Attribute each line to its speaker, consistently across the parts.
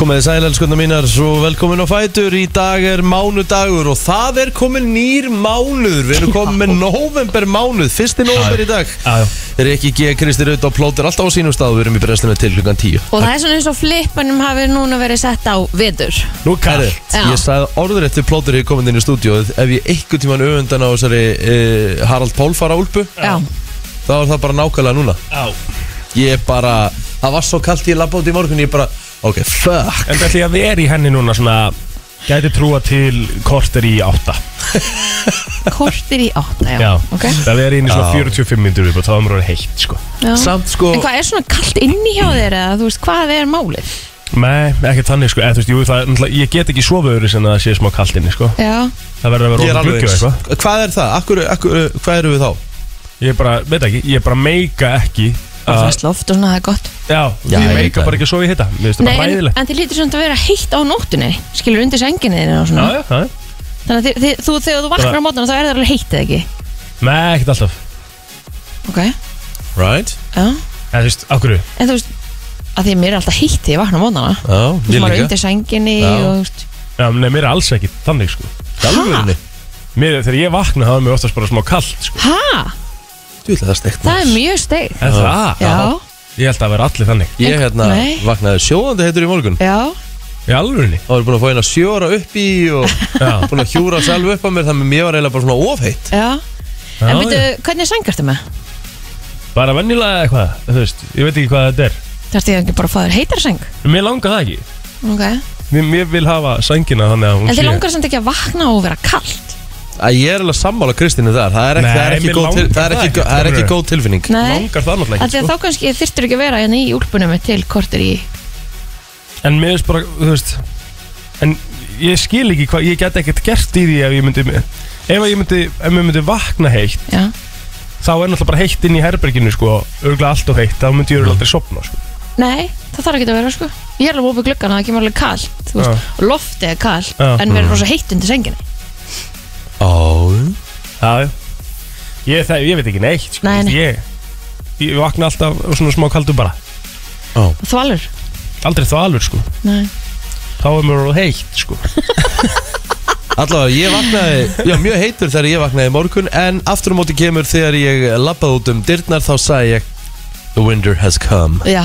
Speaker 1: Komið þið sæl, elskunna mínar, og velkomin á Fætur Í dag er mánudagur og það er komin nýr mánuður Við erum komin með november mánuð, fyrsti november í dag
Speaker 2: Já, já.
Speaker 1: Rikki G. Kristi Raut og Plóter alltaf á sínum stað Við erum í brennslunni til klukkan 10
Speaker 3: Og það er svona eins og flippanum hafi núna verið sett á vetur
Speaker 2: Nú kall
Speaker 1: Herri,
Speaker 3: Já.
Speaker 1: ég sagði orðrétt til Plóter í komin inn í stúdíóið Ef ég einhvern tíman öfundan á þessari uh, Harald Pálfara úlpu
Speaker 3: Já,
Speaker 1: Þá er það bara nákvæmlega núna
Speaker 2: Já
Speaker 1: Ég bara, það var svo kallt ég labba út í morgun Ég bara, ok, fuck
Speaker 2: En það ætli að vera í henni núna svona Gæti trúa til korter í átta
Speaker 3: kortir í átta, já, ok
Speaker 2: Það vera inn í svona
Speaker 1: Já.
Speaker 2: 45 myndur upp og þá er mér orðið heitt sko
Speaker 3: já.
Speaker 1: Samt sko
Speaker 3: En hvað er svona kallt inni hjá þér eða þú veist hvað er málið?
Speaker 2: Nei, ekki þannig sko, eða þú veist, jú, það, náttúrulega- ég get ekki sofa öðru sem að það sé smá kalt inni sko
Speaker 3: Já,
Speaker 2: Það verður að
Speaker 1: Ég er
Speaker 2: vera ofan
Speaker 1: alveg
Speaker 2: gluggi og
Speaker 1: eins
Speaker 2: eitthvað
Speaker 1: Hvað er það? Akkur, akkur, hvað eru við þá?
Speaker 2: Ég bara, veit ekki, ég bara meika ekki
Speaker 3: það
Speaker 2: að-
Speaker 3: er loft og svona það er gott
Speaker 2: Já,
Speaker 1: Já,
Speaker 2: ég
Speaker 1: ég veit
Speaker 2: meika
Speaker 1: það.
Speaker 2: bara ekki að sofa í hitta Mér finnst það
Speaker 3: Nei,
Speaker 2: bara
Speaker 3: en,
Speaker 2: hræðilegt
Speaker 3: en þið lítur svona að vera heitt á nóttunni Skilur undir senginni þinni og
Speaker 2: Já,
Speaker 3: svona
Speaker 2: já, já
Speaker 3: Þannig að þið, þið, þú, þegar þú vaknar
Speaker 2: Bara-
Speaker 3: á mótana þá er það alveg heitt eða ekki
Speaker 2: Nei, ekkert alltaf
Speaker 3: Ok,
Speaker 1: Right
Speaker 3: já
Speaker 2: Eða þú veist, á hverju?
Speaker 3: En þú veist, að því að mér er alltaf heitt þegar ég vakna á mótana
Speaker 1: Já,
Speaker 3: Þú
Speaker 1: ég
Speaker 3: veist, maður er
Speaker 1: líka
Speaker 3: undir senginni
Speaker 1: Já.
Speaker 3: og þú veist
Speaker 2: Já, nei, mér er alls ekki þannig sko
Speaker 1: Galvörinni
Speaker 2: Mér, þegar ég vakna, þá er mér oftast bara smá kalt sko
Speaker 3: Hæ?
Speaker 1: Þú ætla það steikt
Speaker 3: Það er mjög steig
Speaker 2: En það,
Speaker 3: Já,
Speaker 2: ég held að vera allir þannig
Speaker 1: Ég hérna
Speaker 3: Nei.
Speaker 1: vaknaði sjóðandi heitur í morgun
Speaker 3: já,
Speaker 2: Í alvörunni
Speaker 1: Það var búin að fá hérna sjóra upp í og
Speaker 2: Já.
Speaker 1: búin að hjúra sjálf upp á mér þannig að mér var eiginlega bara svona ofheitt
Speaker 3: já
Speaker 2: Já,
Speaker 3: En veitu,
Speaker 2: já.
Speaker 3: hvernig sengarstu með?
Speaker 2: Bara vennilega eitthvað, þú veist, ég veit ekki hvað þetta er
Speaker 3: Þarftu ég ekki bara að fá þér heitar seng?
Speaker 2: Mér langar það ekki
Speaker 3: Ok
Speaker 2: Mér, mér vil hafa sængina þannig að hún
Speaker 3: En þið langar samt ekki að vakna og vera kallt
Speaker 1: að Ég er eiginlega sammála Kristínu þar Það er ekki,
Speaker 2: Nei,
Speaker 1: það er ekki,
Speaker 2: mér
Speaker 1: góð, til,
Speaker 2: langar
Speaker 1: það er
Speaker 2: það
Speaker 1: ekki,
Speaker 2: ekki,
Speaker 1: það er ekki
Speaker 2: skilurðu.
Speaker 1: góð tilfinning
Speaker 3: Nei
Speaker 2: Langar það
Speaker 3: Af
Speaker 2: náttúrulega ekki
Speaker 3: því að
Speaker 2: sko.
Speaker 3: þá kannski þyrftur ekki að vera hérna í úlpunum til kortir í
Speaker 2: sko. En mér veist bara, þú veist En ég skil ekki hvað, ég get ekkert gert í því ef ég myndi Ef að ég myndi, ef mér myndi vakna heitt
Speaker 3: Já,
Speaker 2: Þá er náttúrulega bara heitt inn í herberginu sko Örgulega allt og heitt, þá myndi ég örugglega aldrei sopna sko
Speaker 3: nei, það þarf ekki að vera sko Ég er alveg opið gluggan að það kemur alveg kallt Þú veist, og loftið er kallt
Speaker 2: Já.
Speaker 3: En verður rosa heitt undir senginni
Speaker 1: Ó,
Speaker 2: Já, já Ég, það, ég veit ekki neitt sko.
Speaker 3: Nei, nei.
Speaker 2: Ég, ég vakna alltaf svona smá kaldur bara
Speaker 3: Og Þvalur
Speaker 2: Aldrei þá alveg sko
Speaker 3: Nei
Speaker 2: Þá er mér orðið heitt sko
Speaker 1: Allavega, ég vaknaði, já, mjög heitur þegar ég vaknaði í morgun En aftur á móti kemur þegar ég lappaði út um dyrnar Þá sagði ég The winter has come
Speaker 3: Já,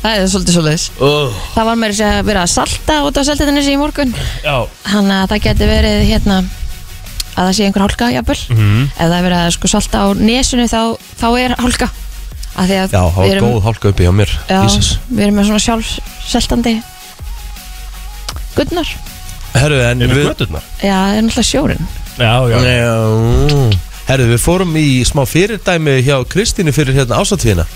Speaker 3: það er svolítið svolítið
Speaker 1: oh.
Speaker 3: Það var meira að vera að salta út á seltetinni í morgun
Speaker 2: Já
Speaker 3: Þannig að það geti verið hérna að það sé einhver hálka jafnvel
Speaker 1: Mhm.
Speaker 3: ef það er verið að sko salta á nesunu þá, þá er hálka að því að
Speaker 1: Já, það
Speaker 3: við
Speaker 1: var
Speaker 3: erum,
Speaker 1: góð hálka uppi hjá mér Jesus.
Speaker 3: já, við erum með svona sjálfseltandi gullnar
Speaker 1: Herru, en
Speaker 2: Eru
Speaker 1: við
Speaker 2: göturnar?
Speaker 3: já, það er náttúrulega sjórin
Speaker 2: Já, já
Speaker 1: Já. Herru, við fórum í smá fyrirdæmi hjá Kristínu fyrir hérna ásatíðina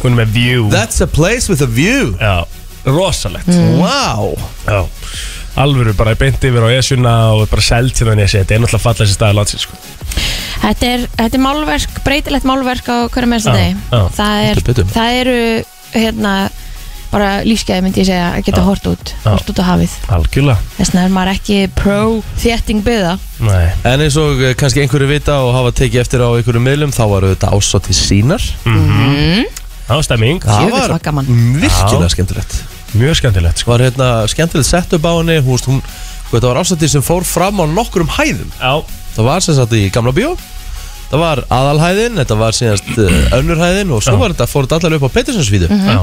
Speaker 2: Hún er með view
Speaker 1: That's a place with a view
Speaker 2: Já Rosalegt
Speaker 1: Wow
Speaker 2: Já Alvöru bara beint yfir á esuna og bara seld hérna nesi Þetta er náttúrulega fallast í staði landsins sko
Speaker 3: þetta er, þetta er málverk, breytilegt málverk á hverju mennstu
Speaker 2: Já,
Speaker 3: degi
Speaker 2: já.
Speaker 3: það,
Speaker 1: Heldur betur.
Speaker 3: er, það eru hérna bara lífsgæði myndi ég segja að geta
Speaker 2: Já.
Speaker 3: hort út,
Speaker 2: Já.
Speaker 3: hort út á hafið
Speaker 2: Algjörlega
Speaker 3: þess vegna er maður ekki pro þétting byða
Speaker 2: Nei
Speaker 1: En eins og eh, kannski einhverju vita og hafa tekið eftir á einhverju miðlum þá var þetta ásatíð sínar
Speaker 2: Mm. Það var stemming
Speaker 1: Það
Speaker 3: Jöfull var gaman.
Speaker 1: virkilega
Speaker 2: Já.
Speaker 1: skemmtilegt
Speaker 2: Mjög skemmtilegt sko
Speaker 1: Var hérna skemmtilegt setup á henni Hún, hún, þetta var ásatíð sem fór fram á nokkrum hæðum
Speaker 2: Já
Speaker 1: Það var sem sagt í gamla bíó Það var aðalhæðin, þetta var síðast eh, önnurhæðin og svo
Speaker 2: Já. Mhm.
Speaker 1: var þetta, fór þetta allar upp á Pettersonsvíðu
Speaker 2: Já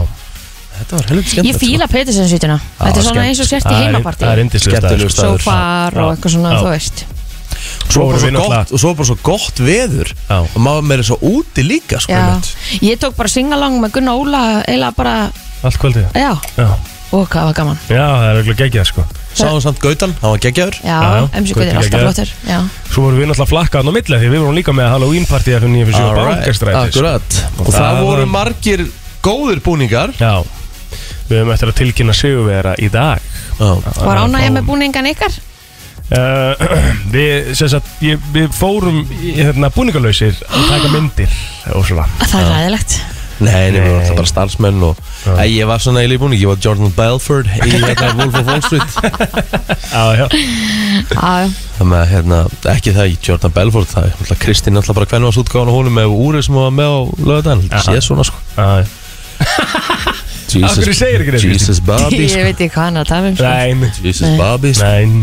Speaker 1: Þetta var helviti
Speaker 3: Ég
Speaker 1: skemmtilegt
Speaker 3: fíla Petersen-sýtuna Þetta er svona
Speaker 1: skemmt.
Speaker 3: eins og sért í
Speaker 2: sko. Það er-
Speaker 3: heimapartí
Speaker 2: Það er sko. indislega
Speaker 1: Skemmtilegur staður.
Speaker 3: Sofar og
Speaker 2: Já.
Speaker 3: eitthvað svona,
Speaker 2: Já.
Speaker 3: þú veist
Speaker 1: svo bara
Speaker 2: vorum
Speaker 1: svo
Speaker 2: við náttúrulega-
Speaker 1: gott, og svo bara svo gott veður
Speaker 2: Já.
Speaker 1: og maður meira svo úti líka sko,
Speaker 3: Já,
Speaker 1: einmitt.
Speaker 3: ég tók bara singalong með Gunnar Óla eiginlega bara,
Speaker 2: Allt kvöldið
Speaker 3: já,
Speaker 2: Já
Speaker 3: og hvað var gaman
Speaker 2: Já, það er auðvitað geggjað sko
Speaker 1: sáum samt Gautan, hann var geggjaður
Speaker 3: Já,
Speaker 2: já,
Speaker 3: MC
Speaker 2: Gauti
Speaker 3: Guðin er alltaf
Speaker 2: geggjaður.
Speaker 3: flottur Já,
Speaker 2: Svo vorum við náttúrulega flakkað á milli Því við vorum líka með Halloween party F9 fyrir 7 Bankastræti sko.
Speaker 1: akkurat og það,
Speaker 2: Það
Speaker 1: voru
Speaker 2: var-
Speaker 1: margir góðir búningar
Speaker 2: Já Við höfum eftir að tilkynna sigurvera í dag
Speaker 1: já,
Speaker 3: var
Speaker 2: Þannig að
Speaker 3: ánægja
Speaker 2: fáum-
Speaker 3: með búningan ykkar
Speaker 2: Uh, við, sem sagt, ég, við fórum í, hérna, búningalöysir að taka myndir og svona
Speaker 3: Það er ræðilegt
Speaker 1: nei, nei, við
Speaker 2: Nei.
Speaker 1: vorum alltaf bara starfsmenn og Æ, ég var svona í lífbúning, ég var Jordan Belford í hérna Wolf of Wall Street
Speaker 2: Já, já,
Speaker 3: Já,
Speaker 1: þannig að hérna, ekki það, Jordan Belford það er alltaf Kristinn alltaf bara hvernig var svo útgáðan og húnum með úrið sem hún var með á lögðan,
Speaker 2: Aha.
Speaker 1: séð svona sko
Speaker 2: já Af hverju segir ekki þetta?
Speaker 1: Jesus Bobby
Speaker 3: Ég
Speaker 1: sko.
Speaker 3: veit ekki hvað hann er að tala um sko.
Speaker 2: Nei, einmitt.
Speaker 1: Jesus
Speaker 3: Nei.
Speaker 1: Bobby sko.
Speaker 2: Nei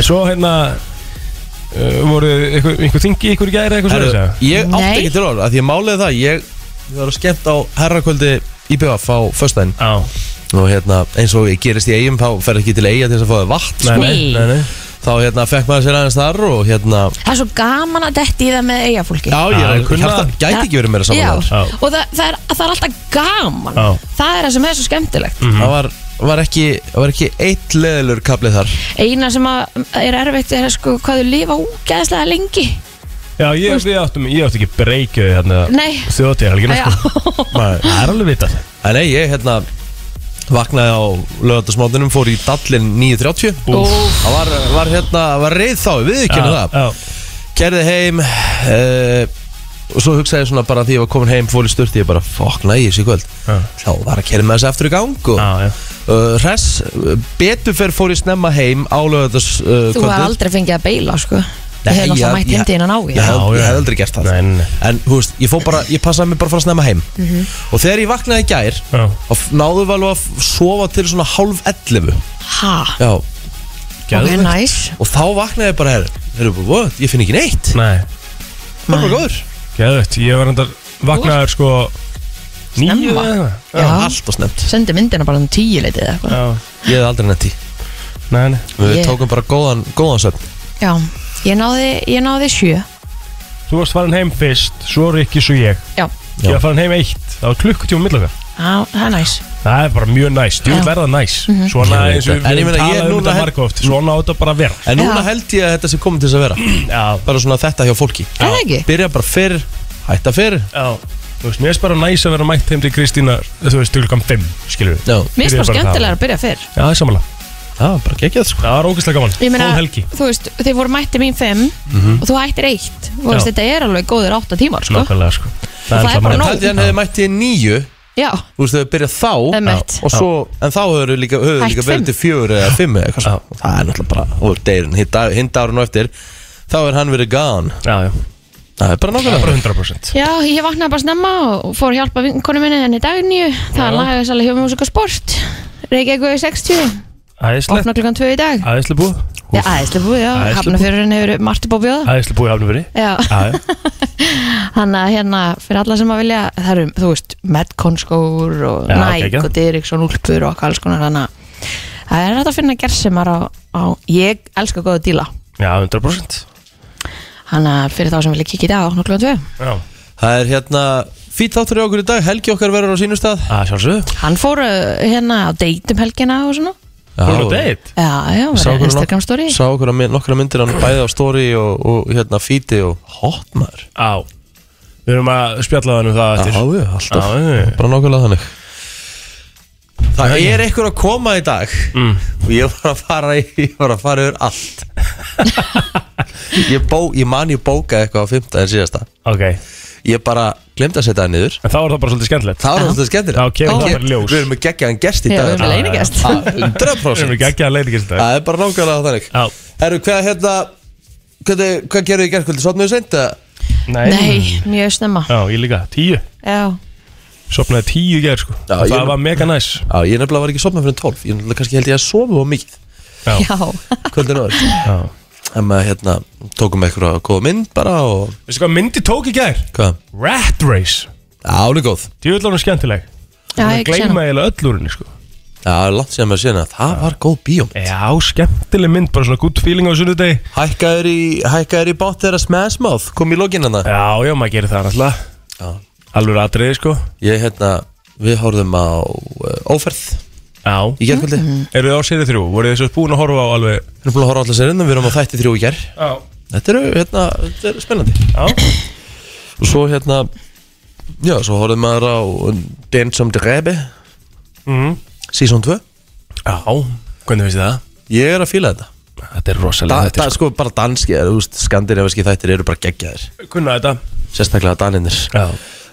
Speaker 2: En svo hérna uh, voru einhver, einhver þingi ykkur í gæri eitthvað
Speaker 1: Herru,
Speaker 2: svo þess
Speaker 1: Ég
Speaker 3: Nei.
Speaker 1: átti ekki til orð af Því ég máliði það Ég ég var að skemmt á herrakvöldi IPF á föstudaginn
Speaker 2: að
Speaker 1: og hérna, eins og ég gerist í eigum þá fer ekki til eiga til þess að fá þau vatn
Speaker 2: Nei,
Speaker 1: sko.
Speaker 2: nei,
Speaker 3: Nei.
Speaker 2: nei, nei.
Speaker 1: þá hérna fekk maður sér aðeins þar og hérna
Speaker 3: Það er svo gaman að detti í það með eigafólki
Speaker 1: já, ég
Speaker 2: Já,
Speaker 1: er
Speaker 2: kunna-
Speaker 1: hérna, gæti ekki verið meira saman þar
Speaker 2: Já.
Speaker 3: og það, það, er, það er alltaf gaman
Speaker 2: Já.
Speaker 3: Það er það sem er svo skemmtilegt
Speaker 1: það var, var, ekki, var ekki eitt leðilur kaplið þar
Speaker 3: Eina sem að er erfitt er sko hvað þau lifa úgeðslega lengi
Speaker 2: Já, ég, við áttum, ég átti ekki breykjöði hérna
Speaker 3: Nei.
Speaker 2: Þjóðtíðalgina
Speaker 3: Já.
Speaker 2: sko Maður- Það er alveg vitað
Speaker 1: en nei, ég hérna vaknaði á lögatarsmátunum, fór í dallin 9.30
Speaker 2: Úff.
Speaker 1: það var, var hérna, var reið þá, við ekki henni það
Speaker 2: Já,
Speaker 1: gerði heim uh, og svo hugsaði ég svona bara því ég var komin heim, fór í styrti, ég bara fokk nægis í kvöld
Speaker 2: Já.
Speaker 1: þá var að kerja með þessi aftur í gang og
Speaker 2: já, já.
Speaker 1: uh, Hress, uh, beturferð fór ég snemma heim álöðu þess uh,
Speaker 3: Þú hefði aldrei fengið að beila sko Nei, Ég hefði
Speaker 1: ég-
Speaker 3: alltaf mætt
Speaker 1: ég-
Speaker 3: hindi innan á
Speaker 1: Ég
Speaker 3: ég
Speaker 1: hef-
Speaker 2: Já,
Speaker 1: ég
Speaker 2: já.
Speaker 1: hef aldrei gert það
Speaker 2: Nei, nei, nei.
Speaker 1: En þú veist, ég, fór bara, ég passaði mig bara að fara snemma heim
Speaker 3: Mhm.
Speaker 1: Og þegar ég vaknaði í gær
Speaker 2: Já.
Speaker 1: Og náðu við alveg að f- sofa til svona hálf 11
Speaker 3: Ha,
Speaker 1: Já,
Speaker 3: ok,
Speaker 2: Geðveikt.
Speaker 3: næs
Speaker 1: og þá vaknaði ég bara her, her, what? Ég finn ekki neitt
Speaker 2: Nei,
Speaker 1: Það var bara góður
Speaker 2: geðvægt Ég var hendar vaknaður sko Níu
Speaker 3: Snemma.
Speaker 2: eða
Speaker 3: Já.
Speaker 1: Allt og snemt
Speaker 3: Sendi myndina bara um tíu leitið eða eitthvað
Speaker 2: Já,
Speaker 1: Ég hef aldrei neitt í
Speaker 2: nei, nei
Speaker 1: Við
Speaker 3: Ég-
Speaker 1: tókum bara góðan, góðan söfn
Speaker 3: Já, ég náði, ég náði sjö
Speaker 2: Þú varst farin heim fyrst, svo Rikki, svo ég
Speaker 3: Já,
Speaker 1: Já.
Speaker 2: Ég var farin heim eitt, það var klukkutíma millega
Speaker 3: Á, það er næs
Speaker 2: Það er bara mjög næs, djú
Speaker 3: Já. Mhm.
Speaker 2: verða næs Svona
Speaker 1: Ég veit
Speaker 2: eins og
Speaker 1: það. En
Speaker 2: við
Speaker 1: ég
Speaker 2: höfum
Speaker 1: meina, ég
Speaker 2: talað um
Speaker 1: núna
Speaker 2: þetta
Speaker 1: hef-
Speaker 2: margóft Svona á þetta bara að vera
Speaker 1: En núna
Speaker 3: Já.
Speaker 1: held ég að þetta sé komið til þess að vera
Speaker 2: Já,
Speaker 1: Bara svona þetta hjá fólki
Speaker 3: Er það ekki?
Speaker 1: Byrja bara fyrr, hætta fyrr
Speaker 2: já Þú veist, mér finnst bara næs að vera mætt heim til Kristína Þú veist, til klukkan 5, skilur við
Speaker 1: Já,
Speaker 3: Mér finnst
Speaker 2: Byrjaði
Speaker 3: bara
Speaker 2: bara
Speaker 3: skemmtilega
Speaker 2: það.
Speaker 3: að byrja fyrr
Speaker 2: Já, það er samanlega
Speaker 1: Já, bara geggjað sko
Speaker 2: Það var ógeðslega gaman,
Speaker 3: Ég meina,
Speaker 2: góð helgi Mhm.
Speaker 3: þú veist, þið voru mætti mín fimm og þú hættir eitt Þú veist,
Speaker 2: Já.
Speaker 3: þetta er alveg góður átta tímar, sko
Speaker 2: Nákvæmlega, sko
Speaker 3: Það er
Speaker 2: náttúrulega
Speaker 3: bara
Speaker 1: En
Speaker 2: málið.
Speaker 3: nóg.
Speaker 1: taldi hann hefði mætt í nýju
Speaker 3: Já,
Speaker 1: Þú veist, þau byrjað þá
Speaker 3: Einmitt.
Speaker 1: Og svo, en þá höfðu líka, höfðu
Speaker 3: Hætt
Speaker 1: líka
Speaker 3: fimm.
Speaker 1: verið til fjögur eða fimm eða eitthvað svo Það er náttúrulega bara, og deyrinn, hinda árun og eftir Þá er hann verið gone
Speaker 2: Já, já,
Speaker 1: Það er bara
Speaker 2: það er
Speaker 1: nákvæmlega
Speaker 2: bara 100%
Speaker 3: já, ég vaknaði bara snemma og fór að hjálpa vinkonu minni henni dagníu Það er lagast alveg hjá músika sport Reykjavík 60,
Speaker 2: Æðislegt,
Speaker 3: opna klukkan 2 í dag
Speaker 2: æðislega búið
Speaker 3: Já, æðislega búið, já,
Speaker 2: Æðislega búið.
Speaker 3: hafnafjörðurinn hefur Marti Bóbi á það
Speaker 2: Æðislega búið hafnum verið
Speaker 3: Já,
Speaker 2: Já,
Speaker 3: þannig að hérna fyrir alla sem að vilja, það eru, þú veist Medconskór og
Speaker 2: Já,
Speaker 3: Nike
Speaker 2: geggjað.
Speaker 3: og Diriksson úlpur og alls konar þannig að það er hægt að finna gersemar á, á ég elska góða díla
Speaker 2: já, 100%
Speaker 3: þannig að fyrir þá sem vilja kikið á nokkulega tvö,
Speaker 2: Já,
Speaker 1: Það er hérna, fýtt þáttur í okkur í dag Helgi okkar verður á sínum stað
Speaker 2: að sjálfsögðu
Speaker 3: hann fór uh, hérna á date um helgina og svona
Speaker 2: Þú eru deitt
Speaker 3: já, já,
Speaker 1: Sá
Speaker 3: var
Speaker 1: okkur á
Speaker 3: Instagram story
Speaker 1: Sá okkur að nokkra myndir hann bæði á story og, og hérna fýti og hot maður
Speaker 2: Já Við erum að spjalla þannig um það
Speaker 1: Já,
Speaker 2: eftir
Speaker 1: já, alltaf
Speaker 2: Já, já, já.
Speaker 1: Bara nákvæmlega þannig Það er einhver að koma í dag og ég var að fara í- ég var að fara yfir allt ég, bó, ég man ég bókaði eitthvað á 15 en síðasta
Speaker 2: Ok,
Speaker 1: ég bara glemdi að setja það niður
Speaker 2: en þá er það bara svolítið skemmtilegt
Speaker 1: það var alltaf skemmtir
Speaker 2: Já, kemur það bara í ljós.
Speaker 1: Við erum með geggjaðan gest í
Speaker 3: Já,
Speaker 1: dag
Speaker 3: við erum með leinigest.
Speaker 1: Ah, 100%
Speaker 2: Við erum ekki að leita ekki þetta
Speaker 1: Það er bara nákvæmlega þannig
Speaker 2: Já.
Speaker 1: Herru, hvað hérna Hvað, hvað gerðu í gerðkvöldi? Sotnuðu seint að
Speaker 2: Ah,
Speaker 3: nei, mjög snemma
Speaker 2: Já, ég líka, tíu
Speaker 3: já,
Speaker 2: Sopnaði tíu gær sko
Speaker 1: Já,
Speaker 2: Og
Speaker 1: ég-
Speaker 2: Það var mega næs
Speaker 1: Já, ég nefnilega var ekki sopnað fyrir 12 Ég nefnilega kannski held ég að sofa á mikið
Speaker 2: Já,
Speaker 3: já,
Speaker 1: Kvöldin áður
Speaker 2: já
Speaker 1: En maður hérna tókum eitthvað góða mynd bara og
Speaker 2: Veistu hvað myndi tók í gær?
Speaker 1: hvað?
Speaker 2: Rat Race
Speaker 1: Já, hún er góð.
Speaker 2: Djúvill var hún skemmtileg
Speaker 3: já,
Speaker 2: Ég
Speaker 3: ég sé
Speaker 2: gleyma
Speaker 3: hana
Speaker 2: eiginlega öll úr henni sko
Speaker 1: Já, það er langt síðan maður síðan að það var góð bíóm.
Speaker 2: Já, skemmtileg mynd, bara svona good feeling á sunnudegi
Speaker 1: Hækkaður í, hækkaður í bótt þeirra Smash Mouth, kom í lokin hana.
Speaker 2: Já, já, maður gerir það náttúrulega
Speaker 1: Já.
Speaker 2: Alveg atriði sko
Speaker 1: Ég hérna, við horfðum á uh, Óferð
Speaker 2: Já
Speaker 1: í gerðkvöldi. Mm -hmm.
Speaker 2: Eru þið á séri þrjú? Voruð þið svo búin að horfa á alveg
Speaker 1: Við erum búin að horfa allar sérinn, við erum á þætti þrjú í gerð.
Speaker 2: Já
Speaker 1: Þetta eru, hérna, þetta eru spennandi.
Speaker 2: Já,
Speaker 1: Og svo hérna, já, svo horfðum maður á Densam Drebe,
Speaker 2: Mhm.
Speaker 1: season 2.
Speaker 2: hvernig finnst þið það?
Speaker 1: Ég er að fíla þetta.
Speaker 2: Þetta er
Speaker 1: Da,
Speaker 2: rosalega
Speaker 1: da, sko, bara danski, þú veist, skandinaviski þættir eru bara geggjaðir.
Speaker 2: sko Kunna þetta
Speaker 1: Sérstaklega daninir.
Speaker 2: Já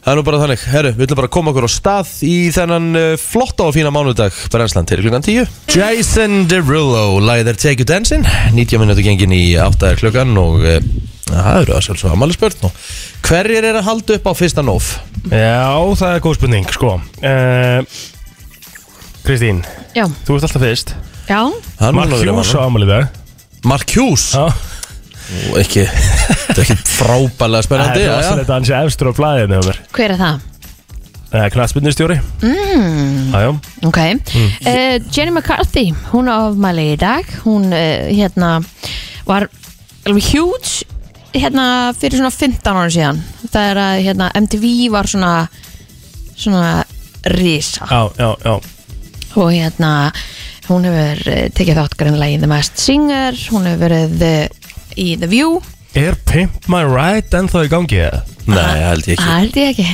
Speaker 1: Það er nú bara þannig, herru, við ætlum bara að koma okkur á stað í þennan uh, flotta og fína mánudag Brennsland til klukkan 10 Jason Derulo, lagið er Take You Dancing 90 minúti gengin í 8 er klukkan og uh, það eru að sjálfsögum ammali spörn og hverjir er að halda upp á fyrsta nóf?
Speaker 2: Já, það er góð spurning, sko uh, Kristín,
Speaker 3: Já,
Speaker 2: þú ert alltaf fyrst
Speaker 3: já,
Speaker 1: Hann
Speaker 2: Mark Hughes á amal í dag
Speaker 1: Mark Hughes
Speaker 2: Já.
Speaker 1: Ó, Ekki Þetta er ekki frábælega
Speaker 2: Það
Speaker 1: spennandi
Speaker 2: er
Speaker 1: já, já.
Speaker 2: rosalegt að hann sé efstur á blæðinu hjá mér.
Speaker 3: hver er það?
Speaker 2: Það er knastbyrnustjóri mm.
Speaker 3: Ok, uh, Jenny McCarthy, hún á afmæli í dag, hún uh, hérna var alveg huge hérna fyrir svona 15 ára síðan, það er að hérna, MTV var svona, svona risa
Speaker 2: Já, já, já
Speaker 3: og hérna hún hefur eh, tekið þátt grannlega í The Masked Singer, hún hefur verið eh, í The View,
Speaker 2: Er Pimp My Ride ennþá í gangi eða?
Speaker 1: Nei, held ég
Speaker 3: það
Speaker 1: ekki
Speaker 3: Ah, held ég ekki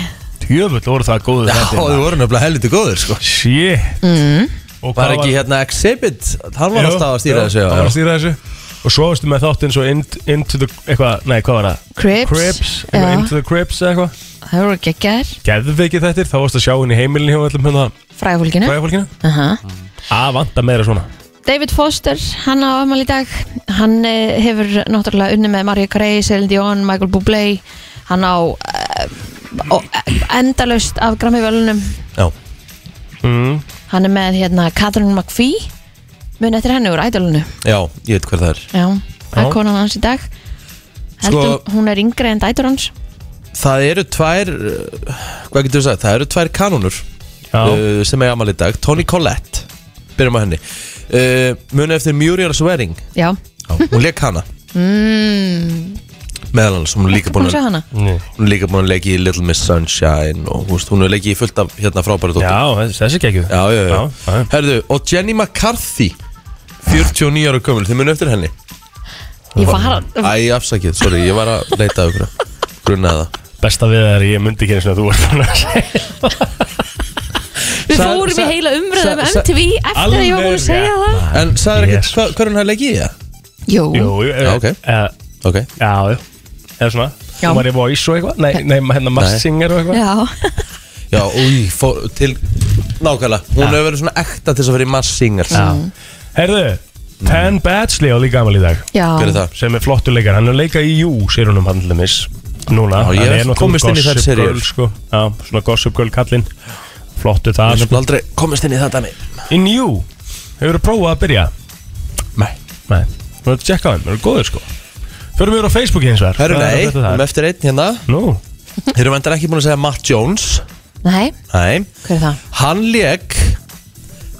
Speaker 2: Tjöfull voru það góðu
Speaker 1: Já, þið voru nefnilega helviti góður sko
Speaker 2: Shit
Speaker 3: Mm.
Speaker 2: Og
Speaker 1: Var
Speaker 2: hvað
Speaker 1: ekki hérna Exhibit Hann var
Speaker 2: Jú,
Speaker 1: alltaf að stýra
Speaker 2: jú,
Speaker 1: þessu já,
Speaker 2: hann var að
Speaker 1: já.
Speaker 2: stýra þessu Og svo varstu með þáttinn svo in, Into the Eitthvað, nei hvað var það?
Speaker 3: Crips,
Speaker 2: Crips eitthvað,
Speaker 3: já,
Speaker 2: Into the Crips eða eitthvað
Speaker 3: það voru geggar,
Speaker 2: Geðveikið þettir Þá varstu að sjá henni í heimilinu hjá öllum
Speaker 3: Hm?
Speaker 2: hérna
Speaker 3: frægfólkinu
Speaker 2: Fræðafólkinu
Speaker 3: uh -huh.
Speaker 2: Að vanta meira svona
Speaker 3: David Foster, hann á afmæli í dag hann eh, hefur náttúrulega unni með Mario Carey, Celine Dion, Michael Bublé hann á uh, endalaust af Grammy-völunum
Speaker 1: Já.
Speaker 2: mm.
Speaker 3: hann er með hérna Catherine McPhee mun eftir henni úr ædolunu
Speaker 1: já, ég veit hver það er
Speaker 3: já, það
Speaker 2: Já.
Speaker 3: er konan hans í dag heldur,
Speaker 1: Sko-
Speaker 3: hún er yngri en dætur hans
Speaker 1: Það eru tvær uh, Hvað getur þú sagt? Það eru tvær kanónur
Speaker 2: Já
Speaker 1: uh, sem er amal í dag Toni Collette Byrjum á henni uh, Muna eftir Muriel Swearing
Speaker 3: já,
Speaker 1: Já, Hún leik hana
Speaker 3: mm,
Speaker 1: Meðal hans, hún er líka
Speaker 3: ertu
Speaker 1: búin
Speaker 3: búin að sjá
Speaker 1: að
Speaker 3: hana
Speaker 2: Nei.
Speaker 1: Hún er líka búin að leiki í Little Miss Sunshine Og þú veist, hún er leiki í fullt af hérna frábæra tóttum
Speaker 2: Já, þessi- þessi gekkið
Speaker 1: já, já, já.
Speaker 2: Já, já.
Speaker 1: Herðu, og Jenny McCarthy 49 ára gömul, þið munu eftir henni
Speaker 3: ég var,
Speaker 1: Æ, afsakið, sorry, ég var að leita að ykkur Grunnaði það
Speaker 2: Besta við það er að ég myndi ekki eins og þú ert búin að segja
Speaker 3: við
Speaker 1: Sa-
Speaker 3: fórum
Speaker 1: sa-
Speaker 3: í heila umröðu um
Speaker 1: sa- sa-
Speaker 3: MTV eftir að ég var búin að
Speaker 2: Alveg
Speaker 3: segja það
Speaker 1: En sagður ekkert
Speaker 2: Jesus.
Speaker 1: yes. hvernig hann leiki í það?
Speaker 3: jú,
Speaker 2: Jú, jú,
Speaker 1: Já, ok.
Speaker 2: eh,
Speaker 1: Ok,
Speaker 2: Já, já, eða svona
Speaker 3: Já.
Speaker 2: Hún var í Voice og eitthvað Nei, nei hérna
Speaker 1: Nei.
Speaker 2: Mars Singer og eitthvað
Speaker 3: já
Speaker 1: já, új, fór til Nákvæmlega, hún hefur verið svona ekta til þess að vera í mass singers
Speaker 3: Mm.
Speaker 2: Herðu,
Speaker 1: Mm.
Speaker 2: Penn Badgley á líka amal í dag
Speaker 3: Já,
Speaker 1: Hver er það?
Speaker 2: sem er flottur leikar, hann er að leika í Jú sér hún um hann til þeimis núna,
Speaker 1: Já, ég
Speaker 2: hann
Speaker 1: hef komist inn í þær
Speaker 2: gossip
Speaker 1: seríur.
Speaker 2: girl sko. já, svona gossip girl kallinn flottur
Speaker 1: Ég
Speaker 2: það
Speaker 1: sem aldrei komist inn í þetta mig
Speaker 2: In Jú, hefur þú prófað að byrja?
Speaker 1: Nei
Speaker 2: Nei, þú hefur tjekkað hann, þú eru góður sko Förum við á Facebook hins vegar
Speaker 1: Herru,
Speaker 2: Hvað
Speaker 1: nei,
Speaker 2: er að frétta þar?
Speaker 1: um eftir einn hérna
Speaker 2: Nú,
Speaker 1: Þeir eru vendar ekki búin að segja Matt Jones
Speaker 3: Nei,
Speaker 1: Nei
Speaker 3: hver er það?
Speaker 1: Hann leik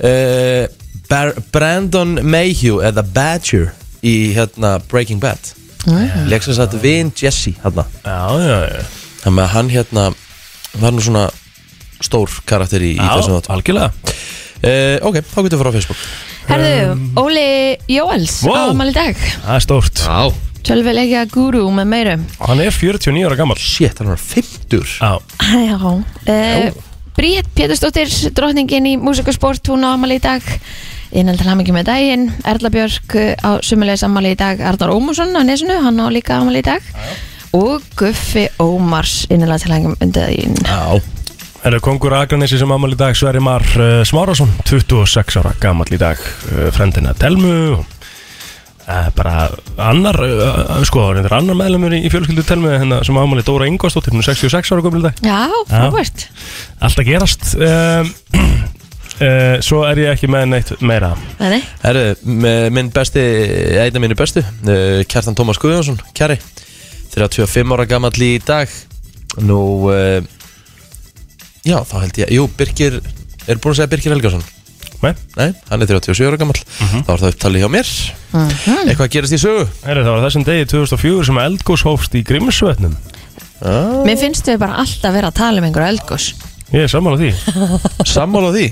Speaker 1: uh, Bar Brandon Mayhew eða Badger í hérna Breaking Bad mm. leik sem sagt Vin Jesse hérna.
Speaker 2: já, já, já
Speaker 1: þannig að hann hérna var nú svona stór karakter í, í þessum
Speaker 2: Já,
Speaker 1: þáttum
Speaker 2: algjörlega
Speaker 1: uh, ok, þá getum við frá Facebook
Speaker 3: Herðu, Óli Jóels
Speaker 2: Wow.
Speaker 3: á afmæli í dag
Speaker 2: Það er stórt
Speaker 1: Já,
Speaker 3: Tölvilegja guru með meirum
Speaker 2: Hann er 49 ára gammal
Speaker 1: shit, hann var 50
Speaker 2: Já,
Speaker 3: Já uh, Bríett Pétursdóttir, drottningin í músikasport hún á afmæli í dag innaldar hamingi með daginn Erla Björk eh, á sumulegis afmæli í dag Arnar Ómarsson á nesinu, hann á líka afmæli í dag og Guffi Ómars innaldar til hamingi með daginn
Speaker 1: Já,
Speaker 2: Það eru kongur Akranesi sem amal í dag Sverri Mar uh, Smárásson 26 ára gammal í dag uh, Frendina Telmu uh, Bara annar uh, Sko, það er annar meðlumur í, í fjölskyldu Telmu hérna, sem amal í Dóra Ingolstóttir hún er 66 ára gammal í dag
Speaker 3: Já, frábært
Speaker 2: Allt að gerast um, uh, Svo er ég ekki með neitt meira
Speaker 3: Nei, nei.
Speaker 1: Herru, m- minn besti, einn af mínu bestu, eh, Kjartan Tómas Guðjónsson, Kjarri, 35 ára gamall í dag. Nú, eh, já, þá held ég, jú, Birgir, er búin að segja Birgir Helgarsson?
Speaker 2: Nei,
Speaker 1: Nei, hann er 37 ára gamall,
Speaker 2: Mhm.
Speaker 1: þá er það upptalið hjá mér. Eitthvað gerist í sögu?
Speaker 2: Heru, það var á þessum degi 2004 sem eldgós hófst í Grimsvötnum
Speaker 1: Ah,
Speaker 3: Mér finnst þau bara alltaf vera að tala um einhverja eldgós
Speaker 2: Ég er sammála því
Speaker 1: sammála því.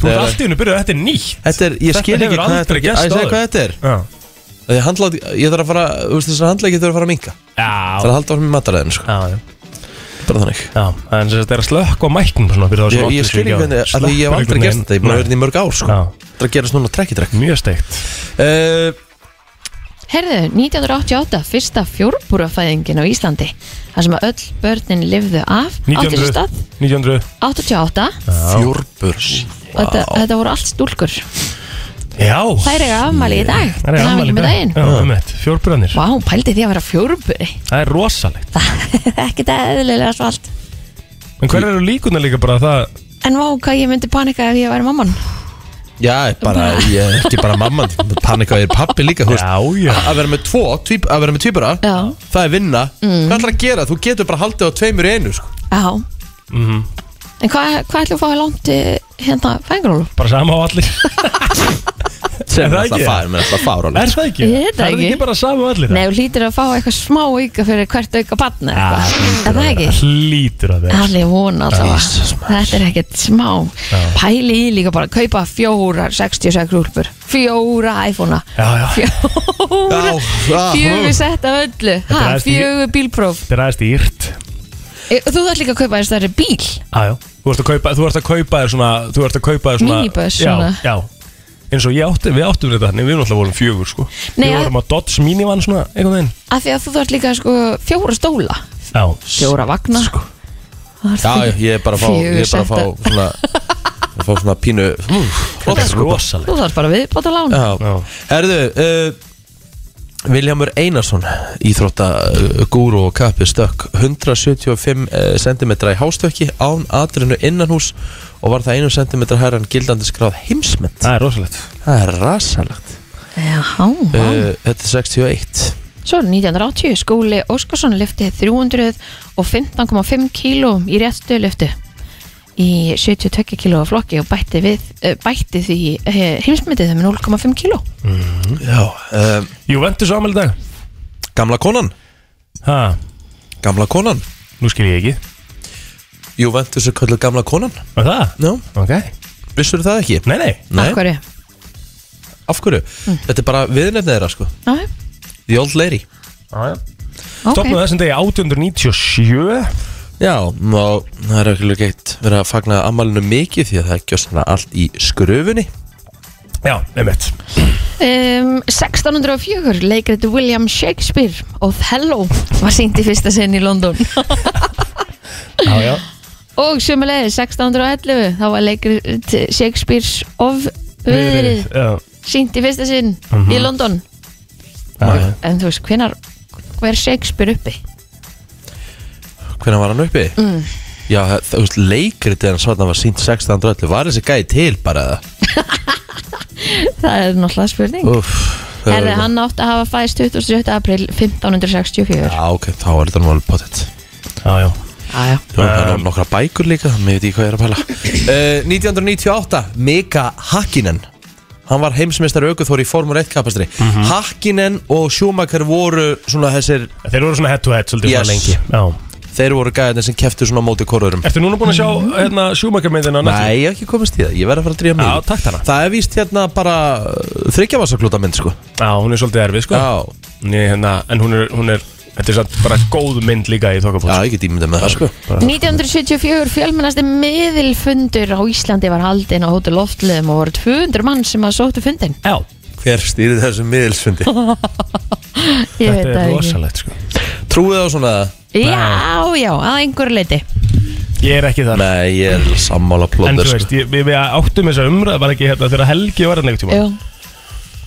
Speaker 2: Þú ert
Speaker 1: Þegar-
Speaker 2: allt í hennu byrjuð, þetta er nýtt
Speaker 1: Þetta er, ég
Speaker 2: Þetta
Speaker 1: skil ekki
Speaker 2: hefur
Speaker 1: hvað þetta
Speaker 2: aldrei
Speaker 1: er, að
Speaker 2: gerst
Speaker 1: ég segja
Speaker 2: áður.
Speaker 1: hvað þetta er.
Speaker 2: Já,
Speaker 1: Því að handla, ég þarf að fara, þú veist þessar handlæki þurfa að fara að minka. Það er
Speaker 2: já,
Speaker 1: að halda á með mataræðinu, sko,
Speaker 2: já, já.
Speaker 1: bara þannig.
Speaker 2: Já, en þess að þetta er að slökk á mæknum svona fyrir þá sem
Speaker 1: Ég, ég
Speaker 2: áttu sig
Speaker 1: skil
Speaker 2: ekki
Speaker 1: ekki
Speaker 2: á
Speaker 1: hvernig,
Speaker 2: því.
Speaker 1: að því ég hef aldrei
Speaker 2: Slökkva einhvern
Speaker 1: gert þetta, ég er búin að
Speaker 2: veginn.
Speaker 1: vera hérna í mörg ár sko.
Speaker 2: Já.
Speaker 1: Það er að gerast núna trekk í trekk
Speaker 2: Nei, Mjög steikt
Speaker 1: uh,
Speaker 3: Herðu, 1988, fyrsta fjórbúrafæðingin á Íslandi þar sem að öll börnin lifðu af átti sér
Speaker 2: 1900,
Speaker 3: stað
Speaker 2: 1900
Speaker 3: 88
Speaker 1: Fjórburs
Speaker 3: og þetta, þetta voru allt stúlkur
Speaker 2: Já
Speaker 3: Þær eru afmæli í dag
Speaker 2: Það er
Speaker 3: hamingju
Speaker 2: ammali
Speaker 3: með daginn
Speaker 2: Já, um eitt, fjórbröðnir
Speaker 3: Vá, pældi því að vera fjórbúri
Speaker 2: Það er rosalegt
Speaker 3: Ekkert eðlilega svalt
Speaker 2: En hver eru líkunar líka bara að það
Speaker 3: En vá, hvað ég myndi panika ef ég væri mamman
Speaker 1: Já, bara, ég er ekki bara mamman Panika er pappi líka, þú veist
Speaker 2: Já, já.
Speaker 1: Að vera með tvo, tvíb, að vera með tvíbara
Speaker 3: Já.
Speaker 1: Það er vinna, hvað ætlar að gera? Þú getur bara haldið á tveimur í einu, sko
Speaker 3: Já
Speaker 2: Mhm,
Speaker 3: En hvað hva ætlum við að fá í langt eh, hérna fængrólu?
Speaker 2: Bara sama á allir
Speaker 1: Sem
Speaker 2: Er
Speaker 1: er
Speaker 2: það
Speaker 1: alltaf
Speaker 2: ekki?
Speaker 1: fár, með alltaf fár
Speaker 2: Er það ekki?
Speaker 3: Ég veit það
Speaker 2: Er það
Speaker 3: ekki.
Speaker 2: ekki bara sama á allir
Speaker 3: Nei, þú lítur að fá eitthvað smá auka fyrir hvert auka batna
Speaker 2: Ah,
Speaker 3: Er það ekki?
Speaker 2: Lítur að vera
Speaker 3: Allir vona alltaf
Speaker 1: Jesus,
Speaker 3: Þetta er ekkert smá Pæli í líka bara að kaupa fjórar 66 rúlpur, fjóra iPhone-a
Speaker 2: Já, já.
Speaker 1: Já,
Speaker 3: Fjóra
Speaker 1: já.
Speaker 3: Fjögur sett af öllu ha,
Speaker 2: Þetta er því-
Speaker 3: Fjögur bílpróf
Speaker 2: Þetta er aðeins dýrt
Speaker 3: E, Þú þarf líka að kaupa þess að það er bíl
Speaker 2: ah, já. Þú ert að kaupa þú ert að kaupa þér svona Þú ert að kaupa þér svona
Speaker 3: Minibus,
Speaker 2: Já,
Speaker 3: svona.
Speaker 2: já eins og ég átti, við áttum þetta þannig, við erum alltaf vorum fjögur sko
Speaker 3: Nei,
Speaker 2: Við
Speaker 3: að-
Speaker 2: vorum að Dodge Minivan svona, einhvern veginn
Speaker 3: Af því að þú þarf líka sko, fjóra stóla
Speaker 2: Já,
Speaker 3: Fjóra vagna
Speaker 2: Sko.
Speaker 1: Já, já, ég er bara að fá, ég er bara að fá svona að fá svona pínu mm,
Speaker 2: þetta er
Speaker 1: sko.
Speaker 2: rosalega
Speaker 3: Þú þarf bara við bóta lán
Speaker 1: Já,
Speaker 2: Já.
Speaker 1: herðu uh, Viljámur Einarsson Íþrótta uh, gúru og kappi stökk 175 uh, cm í hástökki án atrinu innanhús og var það einu cm herran gildandi skráð heimsmynd
Speaker 2: Það er rosalegt
Speaker 1: Það er rasalegt
Speaker 3: Já, vá.
Speaker 1: uh, Þetta er 61
Speaker 3: Svo 1980 skúli Óskarsson lyfti 315,5 kíló í réttu lyftu í 72 kíló flokki og bætti, við, eh, bætti því heimsmyndið með 0,5 kíló
Speaker 1: Já uh,
Speaker 2: Jú, vendur svo ámæli dag
Speaker 1: Gamla konan
Speaker 2: Ha,
Speaker 1: Gamla konan
Speaker 2: nú skil ég ekki
Speaker 1: Jú, ventur svo kallu gamla konan
Speaker 2: Og það?
Speaker 1: Já,
Speaker 2: Ok
Speaker 1: vissur það ekki?
Speaker 2: Nei, nei
Speaker 1: Nei,
Speaker 3: Af hverju?
Speaker 1: af hverju? Mm. Þetta er bara viðnefnið þeirra sko
Speaker 3: Æ,
Speaker 1: The Old Lady
Speaker 2: ah,
Speaker 3: okay.
Speaker 2: Stopnum þessum degi 1897
Speaker 1: Já, og það er ekki líka eitt verið að fagna ammælinu mikið því að það er gjössanlega allt í skröfunni
Speaker 2: Já, einmitt
Speaker 3: um, 1604 leikrit William Shakespeare Othello var sýnt í fyrsta sinn í London
Speaker 2: Já, já
Speaker 3: og sömulegið 1611 þá var leikrit Shakespeare's of Viðrið
Speaker 2: Já,
Speaker 3: sýnt í fyrsta sinn í London
Speaker 2: Mhm. já, já.
Speaker 3: en þú veist, hvenar hver Shakespeare uppi?
Speaker 1: Hvernig var hann uppi? Mm. Já, það- þú veist, leikrit en svona var sínt 1611 Var þessi gæði til bara það?
Speaker 3: Það er náttúrulega spurning
Speaker 1: Uff, það
Speaker 3: Herði,
Speaker 1: var-
Speaker 3: hann átti að hafa fæðist 27. april 1564
Speaker 1: Já, ok, þá var þetta nú alveg potið
Speaker 2: já, já.
Speaker 3: Jæja.
Speaker 1: Það var um, nokkra bækur líka, þannig ég veit ekki hvað ég er að pæla uh, 1998, Mika Hakkinen Hann var heimsmeistar aukuþór í Formule 1 kapastri Hakkinen og Schumacher voru svona þessir
Speaker 2: Þeir voru svona head to head svolítið
Speaker 1: Yes.
Speaker 2: svona lengi já.
Speaker 1: Þeir voru gæðin sem keftu svona á móti korðurum
Speaker 2: Ertu núna búin að sjá hérna sjúmakarmyndina
Speaker 1: Nei, ég hef ekki komist í það, ég verð að fara að dríja mig
Speaker 2: Já,
Speaker 1: í.
Speaker 2: takk þarna.
Speaker 1: Það er víst hérna bara þryggjavasaklúta mynd, sko
Speaker 2: Já, hún er svolítið erfið sko
Speaker 1: Já,
Speaker 2: Nei, hérna, En hún er, hún er Þetta er satt bara góð mynd líka í
Speaker 1: já,
Speaker 2: þokkabótt
Speaker 1: ég get ímyndið með það, sko
Speaker 3: 1974 fjölmennasti miðilfundur á Íslandi var haldinn á hótu loftlöðum og voru 200 mann sem að sóttu fundin
Speaker 2: Já,
Speaker 1: sko. Hver stýrið þessum miðilsfundi?
Speaker 3: Ég veit
Speaker 2: þetta er
Speaker 3: það ekki
Speaker 2: rosalegt sko
Speaker 1: Trúið á svona það?
Speaker 3: Já, já, að einhverju leiti
Speaker 2: Ég er ekki þar
Speaker 1: Nei, ég er sammála
Speaker 2: En
Speaker 1: plóður,
Speaker 2: þú
Speaker 1: sko
Speaker 2: veist, ég, við, við áttum þessa umræð var ekki hérna þegar Helgi var hérna einhvern tíma
Speaker 3: Jú.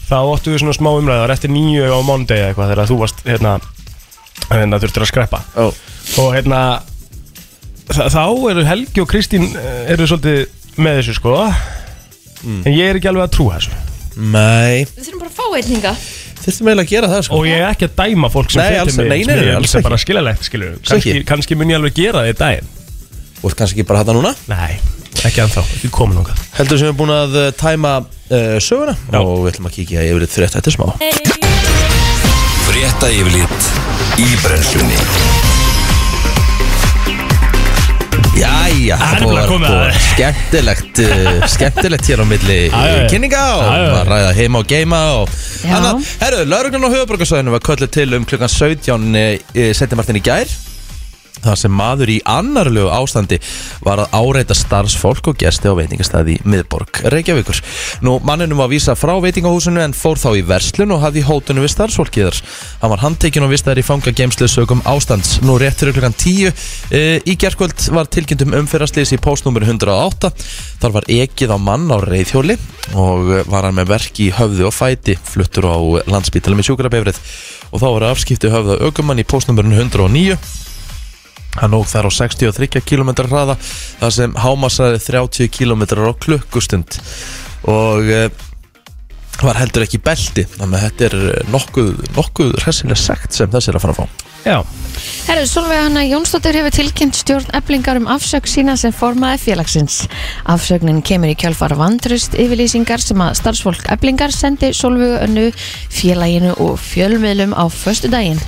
Speaker 2: Þá áttum við svona smá umræð, það var eftir nýju á mándegi eða eitthvað þegar þú varst hérna, hérna þurftur að skreppa
Speaker 1: Ó,
Speaker 2: og hérna þa- þá eru Helgi og Kristín eh, eru svolítið með þessu sko
Speaker 3: Mm.
Speaker 2: en ég er ekki alveg að trúa þessu
Speaker 1: Nei,
Speaker 3: Við þurfum bara að fá einninga
Speaker 1: þurftum eiginlega að gera það, sko
Speaker 2: og ég er ekki að dæma fólk sem
Speaker 1: Nei,
Speaker 2: flytur
Speaker 1: alls-
Speaker 2: mig,
Speaker 1: nei, nei, nei,
Speaker 2: sem ég-
Speaker 1: alls
Speaker 2: sem
Speaker 1: ekki.
Speaker 2: bara skiljanlegt skilur
Speaker 1: Alls ekki.
Speaker 2: kannski, kannski mun ég alveg gera það í daginn
Speaker 1: Þú ert kannski ekki bara hætta núna
Speaker 2: nei, ekki anþá, ekki komin okkar
Speaker 1: Heldur sem við erum búin að uh, tæma uh, söguna
Speaker 2: Já.
Speaker 1: Og við ætlum að kíkja yfir þetta frétt eftir smá
Speaker 4: Frétta yfirlit í brennslunni
Speaker 1: Jæja,
Speaker 2: Það er
Speaker 1: búið
Speaker 2: nefnilega
Speaker 1: að
Speaker 2: komið
Speaker 1: búið
Speaker 2: að
Speaker 1: að- skemmtilegt uh, skemmtilegt hér á milli
Speaker 2: Já, já, já.
Speaker 1: kynninga og
Speaker 2: Já, já, já.
Speaker 1: að ræða heima og geima og
Speaker 3: Já.
Speaker 1: annað. Herru, lauruglan á höfuborgarsvæðinu var kölluð til um klukkan 17 sentimartin í gær þar sem maður í annarlegu ástandi var að áreita starfsfólk og gesti á veitingastæði í miðborg Reykjavíkur. Nú, manninum var vísað frá veitingahúsinu en fór þá í verslun og hafði í hótunum við starfsfólkið þar. Hann var handtekinn og vistaður í fangagemslu sögum ástands. Nú, rétt fyrir klukkan 10 e, í gerkvöld var tilkynnt um umferðaslýs í postnúmer 108. Þar var ekið á mann á reyðhjóli og eh, var hann með verk í höfðu og fæti fluttur á landsbítalum í sjúkrabefrið og þá var afskipti höfða aukumann í postnúmerun 109 Hann óg þar á 63 km hraða þar sem hámasaði 30 km á klukkustund og uh, var heldur ekki í belti þannig að þetta er eh, nokkuð, nokkuð hressilega sagt sem þessi er að fara að fá
Speaker 2: Já,
Speaker 3: Herru, Solveig Hanna Jónsdóttir hefur tilkynnt stjórn eblingar um afsökk sína sem formaði félagsins. Afsöknin kemur í kjálfar vantrust yfirlýsingar sem að starfsfólk eblingar sendi Solveig önnu félaginu og fjölmiðlum á föstu daginn.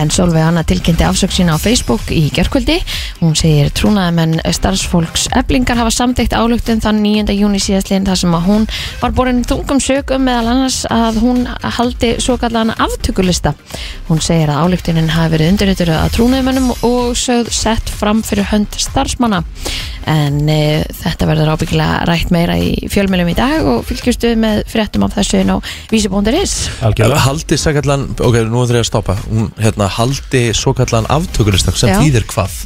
Speaker 3: En Solveig Hanna tilkynnti afsökk sína á Facebook í gerkvöldi. Hún segir trúnaðamenn starfsfólks eblingar hafa samtækt álugtun þann 9. júni síðastliðin þar sem að hún var borin þungum sögum meðal annars að hún haldi svo kallan aftökulista. Hún segir að álíktunin hafi verið undirritur að trúnaðumönnum og sögð sett fram fyrir hönd starfsmanna. En e, þetta verður ábyggilega rætt meira í fjölmjölum í dag og fylgjustu með fréttum af þessu inn á vísibóndir.is.
Speaker 2: algjörlega
Speaker 1: Haldi svo kallan, ok, nú þurfum ég að stoppa hún, hérna, haldi svo kallan aftökulistak sem
Speaker 3: Já.
Speaker 1: þýðir hvað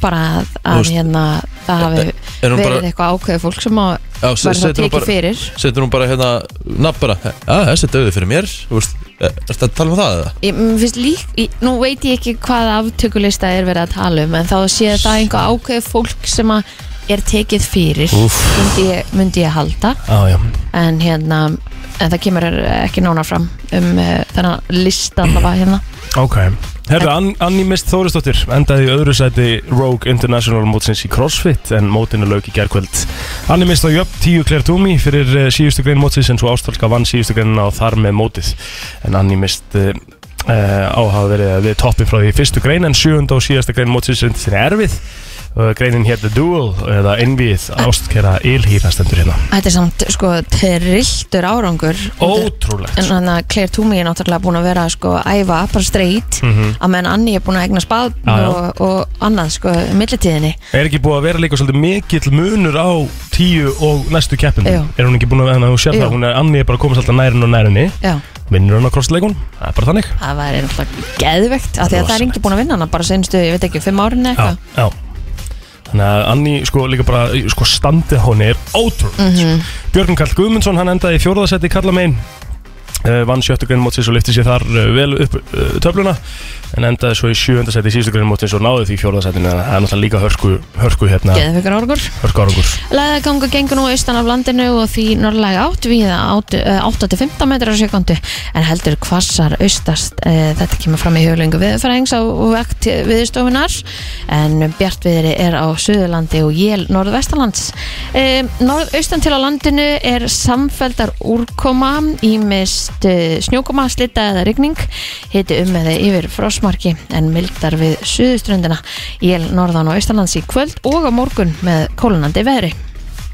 Speaker 3: Bara að,
Speaker 1: Þú
Speaker 3: að
Speaker 1: veist,
Speaker 3: hérna, það hafi
Speaker 1: er- er hún
Speaker 3: verið
Speaker 1: bara-
Speaker 3: eitthvað ákveðið fólk sem að
Speaker 1: Já, se-
Speaker 3: var það
Speaker 1: setur hún
Speaker 3: tekið
Speaker 1: bara-
Speaker 3: fyrir.
Speaker 1: setur hún bara hérna, nafn bara já, þessi er döði fyrir mér þú veist, er þetta að tala um það eða?
Speaker 3: Ég, mér finnst lík, ég, nú veit ég ekki hvað aftökulista er verið að tala um en þá sé það einhver ákveðið fólk sem að er tekið fyrir myndi ég, myndi ég halda
Speaker 2: Já, já,
Speaker 3: en hérna en það kemur ekki nánar fram um uh, þennan lista allavega hérna
Speaker 2: ok Herðu, An Anni Mist Þórisdóttir endaði í öðru sæti Rogue International mótsins í CrossFit en mótinu lauk í gerkvöld Anni Mist á jöfn 10 Claire Doomy fyrir eh, síðustu grein mótsins en svo ástálska vann síðustu greinina og þar með mótið en Anni Mist uh, á hafa verið eh, við toppi frá því í fyrstu grein en sjöunda og síðasta grein mótsins sem er erfið Uh, greinin hér The Duel eða Envið ástkera Ilhýra stendur hérna
Speaker 3: Þetta er samt sko trilltur árangur
Speaker 2: Ótrúlegt
Speaker 3: en þannig að Claire Toomey er náttúrulega búin að vera sko að æfa bara streit
Speaker 2: Mhm.
Speaker 3: að menn Anni er búin að egna spad
Speaker 2: Hmm. Já, já.
Speaker 3: og, og annað sko millitíðinni
Speaker 2: Er ekki búið að vera líka svolítið mikill munur á tíu og næstu keppinu?
Speaker 3: Jú.
Speaker 2: Er hún ekki búin að vera hún sér
Speaker 3: Jú.
Speaker 2: það? Hún er, Anni er bara komast alltaf nærinn og nærinni
Speaker 3: Já,
Speaker 2: Vinnur hann á krossleikun? Það er bara þannig
Speaker 3: það væri náttúrulega geðvegt af því að það er
Speaker 2: Rosalegt.
Speaker 3: engi búin að vinna hana bara senstu, ég veit ekki, fimm árin eða eitthvað
Speaker 2: já Þannig að Anni sko líka bara, sko standið hún er ótrúlegt mm Björn Karl Guðmundsson, hann endaði í fjórðasetti í Karlamein uh, Vann sjöttu grein mótsins og lyfti sér þar uh, vel upp uh, töfluna En endaði svo í sjöundasetti í síðustu grein mótsins og náði því fjórðasettinu Þannig að það er náttúrulega líka hörku, hörku hérna,
Speaker 3: Geðveikar árangur
Speaker 2: hörku árangur
Speaker 3: Læðagangur gengur nú austan af landinu og því norðlega átt eh, við 8-15 metrar á sekundu en heldur hvassar austast eh, þetta kemur fram í huglengu viðfærahengs á vekt viðstofunar en bjartviðri er á Suðurlandi og jél norðvestalands eh, Norðaustan til á landinu er samfeldar úrkoma ímist eh, snjókoma, slita eða rigning hiti um eða yfir frosmarki en mildar við suðuströndina jél norðan og austalands í kvöld og á morgun með kólunandi veðri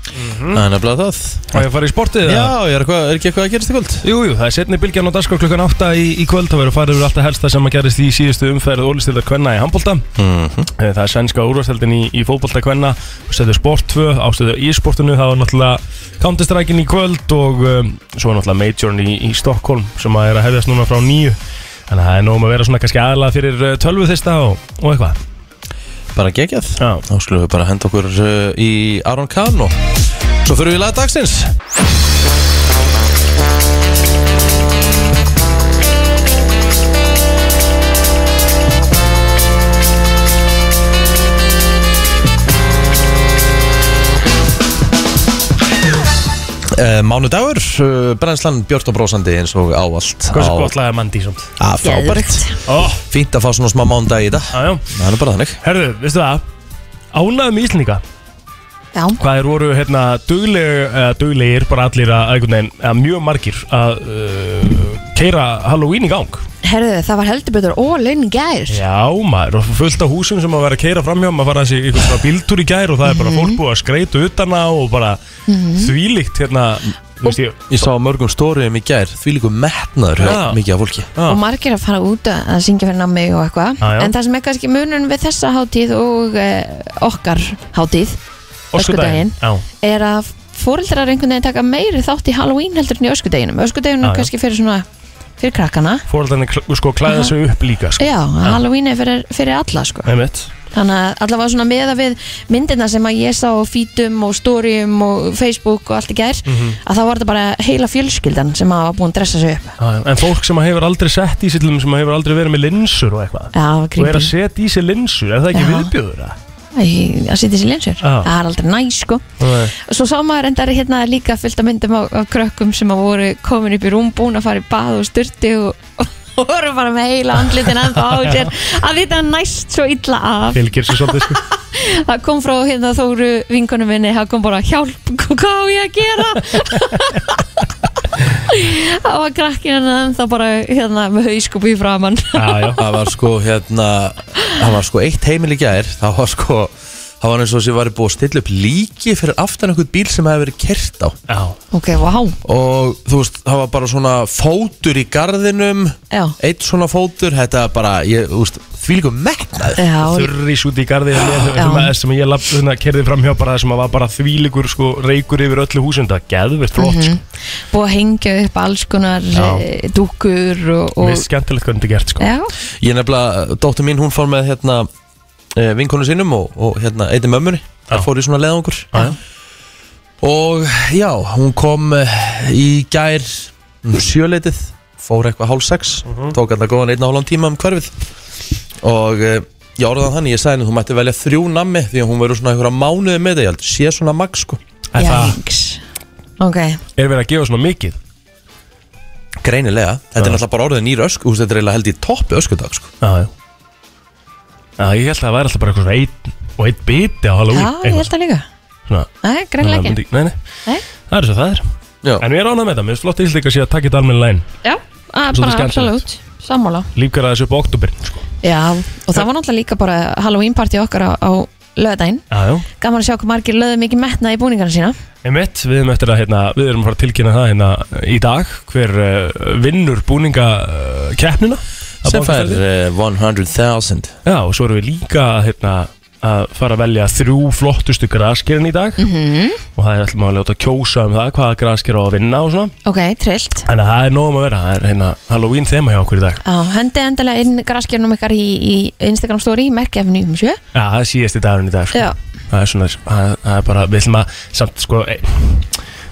Speaker 1: það er nefnilega það
Speaker 2: Á ég að fara í sportið? eða?
Speaker 1: já, ég er, eitthvað, er ekki eitthvað að gerast í kvöld
Speaker 2: Jú, jú, það er setni bylgjan á dagskrá klukkan 8 í, í kvöld Það verður farið yfir alltaf helsta sem að gerist í síðustu umferð Ólistildar Kvenna í handbólta Það er sænska úrvarsheldin í, í fótbolta Kvenna Stöðu sport 2, ástöðu í sportinu Það var náttúrulega Counter-Strikein í kvöld Og um, svo er náttúrulega Majorin í, í Stockholm Sem að er að hefðast núna frá nýju Þannig að það er nóg um að vera svona kannski aðlað fyrir uh, tölvuþista og, og eitthvað
Speaker 1: bara gegjað
Speaker 2: Já,
Speaker 1: Þá skulum við bara henda okkur uh, í Aron Kahn og svo fyrir við í lag dagsins Uh, mánudagur, uh, brennslan Björn og brósandi eins og ávallt
Speaker 2: hversu gott lag er Mandy samt
Speaker 1: Á, að Ah, frábært
Speaker 2: Ó,
Speaker 1: Fínt að fá svona smá mánudag í þetta
Speaker 2: já, já
Speaker 1: Það er nú bara þannig
Speaker 2: Herðu, veistu það? Ánæðum Íslendinga
Speaker 3: Já,
Speaker 2: Hvað er voru hérna duglegir, eða duglegir bara allir að einhvern veginn, eða mjög margir að uh, keira Halloween í gang
Speaker 3: herðu, það var heldur betur all in gær
Speaker 2: Já maður, og fullt af húsum sem að vera að keira framhjá maður fara þessi einhvern svona bíltúr í gær og það er
Speaker 3: Mhm.
Speaker 2: bara fólk búið að skreita utan á og bara þvílíkt hérna, þú veist ég
Speaker 1: Ég sá á mörgum stóriðum í gær því líku metnaður hjá
Speaker 2: Já.
Speaker 1: mikið af fólki
Speaker 3: og margir að fara út að að syngja fyrir nammi og eitthvað
Speaker 2: Já, já.
Speaker 3: en það sem er kannski munun við þessa hátíð og eh, okkar hátíð öskudaginn.
Speaker 2: Já,
Speaker 3: er að fóreldrar einhvern veginn taka meiri þátt í Halloween heldur en í öskudeginum öskudeginu
Speaker 2: Já, já.
Speaker 3: kannski fyrir svona fyrir krakkana
Speaker 2: fórhaldarnir kl- sko klæða sig upp líka sko
Speaker 3: Já, Halloween er fyrir, fyrir alla sko
Speaker 2: Einmitt.
Speaker 3: Þannig að allavega svona meða við myndina sem að ég sá á fítum og stórium og Facebook og allt í gær
Speaker 2: Mhm.
Speaker 3: að þá var þetta bara heila fjölskyldan sem að var búin að dressa sig upp
Speaker 2: Já, já. En fólk sem að hefur aldrei sett í sillum sem að hefur aldrei verið með linsur og
Speaker 3: Já,
Speaker 2: eitthvað
Speaker 3: það var
Speaker 2: og er
Speaker 3: creepy.
Speaker 2: að setja í sig linsur, er það ekki
Speaker 3: Já.
Speaker 2: viðbjöður það?
Speaker 3: í- að sitja sér linsur
Speaker 2: Já.
Speaker 3: það er aldrei næ sko
Speaker 2: Nei.
Speaker 3: svo sá maður endar hérna líka fullt af myndum af, af krökkum sem að voru komin upp í rúm búin að fara í bað og sturti og, og voru bara með heila andlitin ennþá á sér að þetta næst svo illa af
Speaker 2: Fylgir sér svolítið sko
Speaker 3: það kom frá hérna Þóru vingunum minni það kom bara hjálp, hvað á ég að gera það var krakkin hérna ennþá bara hérna með hauskúpi í framann
Speaker 2: Já, já
Speaker 1: Það var sko hérna Það var sko eitt heimil í gær Það var sko Það var eins og þessi var búið að stilla upp líki fyrir aftan einhvern bíl sem hefði verið kert á
Speaker 2: Já,
Speaker 3: ok, wow
Speaker 1: og þú veist, það var bara svona fótur í garðinum
Speaker 3: Já.
Speaker 1: eitt svona fótur, þetta er bara ég, þú veist, því líka metnaður
Speaker 3: Já,
Speaker 2: þurrís út í garði
Speaker 3: Já.
Speaker 2: sem, að- sem ég lab, hérna, kerði fram hjá bara sem að var bara þvíligur sko reykur yfir öllu húsum það geðvirt flott
Speaker 3: Mhm.
Speaker 2: sko.
Speaker 3: búið að hengja upp alls konar
Speaker 2: Já.
Speaker 3: eh, dúkkur og,
Speaker 2: sko
Speaker 3: og
Speaker 2: mér er skemmtilegt hvernig þetta er gert sko
Speaker 3: Já,
Speaker 1: Ég nefnilega, dóttir mín, hún fór með hérna eh, vinkonu sínum og, og hérna einni mömmunni, það
Speaker 2: Já.
Speaker 1: fór í svona leðangur
Speaker 2: Já, já.
Speaker 1: og já, hún kom eh, í gær um sjöleitið, fór eitthvað hálf sex
Speaker 2: Mhm.
Speaker 1: tók alltaf góðan einn og hálfan tíma um hverfið og eh, ég orðaði þannig, ég sagði henni, þú mætti velja þrjú nammi því að hún verður svona einhverja mánuði með þetta, ég held, sé svona max sko
Speaker 2: En það
Speaker 3: jæks Ok,
Speaker 2: er verið að gefa svona mikið
Speaker 1: Greinilega, þetta er náttúrulega bara orðið nýr ösku þú veist, Þetta er eiginlega held í toppi öskudag sko.
Speaker 2: Já, já Já, ég held að það væri alltaf bara eitthvað svona einn og einn biti á halvúi
Speaker 3: já, ég held að líka
Speaker 2: Svona,
Speaker 3: Nei, greinlega ekki
Speaker 2: Nei, nei,
Speaker 3: Nei.
Speaker 2: það er svo það er
Speaker 1: Já.
Speaker 2: En við erum ánað með þetta, mér finnst flott íslíka sé að taka þetta almenni læn
Speaker 3: Já, að,
Speaker 2: Svolítið
Speaker 3: bara
Speaker 2: skemmtilegt.
Speaker 3: absolutt, sammála
Speaker 2: Lífgara þessu upp á oktober sko.
Speaker 3: Já, og það var náttúrulega líka bara Halloween party okkar á, á löðdæn
Speaker 2: Já, já
Speaker 3: Gaman að sjá hvað margir löðu mikið metna í búningarna sína
Speaker 2: Emitt, við erum eftir að hérna, við erum að fara að tilkynna það hérna í dag hver uh, vinnur búninga uh, keppnina að
Speaker 1: Sem fær
Speaker 2: bankastræti.
Speaker 1: eh, 100.000
Speaker 2: Já, og svo erum við líka hérna, að fara að velja þrjú flottustu graskerinn í dag
Speaker 3: -hmm.
Speaker 2: og það er alltaf að láta kjósa um það hvaða grasker á að vinna og svona
Speaker 3: Ok, trillt
Speaker 2: Þannig að það er nóg um að vera, það er hérna Halloween þema hjá okkur í dag
Speaker 3: Já, hendi endilega inn graskjörnum ykkar í, í Instagram story, merkja F97
Speaker 2: Já, það er síðasti dagurinn í dag sko.
Speaker 3: Já.
Speaker 2: Það er svona, það það er bara, við ætlum að samt sko, e,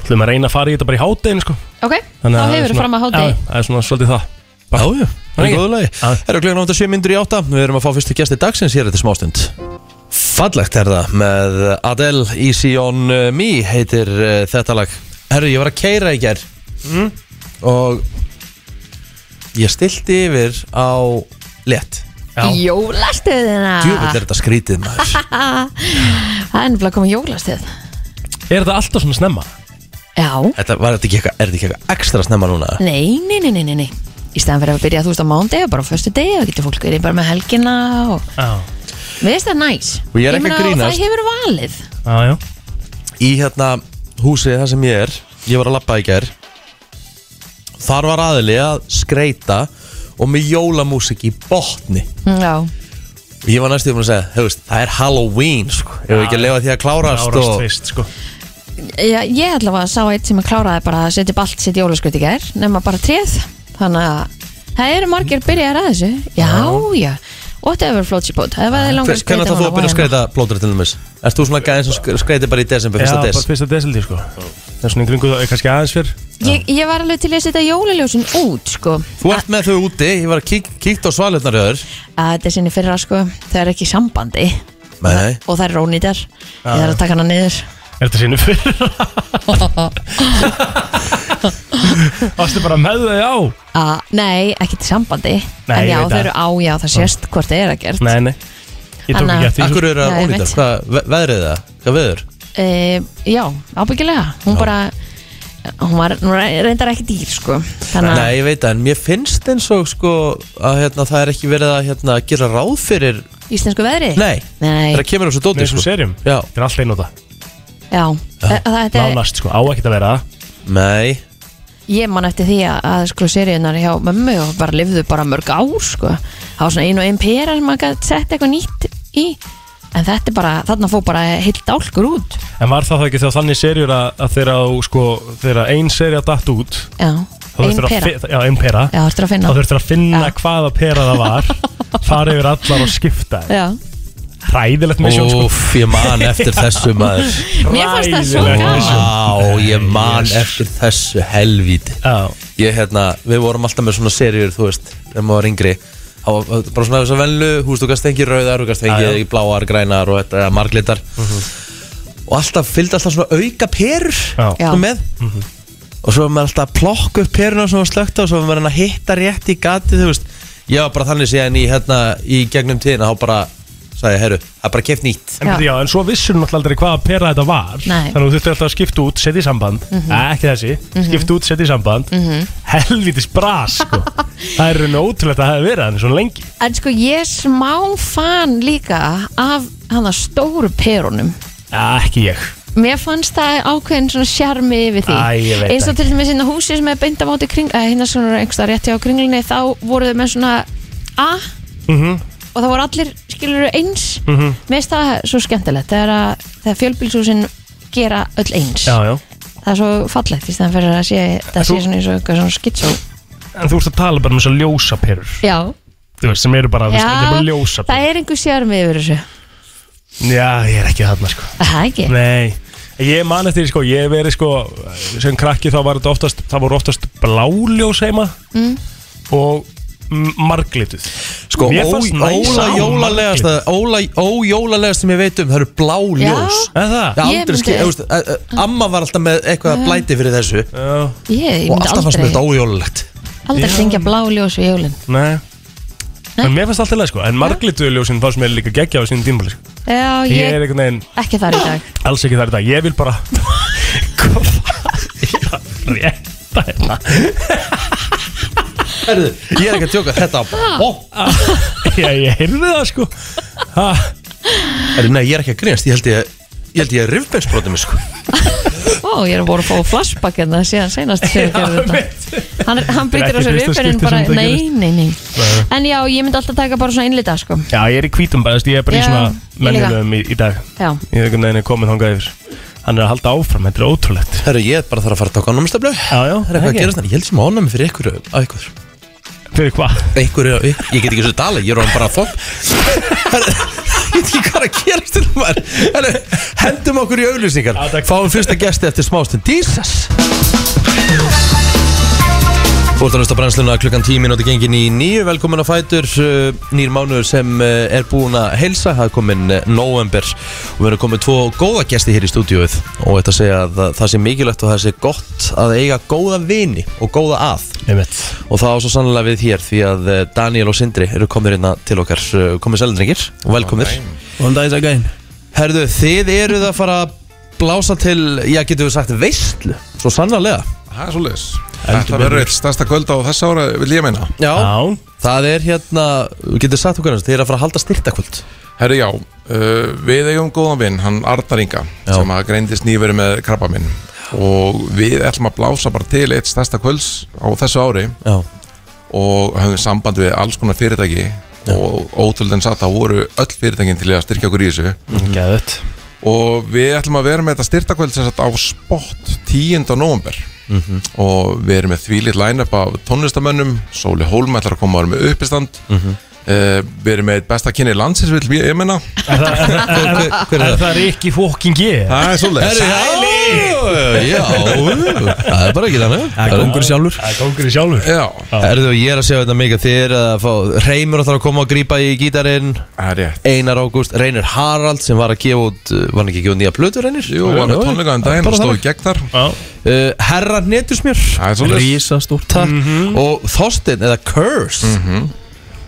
Speaker 2: ætlum að reyna að fara í þetta bara í háttegin sko.
Speaker 3: Ok,
Speaker 2: Þannig
Speaker 3: þá
Speaker 2: að það er
Speaker 3: hefur
Speaker 2: svona-
Speaker 3: fram að
Speaker 2: Já,
Speaker 3: hátegi
Speaker 2: það er svona svolítið það
Speaker 1: Já, já, það er
Speaker 2: Ekki?
Speaker 1: góðulegi
Speaker 2: Já.
Speaker 1: Það eru klukkan 7 myndur í 8 Við erum að fá fyrstu gæsti dagsins hér eftir smástund Fallegt er það með Adele Easy on Me heitir uh, þetta lag Herru, ég var að keira í gær
Speaker 2: Mm.
Speaker 1: og ég stilti yfir á lett
Speaker 2: Já,
Speaker 3: Jólastuðina
Speaker 2: Ah.
Speaker 1: Djúvill er þetta skrítið maður
Speaker 3: Það er nefnilega komið jólastuð
Speaker 2: er þetta alltaf svona snemma?
Speaker 3: Já,
Speaker 1: Þetta var þetta ekki eitthvað, er þetta ekki eitthvað ekstra snemma núna?
Speaker 3: nei, nei, nei, nei, nei, nei Í staðan fyrir að byrja þú veist á mándegi og bara á föstu degi og getur fólk verið bara með helgina og
Speaker 2: Já,
Speaker 3: við veist það er næs
Speaker 1: Og ég er ekki að
Speaker 3: meina,
Speaker 1: grínast.
Speaker 3: Það hefur valið
Speaker 2: já, já
Speaker 1: í hérna húsið þar sem ég er ég var að labba í gær þar var aðili að skreita og með jólamúsik í botni
Speaker 3: Já,
Speaker 1: og ég var næstu um að segja, hefust, það er Halloween sko. ef við ekki að lefa því að klárast
Speaker 2: Árast
Speaker 1: og...
Speaker 2: fyrst sko
Speaker 3: Já, ég allavega sá eitt sem að kláraði bara að setja upp allt sitt jólaskraut í gær nema bara tréð þannig að það eru margir byrjar að þessu já, já, whatever floats your boat ef það er langar að skreita
Speaker 1: hvernig þá þú að byrja að skreita blóður til þess erst þú svona gæðin sem sk- skreiti bara í desember
Speaker 2: Já,
Speaker 1: fyrsta
Speaker 2: bara
Speaker 1: des
Speaker 2: fyrsta desildi sko Það er svona í kringu það, kannski aðeins fyrr
Speaker 3: hérna? ég, ég var alveg til í að setja jólaljósin út sko,
Speaker 1: þú ert með þau úti, ég var að kík, kíkt á svalirnar hjá þér
Speaker 3: að þetta er sinni fyrra sko það er ekki í sambandi
Speaker 1: Nei, nei.
Speaker 3: og það er ónýtar ég þarf að taka hana niður
Speaker 2: Er þetta sinni fyrr? Varstu bara með þau á?
Speaker 3: að, nei, ekki til sambandi
Speaker 2: Nei,
Speaker 3: en
Speaker 2: ég
Speaker 3: já,
Speaker 2: veit
Speaker 3: þau
Speaker 2: það.
Speaker 3: eru á, já, það sést hvort það er að gert
Speaker 2: Nei, nei Ég tók
Speaker 3: Anna.
Speaker 2: ekki eftir
Speaker 1: akkur eru
Speaker 3: Já,
Speaker 1: það
Speaker 3: ég
Speaker 1: ólítar,
Speaker 3: veit.
Speaker 1: hvað ve- veðrið það hvað veður,
Speaker 3: e, já, ábyggilega hún bara hún var hún re- reyndar ekki dýr sko þannig
Speaker 1: nei
Speaker 3: að
Speaker 1: ég veit það en mér finnst eins og sko að hérna, það er ekki verið að hérna, gera ráð fyrir
Speaker 3: íslensku veðri
Speaker 1: Nei,
Speaker 3: Nei.
Speaker 1: þegar kemur þessu dóti sko.
Speaker 2: Með þessum serjum?
Speaker 1: Já,
Speaker 2: Þetta er allt einn og það
Speaker 3: já, Þa- það er
Speaker 2: Nánast sko, á ekkert að vera það
Speaker 1: nei
Speaker 3: ég man eftir því að, að sko seríunar hjá mömmu og bara lifðu bara mörg ár sko það var svona ein og ein pera sem maður gæti sett eitthvað nýtt í en þetta er bara, þarna fór bara heilt dálkur út
Speaker 2: En var það þá ekki þá þannig serjur að, að þeirra á, sko, þeirra ein serja datt út
Speaker 3: já,
Speaker 2: þá
Speaker 3: ein
Speaker 2: þurftir að
Speaker 3: pera já,
Speaker 2: fi- Já, ein pera
Speaker 3: þú ertur að
Speaker 2: Þá
Speaker 3: finna
Speaker 2: þurftir að finna
Speaker 3: Já.
Speaker 2: hvaða pera það var fara yfir allar og skipta þeim.
Speaker 3: já.
Speaker 2: Hræðilegt misjón sko
Speaker 1: Úf, ég man eftir þessu maður
Speaker 3: mér fannst það svo
Speaker 2: Hræðilegt
Speaker 3: gaman
Speaker 1: Á, ég man
Speaker 2: Yes.
Speaker 1: eftir þessu helvíti
Speaker 2: Já,
Speaker 1: Ég hérna, við vorum alltaf með svona serjur, þú veist Þegar maður var yngri á, á- bara svona þess að venlu, þú veist, þú gast fengið rauðar, þú gast
Speaker 2: Já,
Speaker 1: fengið
Speaker 2: já.
Speaker 1: bláar, grænar og þetta, eða marglitar og alltaf fylgdi alltaf svona auka perur
Speaker 2: Já. Mhm.
Speaker 3: Já.
Speaker 1: svona með og svo var maður alltaf að plokka upp peruna sem var slögt á, svo var maður hann að hitta rétt í gatið, þú veist, ég var bara þannig síðan í, hérna, í gegnum tíðina, þá bara sagði, herru, það er bara keft nýtt
Speaker 2: En,
Speaker 3: Já.
Speaker 2: byrju, já, en svo vissur hún alltaf aldrei hvaða pera þetta var
Speaker 3: Nei. Mhm.
Speaker 2: Þannig að þú þurfti alltaf að skipta út, setja í samband mm Ekki þessi, skipta út, setja í samband mm -hmm. Helvitis bras sko. Það er raun og ótrúlegt að það hefði verið þannig svona lengi
Speaker 3: En sko ég er smá fan líka af hann að stóru perunum
Speaker 2: ja, Ekki ég
Speaker 3: Mér fannst það ákveðin svona sjarmi yfir því
Speaker 2: Æ, ég veit
Speaker 3: Eins og
Speaker 2: ekki.
Speaker 3: til dæmis hérna húsi sem er beint á móti kring að hérna svona einhversta rétti á kringlinni þá voru þau með svona A
Speaker 2: Mhm.
Speaker 3: og það voru allir skilur eins mm -hmm. Mér finnst það svo skemmtilegt þegar, að- þegar fjölbílshúsin gera öll eins
Speaker 2: Já, já
Speaker 3: Það er svo fallegt í stæðan fyrir að sé það
Speaker 2: Þú-
Speaker 3: sé svona eins og eitthvað svona skitsó
Speaker 2: En þú ert að tala bara um þessar ljósa perur
Speaker 3: Já,
Speaker 2: Þú veist, sem eru bara, þú veist, þetta er bara ljósa
Speaker 3: það
Speaker 2: perur
Speaker 3: er einhver sjarmi yfir þessu
Speaker 2: Já, ég er ekki þarna sko
Speaker 3: Er Það ekki
Speaker 2: Nei Ég man eftir, sko, ég hef verið, sko, sem krakki þá var þetta oftast, það voru oftast bláljós heima mm.
Speaker 3: Mhm.
Speaker 2: og m- marglituð.
Speaker 1: Sko,
Speaker 2: Mér fannst næs að-
Speaker 1: ójólalegast ójólalegast sem ég veit um, það eru blá ljós
Speaker 2: Er það?
Speaker 1: Já,
Speaker 3: Ég
Speaker 1: aldrei
Speaker 3: myndi-
Speaker 1: skil, ég veist, eh, eh, amma var alltaf með eitthvað að blæti fyrir þessu
Speaker 2: Já,
Speaker 3: Ég, ég
Speaker 1: og
Speaker 3: myndi
Speaker 1: alltaf fannst mér þetta
Speaker 3: aldrei,
Speaker 1: ójólulegt
Speaker 3: aldrei
Speaker 2: Já.
Speaker 3: syngja blá ljós við jólin
Speaker 2: nei.
Speaker 3: Nei.
Speaker 2: En mér fannst alltaf leið, sko, en marglituðu ljósin fannst mér líka geggja á sínum tímbali, sko.
Speaker 3: Já,
Speaker 2: Ég er
Speaker 3: ég,
Speaker 2: einhvern veginn
Speaker 3: ekki þar í dag
Speaker 2: alls ekki þar í dag, ég vil bara... Hvað er að rétta hérna?
Speaker 1: Herðu, ég er ekki að tjóka, þetta var- Ó,
Speaker 2: Já, ég heyrði það, sko. Ha,
Speaker 1: Herðu, nei, ég er ekki að grínast, ég held ég Ég held ég að rifbensbrotum, sko
Speaker 3: Ó, ég er voru að fá flashback en það síðan seinast þegar
Speaker 2: já,
Speaker 3: gerði þetta
Speaker 2: mitt.
Speaker 3: Hann, er- hann brýtir á
Speaker 2: Þetta er
Speaker 3: svo
Speaker 2: ekki fyrsta
Speaker 3: rifurinn
Speaker 2: skipti
Speaker 3: bara,
Speaker 2: sem þetta
Speaker 3: nei,
Speaker 2: gerist.
Speaker 3: nei, nei En já, ég myndi alltaf taka bara svona innlita, sko
Speaker 2: Já, ég er í hvítum bara, þú veist, ég er bara
Speaker 3: Já,
Speaker 2: í
Speaker 3: ég
Speaker 2: svona
Speaker 3: líka.
Speaker 2: mennilegum í, í dag.
Speaker 3: Já,
Speaker 2: Ég er einhvern veginn komið þangað yfir. Hann er að halda áfram, þetta er ótrúlegt.
Speaker 1: Herru, ég er bara þarf að fara að taka ánumstöflu Það
Speaker 2: Já, já,
Speaker 1: er eitthvað að gerast þannig, hérna? ég held sem ánum fyrir ykkur á ykkur
Speaker 2: Fyrir hvað?
Speaker 1: Ykkur, á ykkur. ég get ekki svo dali, ég er orðinn bara að fokk Herru, ég veit ekki hvað er að gerast til maður Herru, hendum okkur í auglýsingar
Speaker 2: Já, takk.
Speaker 1: Fáum fyrsta gesti eftir smástund Jesus Þú ert að hlusta á brennsluna klukkan 10 minúti gengin í nýju, velkomin að fætur uh, nýr mánuður sem uh, er búin að heilsa, það er komin uh, november og við erum komið tvo góða gesti hér í stúdíóið og þetta segja að það- það sé mikilvægt og það sé gott að eiga góða vini og góða að
Speaker 2: Einmitt.
Speaker 1: og það á svo sannlega við hér því að uh, Daniel og Sindri eru komið hérna til okkar uh, komið sælendringir og velkomir
Speaker 5: One day's again
Speaker 1: Herðu, þið eruð að fara að blása til, já getum við sagt veistlu, svo sannlega
Speaker 6: Það er svolítið Þetta verður eitt stærsta kvöld á þessa ára vil ég meina
Speaker 2: Já,
Speaker 1: Það er hérna, getur sagt okkur hans, þið er að fara að halda styrtakvöld
Speaker 6: Herri já, uh, við eigum góðan vinn, hann Arnar Inga
Speaker 1: Já.
Speaker 6: sem að greindist nýveru með krabba minn og við ætlum að blása bara til eitt stærsta kvölds á þessu ári
Speaker 1: Já,
Speaker 6: og höfum samband við alls konar fyrirtæki og ótrúldin satt að voru öll fyrirtækin til að styrkja okkur í þessu
Speaker 2: geðut
Speaker 6: og við ætlum að vera með þetta styrtakvöld sem sagt á spott 10. november og við erum með þvílitt line-up af tónlistamönnum Sóli Hólm ætlar að koma að vera með uppistand mm við erum með eitt besta kynni landsins vil ég menna
Speaker 1: hver er
Speaker 2: Er
Speaker 1: það?
Speaker 2: það Rikki Fóking ég?
Speaker 6: það er svolítið
Speaker 1: Sæli Já, það er bara ekki þannig
Speaker 5: Það er kongur sjálfur
Speaker 2: Það er kongurinn sjálfur
Speaker 6: Já,
Speaker 1: Erðu, ég er að segja þetta mikið Þið er að fá Reymur að koma og grípa í gítarinn
Speaker 6: það er rétt
Speaker 1: Einar Ágúst, Reynir Harald sem var að gefa út uh, Var hann ekki að gefa út nýja plötur Reynir?
Speaker 6: Jú, var með tónleika um daginn og
Speaker 1: Bara
Speaker 6: stóð í
Speaker 1: þannig.
Speaker 6: gegn þar
Speaker 2: Já,
Speaker 1: Uh, Herra Netusmjör
Speaker 6: Það er Mhm. svolítið
Speaker 5: Rísa stórt
Speaker 1: Takk Og Þorstein eða Curse
Speaker 6: Mhm.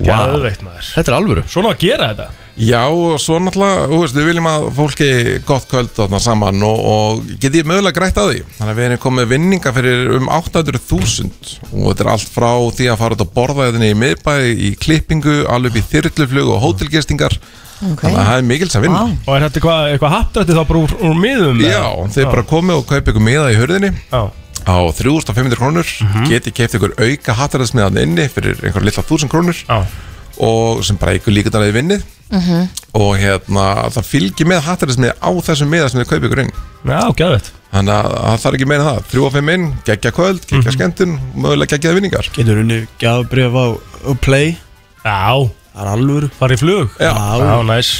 Speaker 1: Vá,
Speaker 2: geðveikt maður
Speaker 1: þetta er alvöru
Speaker 2: Svona á að gera þetta
Speaker 6: Já, og svo náttúrulega, þú veist, við viljum að fólki gott kvöld þarna saman og, og getið ég mögulega grætt að því. Þannig að við erum komið vinninga fyrir um 800.000 og þetta er allt frá því að fara út að borða þetta í miðbæði, í klippingu, alveg upp í þyrluflug og hótelgestingar.
Speaker 3: ok
Speaker 6: Þannig að það er mikils að vinna.
Speaker 3: Vá.
Speaker 2: Og er þetta eitthvað, eitthvað hattrætti þá bara úr, úr miðum
Speaker 6: Já, þeir bara komið og kaupið ykkur miða í hurðinni
Speaker 2: Já,
Speaker 6: á 3500 krónur, getið keipt ykkur auka hattaræðsmiðan inni fyrir einhver litla 1000 krónur
Speaker 2: já
Speaker 6: og sem bara ykkur líkundar að þið vinnið og hérna það fylgir með hattarismið á þessum miða sem þið kaupir ykkur inn
Speaker 2: Já, geðveikt
Speaker 6: þannig að að það er ekki meira en það 3 og 5 inn, geggja kvöld, geggja
Speaker 1: Mhm.
Speaker 6: skemmtun mögulega geggjaði vinningar
Speaker 5: Getur unni gafbrif á, á play
Speaker 2: Já,
Speaker 5: Það er alvöru
Speaker 2: farið í flug
Speaker 6: Já.
Speaker 2: já næs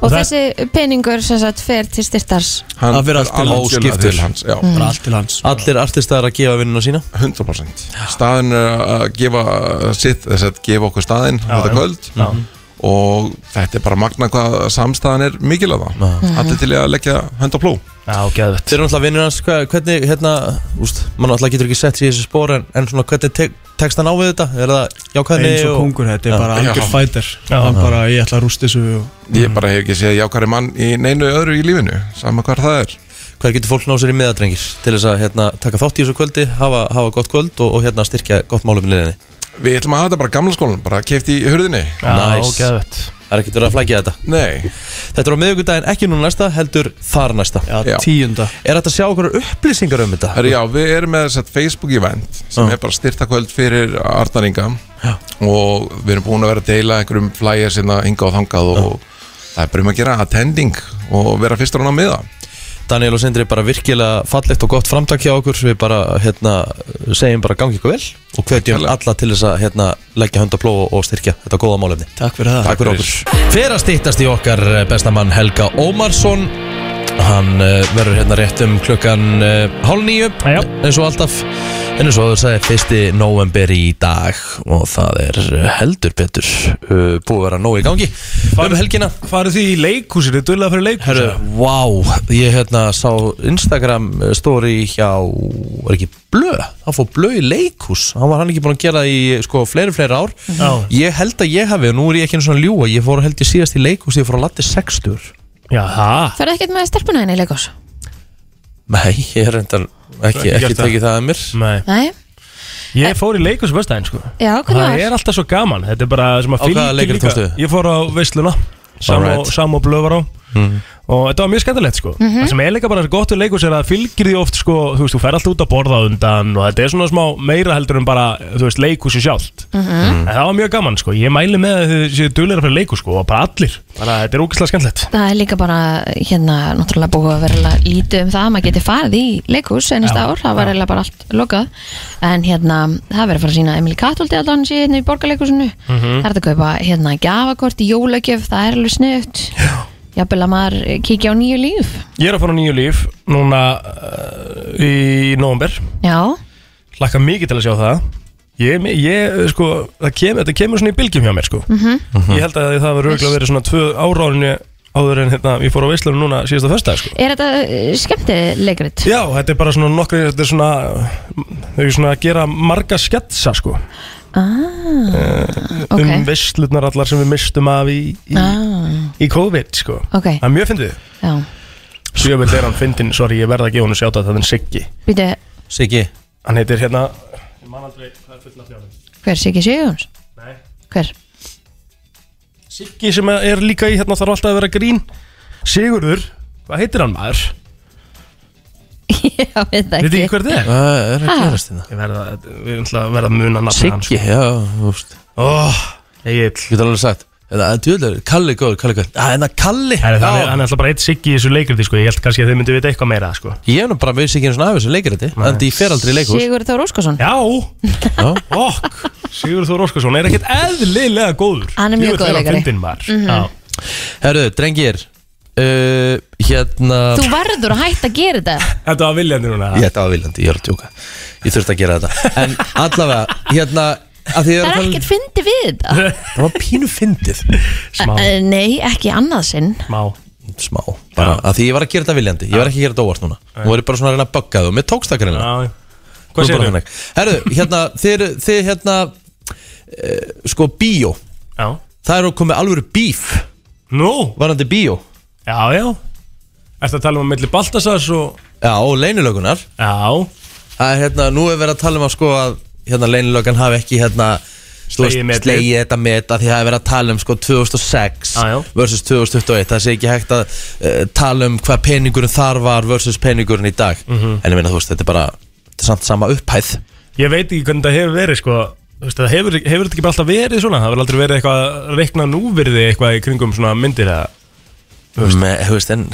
Speaker 3: Og
Speaker 2: það-
Speaker 3: þessi peningur sem sagt fer til styrtars
Speaker 6: Hann
Speaker 1: Það fer allt til hans.
Speaker 6: algjörlega
Speaker 1: Óskiptur.
Speaker 6: til hans Já,
Speaker 7: Mhm.
Speaker 5: bara
Speaker 7: Mm.
Speaker 5: allt til hans
Speaker 1: Allir artistar að gefa vinnuna sína
Speaker 6: 100% Staðin er að gefa sitt, þess að gefa okkur staðin þetta
Speaker 2: já.
Speaker 6: kvöld
Speaker 2: Já.
Speaker 1: Mhm.
Speaker 6: og þetta er bara magna hvað samstæðan er mikil að það Allir til í að leggja hönd á pló
Speaker 2: Já, geðvett
Speaker 1: Þeir eru náttúrulega vinnur hans, hva- hvernig, hérna, úst, mann náttúrulega getur ekki sett sér í þessi spór en, en svona hvernig tek, tekst hann á við þetta? Er það jákvæðni
Speaker 5: eins og kongur, þetta er bara
Speaker 6: Já.
Speaker 5: algjör fighter
Speaker 2: Já.
Speaker 5: hann bara, ég ætla að rústa þessu og
Speaker 1: Mhm.
Speaker 6: Ég bara hef ekki séð jákari mann í neinu öðru í lífinu sama hvað það er
Speaker 1: Hvað getur fólk náð sér í miðadrengir til þess að hérna, taka þátt í þessu kvöldi, hafa, hafa gott kvöld og, og hérna styrkja gott málum í liðinni?
Speaker 6: Við ætlum að hafa þetta bara gamla skólan, bara keift í hurðinni
Speaker 2: Já,
Speaker 1: Nice.
Speaker 2: geðvett
Speaker 1: Það er ekkert verið að flækja þetta.
Speaker 6: Nei,
Speaker 1: Þetta er á miðugudaginn ekki núna næsta, heldur þar næsta.
Speaker 5: já,
Speaker 6: Já.
Speaker 5: tíunda
Speaker 1: Er þetta að sjá okkur upplýsingar um þetta?
Speaker 6: Herri, já, við erum með þess að Facebook event sem
Speaker 1: Já.
Speaker 6: er bara styrtakvöld fyrir Arnaringa og við erum búin að vera að deila einhverjum flæjar sinna hinga og þangað og það er bara um að gera attending og vera fyrstur hann á miða
Speaker 1: Daniel og Sindri bara virkilega fallegt og gott framtak hjá okkur við bara hérna, segjum bara gangi ykkur vel og hvetjum
Speaker 6: Takk
Speaker 1: alla til þess að hérna, leggja hönda pló og styrkja þetta góða málefni
Speaker 5: takk fyrir það
Speaker 1: Takk fyrir okkur Fyrir að stýttast í okkar bestamann Helga Ómarsson Hann eh, verður hérna rétt um klukkan eh, hálf nýju
Speaker 2: Já.
Speaker 1: eins og alltaf en eins og þú sagði fyrsti november í dag og það er eh, heldur betur eh, búið að vera nóg í gangi um helgina
Speaker 2: Farið því í leikhúsir, þið duðlega fyrir leikhúsir
Speaker 1: Herru, vá, ég hérna sá Instagram story hjá, var ekki Blö, hann fór Blö í leikhús, hann var hann ekki búin að gera í sko fleiri fleiri ár
Speaker 2: Já.
Speaker 1: Ég held að ég hafi, og nú er ég ekki einu svona ljúa, ég fór held ég síðast í leikhús, ég fór að latti 60
Speaker 2: Já, það
Speaker 3: Fer ekkert með stelpuna henni í leikos?
Speaker 1: Nei, ég er reyndar ekki,
Speaker 2: Ekki
Speaker 1: ekki
Speaker 2: gert það.
Speaker 1: tekið það að mér
Speaker 2: Nei,
Speaker 3: Nei,
Speaker 2: ég fór í leikhús vestæðin sko
Speaker 3: já, hvernig
Speaker 2: Það
Speaker 3: var?
Speaker 2: er alltaf svo gaman, þetta er bara sem að
Speaker 1: Á hvaða
Speaker 2: fylgir
Speaker 1: leikrit fórstu?
Speaker 2: Ég fór á veisluna Sam og,
Speaker 1: Alright. Mm.
Speaker 2: sam og blöð var á Og þetta var mjög skemmtilegt sko
Speaker 3: Mhm.
Speaker 2: Það sem er líka bara svo gott við leikus er að fylgir því oft sko Þú veist, þú fer alltaf út að borða á undan Og þetta er svona smá meira heldur en bara Þú veist, leikhúsi sjálft
Speaker 3: Mhm.
Speaker 1: Mm.
Speaker 2: En það var mjög gaman sko, ég mæli með að þið séu duðlega fyrir leikus sko Og bara allir, þannig að þetta er ógeðslega skemmtilegt
Speaker 3: Það er líka bara hérna náttúrulega búið að vera lítið um það að maður geti farið í leikhús ennist
Speaker 2: Já,
Speaker 3: ár, það var eiginlega bara allt lokað en hérna, það er verið að fara að sína Emil Katoldi allan sé hérna í borgarleikhúsinu það
Speaker 2: Mhm.
Speaker 3: er hægt að kaupa hérna gjafakort í jólagjöf, það er alveg sniðut jafnvel að maður eh, kíkja á nýju líf
Speaker 2: Ég er að fara á nýju líf núna uh, í nóvember
Speaker 3: Já,
Speaker 2: Laka mikið til að sjá það Ég, ég sko, það kemur, þetta kemur svona í bylgjum hjá mér sko Ég held að það var rauglega verið svona tvö áráðinni áður en hérna, ég fór á veislunum núna síðasta föstudag sko
Speaker 3: er þetta skemmtið leikrit?
Speaker 2: Já, þetta er bara svona nokkri, þetta er svona, þau eru svona að gera marga sketsa sko
Speaker 3: Ah, ok
Speaker 2: Um veislunar allar sem við mistum af í, í,
Speaker 3: ah,
Speaker 2: í COVID sko
Speaker 3: Ok,
Speaker 2: Það er mjög fyndið
Speaker 3: já
Speaker 2: Sjöfell er hann fyndin, sorry, ég verð að gefa hún að sjáta það er Siggi
Speaker 3: Býtu,
Speaker 1: Siggi,
Speaker 2: Hann heitir hérna, ég man aldrei, hvað er fulla fjárnum?
Speaker 3: hver Siggi Sigjóns?
Speaker 2: Nei.
Speaker 3: Hver?
Speaker 2: Siggi sem er líka í hérna þarf alltaf að vera grín Sigurður, hvað heitir hann maður?
Speaker 3: já, veit það
Speaker 2: Veit
Speaker 3: ekki
Speaker 2: ekki hver það er?
Speaker 1: hvað er að
Speaker 3: Ha?
Speaker 1: gerast hérna?
Speaker 2: Ég verða, við erum alltaf að verða að muna nafna hans
Speaker 1: Siggi, já, þú veist,
Speaker 2: oh, Egil
Speaker 1: ég get alveg sagt Það er djúðlega, Kalli góður, Kalli góður Það er það hérna Kalli
Speaker 2: Hann er,
Speaker 1: Já.
Speaker 2: hann er alltaf bara eitt Siggi í þessu leikriti sko. Ég held kannski að þið myndu vita eitthvað meira sko.
Speaker 1: Ég er nú bara veist ekki einu svona af þessu leikiriti En ég fer aldrei í leikhús
Speaker 3: Sigur Þór Óskarsson?
Speaker 2: Já,
Speaker 1: Já.
Speaker 2: okk Sigurður Þór Óskarsson er ekkert eðlilega góður
Speaker 3: Hann er mjög
Speaker 2: Jú,
Speaker 3: góður
Speaker 2: þegar hann
Speaker 3: leikari.
Speaker 2: fyndinn var.
Speaker 1: Mhm.
Speaker 2: Já.
Speaker 1: Herru, drengir uh, Hérna
Speaker 3: Þú verður að hætta að gera þetta
Speaker 2: Þetta var viljandi núna
Speaker 1: Ég þetta var viljandi, ég er að tjóka Ég þurfti að gera þetta En allavega, hérna að því ég
Speaker 3: Það
Speaker 1: er
Speaker 3: er
Speaker 1: að
Speaker 3: ekkert
Speaker 1: tala um-
Speaker 3: fyndi við þetta
Speaker 1: Það var pínu fyndið
Speaker 2: Smá,
Speaker 3: Eh, Nei, ekki annað sinn
Speaker 2: smá
Speaker 1: Smá, bara
Speaker 2: Já.
Speaker 1: að því ég var að gera þetta viljandi Ég var ekki að gera þetta óvart núna Nú er ég bara svona að reyna að bögga þú Mér tókst það greinlega
Speaker 2: Já.
Speaker 1: Nú
Speaker 2: Hvað
Speaker 1: er
Speaker 2: segir
Speaker 1: bara
Speaker 2: þú?
Speaker 1: þannig. Herru, hérna, þið, þið hérna e, Sko, bíó
Speaker 2: Já.
Speaker 1: Það eru komið alvöru bíf
Speaker 2: Nú,
Speaker 1: Varandi bíó
Speaker 2: já, já Ertu að tala um að milli Baltasars og
Speaker 1: Já, og leinulögunar
Speaker 2: Já,
Speaker 1: Það er hérna, nú er verið að tala um að sko að hérna leinilögan hafi ekki hérna þú veist,
Speaker 2: Slegið metið.
Speaker 1: slegið þetta met að því það er verið að tala um sko 2006
Speaker 2: Já, já.
Speaker 1: versus 2021, það sé ekki hægt að uh, tala um hvað peningurinn þar var versus peningurinn í dag
Speaker 2: Mhm.
Speaker 1: en ég meina þú veist, þetta er bara þetta er samt sama upphæð
Speaker 2: Ég veit ekki hvernig það hefur verið sko Þú veist, það hefur, hefur þetta ekki bara alltaf verið svona Það hefur aldrei verið eitthvað að reikna núvirði eitthvað í kringum svona myndir eða
Speaker 1: með, þú veist, en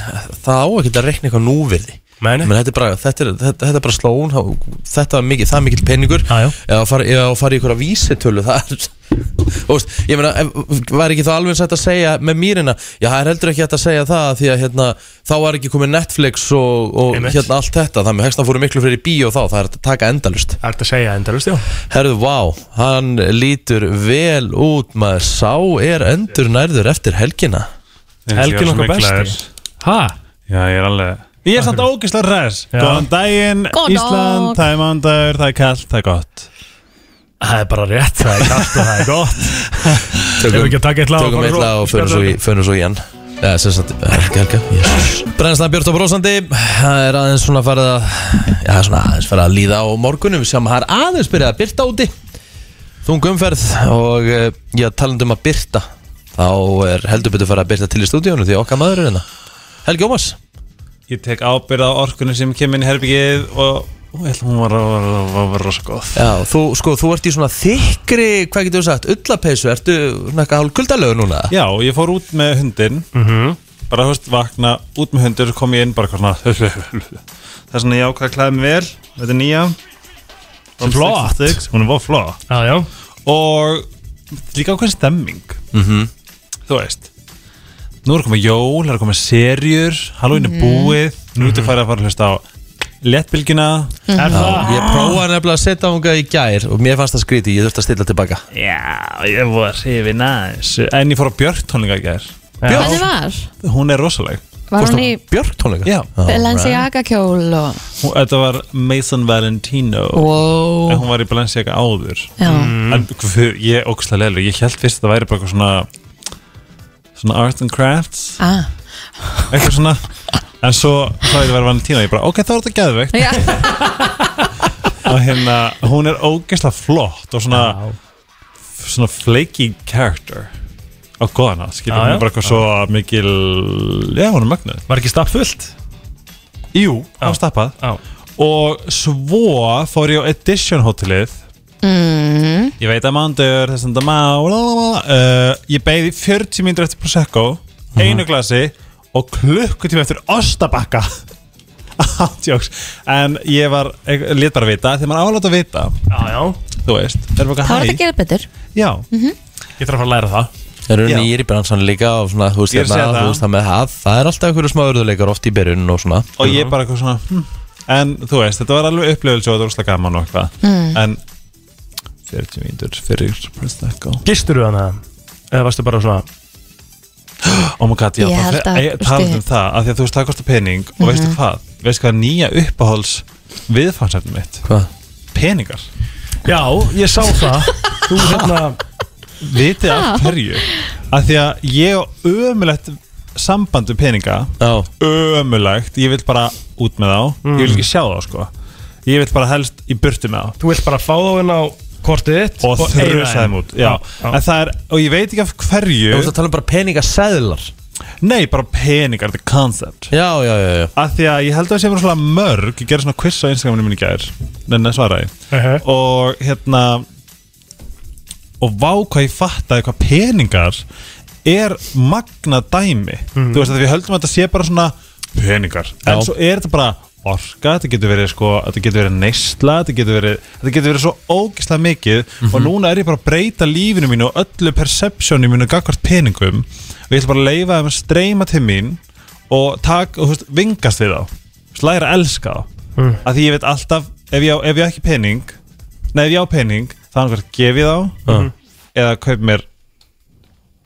Speaker 1: það á ekki að reikna eitthvað núvirði
Speaker 2: Nei, nei.
Speaker 1: Men þetta er bara, þetta er, þetta, þetta er bara slón þá- Þetta er mikið, það er mikill peningur
Speaker 2: Já, já.
Speaker 1: Eða að fara, eða að fara í einhverja vísitölu Það er Þú veist, Ég meina, ef- var ekki þá alveg eins hægt að segja Með mýrina, já það er heldur ekki hægt að segja það Því að hérna, þá var ekki komið Netflix Og, og
Speaker 2: Einmitt.
Speaker 1: hérna allt þetta Þannig að hextan fóru miklu fyrir í bíó þá Það er hægt að taka endalust
Speaker 2: Það er þetta að segja endalust, já
Speaker 1: Herðu, vá, hann lítur vel út Maður sá er endur nærður eftir helgina
Speaker 2: Helgin okkar besti. Hæ?
Speaker 7: Já, ég er alveg Ég er samt ógislega res
Speaker 2: Já.
Speaker 7: Góðan daginn,
Speaker 3: Góðan dag.
Speaker 7: Ísland, það er mándagur, það er kallt, það er gott
Speaker 2: Það er bara rétt, það er kallt og það er gott Ef við ekki að taka eitt lag og
Speaker 1: Tökum
Speaker 2: fara
Speaker 1: eitt
Speaker 2: svo-
Speaker 1: lag og förum svo í, förum svo í hann Já, sem sagt, eh, helga, helga Brennslan Björn og Brósandi Það er aðeins svona farið að Já, það er svona aðeins farið að líða á morgunum Við sjáum að það er aðeins byrjað að byrta úti Þung umferð og eh, Já, talandi um að byrta Þá er heldur betur farið að byrta til í stúdíónu Því okkar maður er hérna Helgi Ómas
Speaker 7: Ég tek ábyrð á orkunum sem kemur inn í herbyggið og og ég ætla hún var að vera rosa góð
Speaker 1: Já, þú, sko, þú ert í svona þykri Hvað getur þú sagt, ullapeysu Ertu svona eitthvað hálf kuldalögu núna?
Speaker 7: Já, ég fór út með hundin
Speaker 2: Mhm.
Speaker 7: bara, þú veist, vakna, út með hundur kom ég inn bara eitthvað svona það er svona ég ákvað að klæða mig vel þetta er nýja From
Speaker 2: Flott.
Speaker 7: 66, Hún er bara flott
Speaker 2: Já, já
Speaker 7: og líka ákveðin stemming þú veist nú er komið jól, það er komið serjur Halloween er búið, nú ertu farið að fara að hlusta á léttbylgjuna
Speaker 1: Mhm.
Speaker 2: Er það?
Speaker 1: Ég prófaði nefnilega að setja ánga í gær og mér fannst það skríti, ég þurfti að stilla tilbaka
Speaker 7: já, ég var hrifin aðeins en ég fór á Björk tónleika í gær
Speaker 3: Hvernig var?
Speaker 7: hún er rosaleg
Speaker 3: Var hún í
Speaker 1: Björk tónleika?
Speaker 7: Já.
Speaker 3: Balenciaga kjól og
Speaker 7: hún, þetta var Mason Valentino en
Speaker 3: Wow
Speaker 7: hún var í Balenciaga áður
Speaker 3: Já,
Speaker 2: Mm.
Speaker 7: en guð, ég er ókslega leilur ég held fyrst að það væri bara eitthvað svona svona art and crafts
Speaker 3: ah
Speaker 7: eitthvað svona en svo þá er það verið Valentína og ég bara ok, þá er þetta geðveikt
Speaker 3: Já,
Speaker 7: og hérna, hún er ógeðslega flott og svona, svona flaky character og góðan að skilja,
Speaker 2: Já,
Speaker 7: hún
Speaker 2: já.
Speaker 7: er bara eitthvað svo mikil já, hún er mögnuð
Speaker 2: Var ekki stappfullt?
Speaker 7: Jú, það var stappað
Speaker 2: Já
Speaker 7: og svo fór ég á Edition hótelið
Speaker 3: mm,
Speaker 7: ég veit að mándur, þessan það má la, la, la, la. uh, ég beigði 40 mínútur eftir Prosecco einu glasi og klukkutíma eftir Ostabakka ándjóks en ég var, lét bara vita þegar maður álátt að vita,
Speaker 2: Já, já
Speaker 7: þú veist það er bara
Speaker 3: þá
Speaker 7: eitthvað,
Speaker 3: er þetta Mhm.
Speaker 7: hæ,
Speaker 3: að gera betur
Speaker 7: já
Speaker 2: Ég þarf að fara að læra það
Speaker 1: Það eru
Speaker 7: Já.
Speaker 1: nýjir í bransan líka og svona, þú veist,
Speaker 7: Ég er að
Speaker 1: hérna,
Speaker 7: segja það.
Speaker 1: þú veist það með það Það er alltaf einhverju smá örðuleikar oft í byrjun og svona
Speaker 7: og ég bara eitthvað svona hm. en þú veist, þetta var alveg upplifilsjó og þetta var svolítið gaman og eitthvað
Speaker 3: Mhm.
Speaker 7: en 40 mínútur fyrir Prosecco
Speaker 2: Gistur þú hana? Eða varstu bara svona
Speaker 7: oh my god,
Speaker 3: Ég
Speaker 7: já,
Speaker 3: Mhm. held að-
Speaker 7: talaði um það af því að þú veist, það kostar pening og veistu hvað, veistu hvað er nýja uppáhalds viðfangsefnum mitt,
Speaker 1: Hvað?
Speaker 7: peningar
Speaker 2: Já, ég sá það Þú hérna
Speaker 7: vitið af hverju af því að ég á ömulegt samband við peninga
Speaker 1: Já,
Speaker 7: ömulegt, ég vil bara út með þá ég vil ekki sjá þá sko ég vil bara helst í burtu með þá
Speaker 2: Þú vilt bara fá þá inn á kortið þitt
Speaker 7: og
Speaker 2: eyða
Speaker 7: þrjusa
Speaker 2: þeim.
Speaker 7: þeim út já.
Speaker 2: Já.
Speaker 7: en það er, og ég veit ekki af
Speaker 1: þú
Speaker 7: hverju
Speaker 1: veist að tala um bara peningaseðlar
Speaker 7: nei, bara peningar, þetta er concept
Speaker 1: Já, já, já, já
Speaker 7: af því að ég held að það sé verið svona mörg ég gerði svona quiz á Instagraminu mín í gær en það svaraði
Speaker 2: Mhm.
Speaker 7: og hérna og vá hvað ég fattaði hvað peningar er magna dæmi þú veist að við höldum að þetta sé bara svona peningar, en
Speaker 1: Já.
Speaker 7: svo er þetta bara orka, þetta getur verið sko þetta getur verið neysla, þetta getur verið þetta getur verið svo ógislega mikið og núna er ég bara að breyta lífinu mínu og öllu perceptionu mínu gagvart peningum og ég ætla bara að leifa þeim að streyma til mín og tak, og, þú veist, vingast við þá Þú veist, læra að elska þá mm. að því ég veit alltaf, ef ég, á, ef ég á ekki pening nei, ef ég á pening þá hann hvert gef ég þá eða kaup mér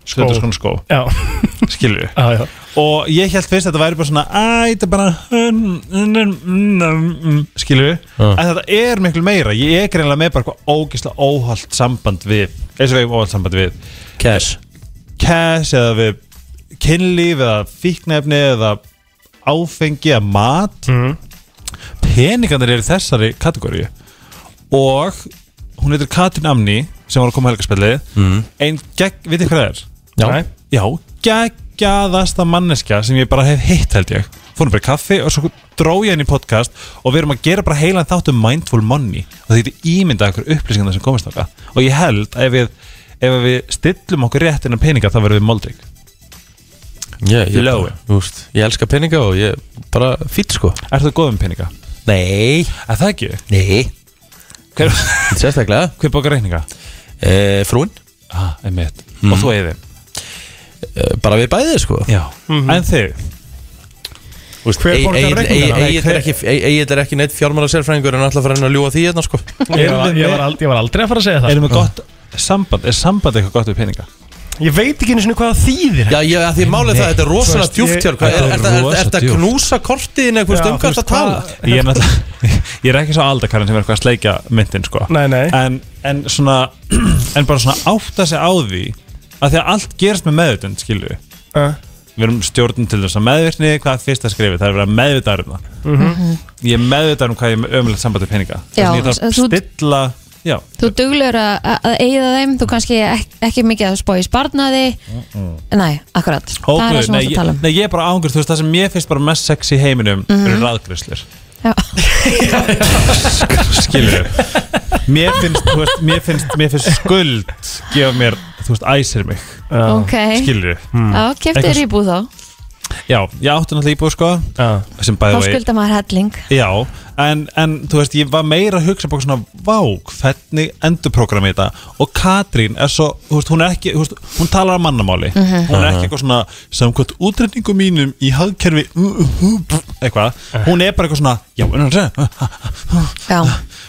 Speaker 7: skó, skó
Speaker 2: Já,
Speaker 7: skilur
Speaker 2: já, já
Speaker 7: og ég held fyrst að þetta væri bara svona æ, þetta er bara mm, mm, mm, mm, skilur
Speaker 1: Já.
Speaker 7: en þetta er miklu meira, ég er greinlega með bara eitthvað ógislega óhald samband við eins og við eigum óhald samband við
Speaker 1: Cash
Speaker 7: cash eða við kynlíf eða fíknefni eða áfengi eða mat
Speaker 2: Mhm.
Speaker 7: peningarnir eru í þessari kategóri og hún heitir Katrin Amni sem var að koma helgarspilli mm. en gegn, veit þið hvað það er?
Speaker 1: Já,
Speaker 2: Nei.
Speaker 7: Já, geggjaðasta manneskja sem ég bara hef hitt held ég Fórum bara í kaffi og svo dró ég henni í podcast og við erum að gera bara heilan þátt um Mindful Money og það getur ímyndað ykkur upplýsingarna sem komist okkar og ég held að ef við, ef við stillum okkur rétt innan peninga þá verðum við moldrik
Speaker 1: Ég, ég,
Speaker 7: Lói.
Speaker 1: Þú veist, ég elska peninga og ég bara fýtt sko
Speaker 7: Er það góðum um peninga?
Speaker 1: Nei,
Speaker 7: Er það ekki?
Speaker 1: nei
Speaker 7: Hver,
Speaker 1: Sérstaklega
Speaker 7: hver bókar reikninga?
Speaker 1: e, Frún,
Speaker 7: Ah, einmitt Og þú eigið þeim?
Speaker 1: e, bara við bæðið sko
Speaker 7: Já En þig?
Speaker 2: Hver borgar reikningarna?
Speaker 1: Egið er ekki, e, e, er ekki neitt fjármála sérfræðingur en alltaf fara henni að ljúa því hérna sko
Speaker 2: Ég var- ég var ald- ég var aldrei að fara að segja það
Speaker 7: Erum við gott samband? Er samband eitthvað gott við peninga?
Speaker 2: Mm. Ég veit ekki einu sinni hvað það þýðir
Speaker 1: Já, ég, að því málið það, þetta er rosalega
Speaker 2: Þú veist,
Speaker 1: djúft
Speaker 2: ég-
Speaker 1: hjör Hvað, er
Speaker 7: Þetta er
Speaker 1: þetta- er- er
Speaker 7: rosa
Speaker 1: þetta að
Speaker 7: djúpt.
Speaker 1: knúsa kortiðin
Speaker 2: Já,
Speaker 1: eitthvað
Speaker 2: þú
Speaker 1: um hvað
Speaker 2: veist,
Speaker 1: þetta tala?
Speaker 7: Ég er náttúrulega Ég er ekki svo aldakarinn sem er eitthvað að sleikja myndin sko
Speaker 2: Nei, nei.
Speaker 7: En, en svona En bara svona átta sig á því Að því að allt gerist með meðutund skilju
Speaker 2: Eh.
Speaker 7: Við erum stjórnum til þess að meðvirkni Hvað er fyrsta skrifið? Það er að vera meðvitaður um það
Speaker 2: Mhm.
Speaker 7: Ég er meðvitaður um hvað ég er með ömulegt sambandi peninga Þess
Speaker 3: Já,
Speaker 7: vegna ég þarf
Speaker 3: þú-
Speaker 7: að stilla Já,
Speaker 3: Þú duglur að, að- að eigða þeim Þú kannski ekki, ekki mikið að spói sparnaði Nei, akkurat Það er
Speaker 7: hópur
Speaker 3: það sem
Speaker 7: nei,
Speaker 3: við
Speaker 7: ég-
Speaker 3: tala um Mhm.
Speaker 7: nei, ég er bara ángur Þú veist það sem ég finnst bara mest sex í heiminum mm -hmm. Eru ráðgrislir
Speaker 3: Já.
Speaker 7: skilur mér finnst, þú veist, mér finnst, mér finnst skuld gefa mér, þú veist, æsir mig
Speaker 2: uh,
Speaker 3: Ok,
Speaker 7: skilur,
Speaker 3: já, kefti
Speaker 7: Eitthvað-
Speaker 3: þér íbúð þá
Speaker 7: já, ég átti náttúrulega íbúð sko,
Speaker 2: Já.
Speaker 7: sem bæði
Speaker 3: Þá skulda maður helling
Speaker 7: já, en, en þú veist, ég var meira að hugsa bara svona, vá, hvernig endurprogrammi þetta, og Katrín er svo, þú veist, hún er ekki, þú veist, hún talar að mannamáli,
Speaker 3: Mhm.
Speaker 7: hún er ekki eitthvað svona samkvæmt útreikningum mínum í hagkerfi uh, uh, uh, eitthvað, hún er bara eitthvað svona, já, en það er
Speaker 3: Já,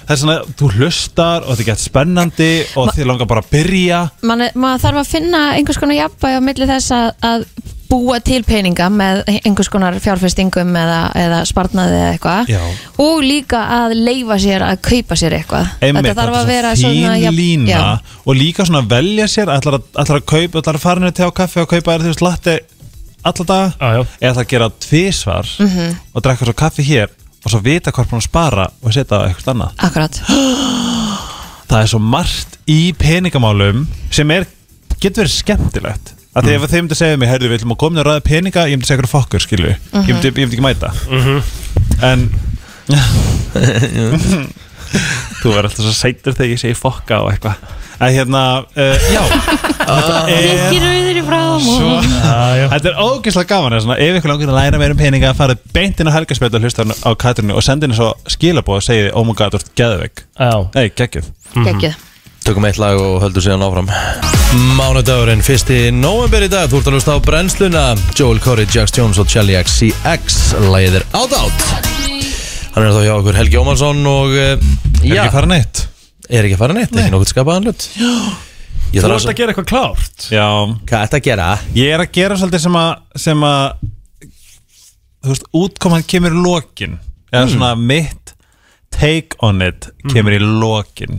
Speaker 7: það er svona, þú hlustar og þetta getur spennandi og þið langar bara að byrja
Speaker 3: Man, maður þarf að finna einhvers konar jafnvæg á milli þess að, að búa til peninga með einhvers konar fjárfestingum eða, eða sparnaði eða eitthvað
Speaker 7: Já.
Speaker 3: og líka að leifa sér að kaupa sér eitthvað
Speaker 7: Einmitt,
Speaker 3: þetta þarf
Speaker 7: þetta er
Speaker 3: að vera
Speaker 7: fín
Speaker 3: svona jafn-
Speaker 7: lína
Speaker 3: já,
Speaker 7: og líka svona velja sér ætlar að, ætlar að kaupa, ætlar að fara henni til á kaffi og kaupa þér þú veist latte alla dag
Speaker 2: Já, já.
Speaker 7: eða ætlar að gera tvísvar
Speaker 3: Mhm.
Speaker 7: og drekka svo kaffi hér og svo vita hvort búin að spara og setja á eitthvað annað
Speaker 3: akkurat
Speaker 7: það er svo margt í peningamálum sem er, getur verið skemmtilegt að því ef þeim myndi segja mig, herðu við ætlum að koma og ræða peninga, ég myndi segja hverju fokkur skilju ég, myndi, ég myndi ekki mæta en þú verður alltaf svo sætur þegar ég segi fokka og eitthvað Ah. að hérna, uh, já þetta er
Speaker 3: ekki rauður í fram og
Speaker 7: svo Þetta er ógeðslega gaman eða svona, ef ykkur langar að læra meira um peninga farið beint inn á helgarspjöld og hlusta á Katrínu og sendi henni svo skilabóð og segi oh my god, þú ert geðveik
Speaker 2: Já.
Speaker 7: Nei, geggjöf
Speaker 3: geggjuð
Speaker 1: Tökum eitt lag og höldum síðan áfram Mánudagurinn, 1. november í dag Þú ert að lusta á brennsluna Joel Corey, Jax Jones og Charlie XCX Lagið er Out Out Hann er þá hjá okkur Helgi Ómarsson og eh,
Speaker 7: Er
Speaker 1: já,
Speaker 7: ekki farin eitt?
Speaker 1: er ekki farin eitt, ekki nokkuð skapaðan hlut Já Ég
Speaker 2: Þú
Speaker 1: þarf
Speaker 2: ert að
Speaker 1: að,
Speaker 2: gera eitthvað klárt
Speaker 7: Já
Speaker 1: hvað ætti að gera?
Speaker 7: Ég er að gera svolítið sem að sem að þú veist, útkoman kemur í lokin eða svona mitt take on it kemur í lokin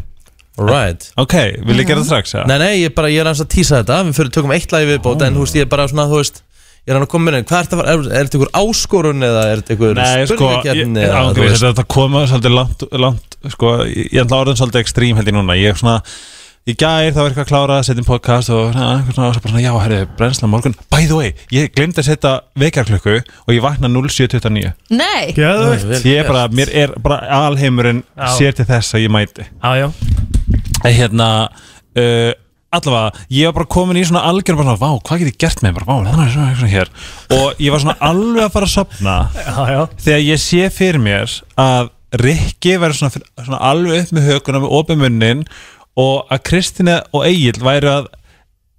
Speaker 1: Right
Speaker 7: Ok, vil ég gera það strax? eða?
Speaker 1: Nei, nei, ég, bara, ég er aðeins að tísa þetta Við fyrir tökum eitt lagi viðbót En þú veist, ég er bara svona, þú veist Ég er hann að koma með henni, hvað er þetta, er, er þetta ykkur áskorun eða er þetta ykkur
Speaker 7: Nei, sko, ég,
Speaker 1: spurningakeppni eða, þú
Speaker 7: ángriðis,
Speaker 1: veist?
Speaker 7: þetta koma svolítið langt, langt sko, ég ég er alltaf orðin svolítið ekstrím held ég núna, ég er svona í gær þá er eitthvað að klára, setjum podcast og na, eitthvað svona, og svo bara svona, já, herri, brennsla á morgun by the way, ég glemdi að setja vekjarklöku og ég vakna 07.29
Speaker 3: Nei,
Speaker 2: Geðvögt
Speaker 1: Vel
Speaker 7: ég er bara,
Speaker 1: gert.
Speaker 7: mér er bara alheimurinn
Speaker 2: Já.
Speaker 7: sér til þess að ég mæti
Speaker 2: Já, já
Speaker 7: en hérna uh, allavega, ég var bara komin í svona algjör bara svona, vá, hvað get ég gert með, bara, vá, þannig er svona, svona hér og ég var svona alveg að fara að sopna
Speaker 2: Já, já
Speaker 7: þegar ég sé fyrir mér að Rikki verður svona, fyrir- svona alveg upp með hökunum með opið munnin og að Kristina og Egil væri að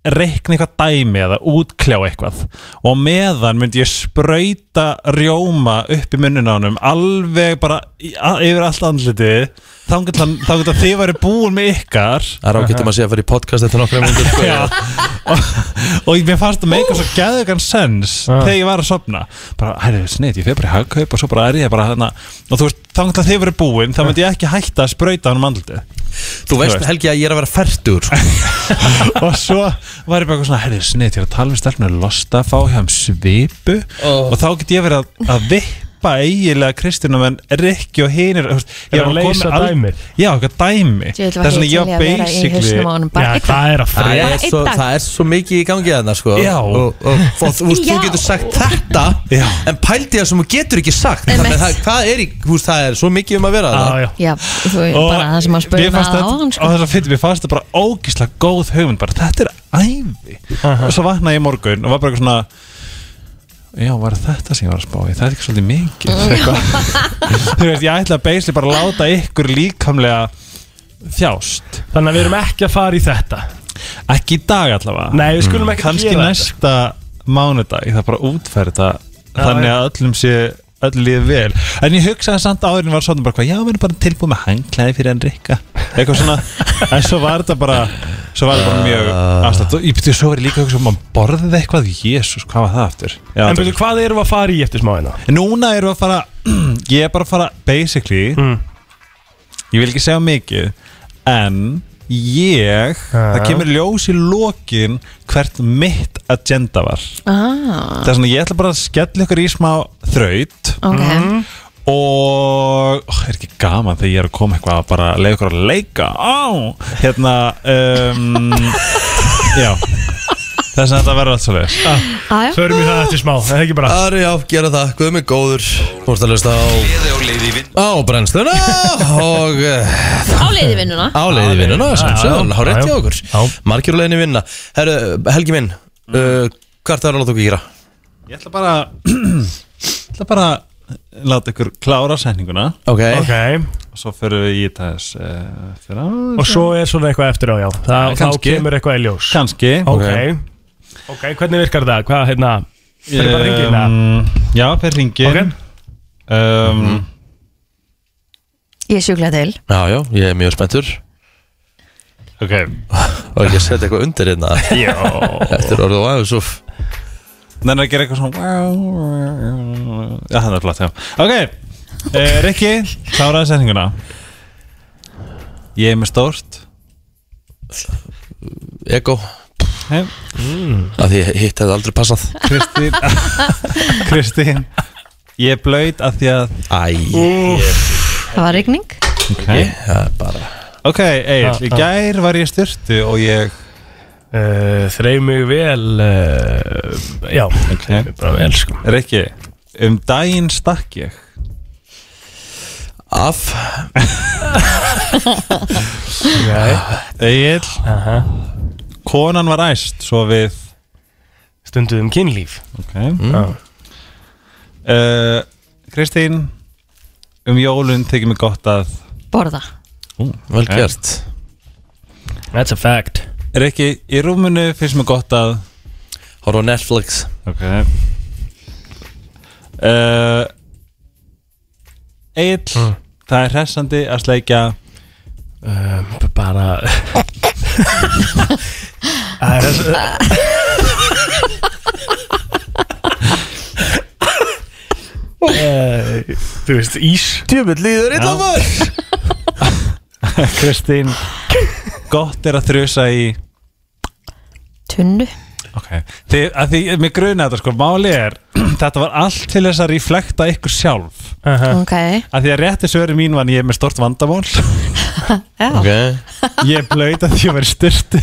Speaker 7: reikna eitthvað dæmi eða útkljá eitthvað og á meðan myndi ég sprauta rjóma upp í munnin á honum alveg bara í- a- yfir allt andlitið þá getur þið væri búin með ykkar
Speaker 1: Það er ágætt um að sé að fara í podcast eftir nokkra myndir sko.
Speaker 7: Já. og ég- mér fannst það með eitthvað svo gæðugan sens þegar ég var að sofna bara, herri, snið, ég fer bara í hagkaup og svo bara er ég bara þarna og þú veist, þangt að þið verið búin þá myndi ég ekki hætta að sprauta hann um andlitið
Speaker 1: Þú veist
Speaker 7: veist.
Speaker 1: Helgi að ég er að vera færtur sko.
Speaker 7: og svo var ég bara eitthvað svona, herri, snið, ég er að tala við stelpnur losta, fá hjá um svipu
Speaker 2: Oh.
Speaker 7: og þá get ég verið að, að vippa eiginlega Kristina menn Rikki og hinir þú veist, ég
Speaker 2: Er að
Speaker 7: var komin
Speaker 2: leysa
Speaker 7: al-
Speaker 2: dæmið?
Speaker 7: já, eitthvað dæmi
Speaker 3: Djöfull
Speaker 7: þess
Speaker 3: var ég til
Speaker 7: að ég
Speaker 3: í að
Speaker 7: var
Speaker 3: vera í hausnum á
Speaker 7: basically
Speaker 3: honum bara
Speaker 2: Já,
Speaker 3: einn dag.
Speaker 2: það er að
Speaker 1: það,
Speaker 2: frétt
Speaker 1: er
Speaker 3: einn
Speaker 1: svo,
Speaker 3: dag.
Speaker 1: það er svo mikið í gangi þarna sko.
Speaker 7: Já.
Speaker 1: og, og, og þú, veist, þú
Speaker 3: Já.
Speaker 1: getur sagt þetta
Speaker 7: Já.
Speaker 1: en pældi það sem þú getur ekki sagt
Speaker 3: Einmitt.
Speaker 1: Þannig að það, hvað er í, þú veist, það er svo mikið um að vera
Speaker 2: Já,
Speaker 1: það
Speaker 2: já
Speaker 3: já, þú, bara það sem að spurði
Speaker 7: mér fannst
Speaker 3: maður
Speaker 7: þetta-
Speaker 3: áðan
Speaker 7: og
Speaker 3: sko.
Speaker 7: þess að fyrir, mér fannst þetta bara ógislega góð hugmynd bara, þetta er æði og svo vaknaði ég í morgun og var bara eitthvað svona já, var þetta sem ég var að spá í það er ekki svolítið mikið eitthvað. þú veist, ég ætla að beisli bara að láta ykkur líkamlega þjást
Speaker 2: Þannig að við erum ekki að fara í þetta
Speaker 7: ekki í dag allavega
Speaker 2: Nei, við skulum ekki
Speaker 7: kannski
Speaker 2: gera
Speaker 7: næsta mánudag ég þarf bara að útferða þannig að öllum sé öll líði vel en ég hugsaði samt áðurinn var svona bara hvað, já, við erum bara tilbúið með hangklæði fyrir enn rikka eitthvað svona, en svo var þetta bara svo var þetta bara
Speaker 2: Ah.
Speaker 7: mjög afslátt og ég byrjuði svo verið líka að hugsa um að borðið eitthvað jésus, hvað var það aftur já,
Speaker 2: þetta En byrju, hvað erum við að fara í eftir hérna? smáina?
Speaker 7: núna erum við að fara ég er bara að fara, basically
Speaker 2: Mm.
Speaker 7: ég vil ekki segja mikið en ég það kemur ljós í lokin hvert mitt agenda var
Speaker 3: ah,
Speaker 7: það er svona, ég ætla bara að skella ykkur í smá þraut
Speaker 3: ok
Speaker 7: Mhm. og ó, er ekki gaman þegar ég er að koma eitthvað að bara leiða ykkur að leika á, hérna um, já þess að þetta verður allt svo leiðis
Speaker 3: Aja,
Speaker 2: Förum við það eftir smá, er það ekki bara
Speaker 1: Ari, já, gera það, guð mig góður Þú ert að hlusta á
Speaker 4: Eða á leið í vinn
Speaker 1: Á brennstuna og eh,
Speaker 3: á leiði vinnuna
Speaker 1: á leiði vinnuna sem
Speaker 2: Já, já,
Speaker 1: svo, há rétt
Speaker 2: já,
Speaker 1: hjá
Speaker 2: já.
Speaker 1: okkur
Speaker 2: Já.
Speaker 1: Markir á leiðinni í vinna Herru, Helgi minn, uh, hvað er það að láta okkur gera?
Speaker 7: Ég ætla bara Ég ætla bara að láta ykkur klára sæninguna
Speaker 1: Ok,
Speaker 2: Ok,
Speaker 7: og svo förum við í þess uh, fyrir
Speaker 2: og svo er svona eitthvað eftir á, já Þa, Þá
Speaker 7: Kannski.
Speaker 2: kemur eitthvað í ljós
Speaker 7: kannski
Speaker 2: Ok Ok, hvernig virkar það? Hvað, hérna Fyrir bara ringin að
Speaker 7: um, Já, fyrir ringin
Speaker 2: Ok.
Speaker 7: um,
Speaker 3: Ég sjúkla til
Speaker 1: já, já, ég er mjög spenntur
Speaker 2: Ok
Speaker 1: og ég setja eitthvað undir hérna eftir orðið og aðeins úf
Speaker 7: Þannig að gera eitthvað svona Já, það er flott, já Ok, uh, Rikki, kláraði sæninguna Ég er með stórt
Speaker 1: Ego,
Speaker 7: Hei,
Speaker 1: af því hitt hefði aldrei passað
Speaker 7: Kristín Kristín Ég er blöyt af því að
Speaker 1: Æ, ég,
Speaker 3: Það var rigning
Speaker 7: okay.
Speaker 1: það er bara
Speaker 7: Ok, Egil, í gær var ég styrtu og ég
Speaker 2: uh, Þreif mig vel uh, Já, þreif mig bara vel sko
Speaker 7: Rikki, um daginn stakk ég
Speaker 1: Af,
Speaker 2: okay.
Speaker 7: Egil, konan var æst svo við
Speaker 2: Stunduðum um kynlíf
Speaker 7: Ok
Speaker 1: mm,
Speaker 7: uh, Kristín um jólun tekið mig gott að
Speaker 3: Borða
Speaker 1: vel
Speaker 7: Ok.
Speaker 1: gert
Speaker 2: That's a fact
Speaker 7: Rikki, í rúmunu finnst mér gott að
Speaker 1: Horfa á Netflix
Speaker 7: Ok uh, Egil það er hressandi að sleikja
Speaker 2: B- Eh, Bara Það er þess Eh, Þú veist, ís
Speaker 1: Tjöfull líður illa maður
Speaker 7: Kristín gott er að þrjusa í
Speaker 3: Tunnu
Speaker 7: Ok, því, að því mér gruna þetta sko, máli er þetta var allt til þess að reflekta ykkur sjálf
Speaker 3: Ok
Speaker 7: að því að rétti svöri mín var ég er með stort vandamál
Speaker 3: Já
Speaker 1: Ok,
Speaker 7: ég blöyt að því að vera styrti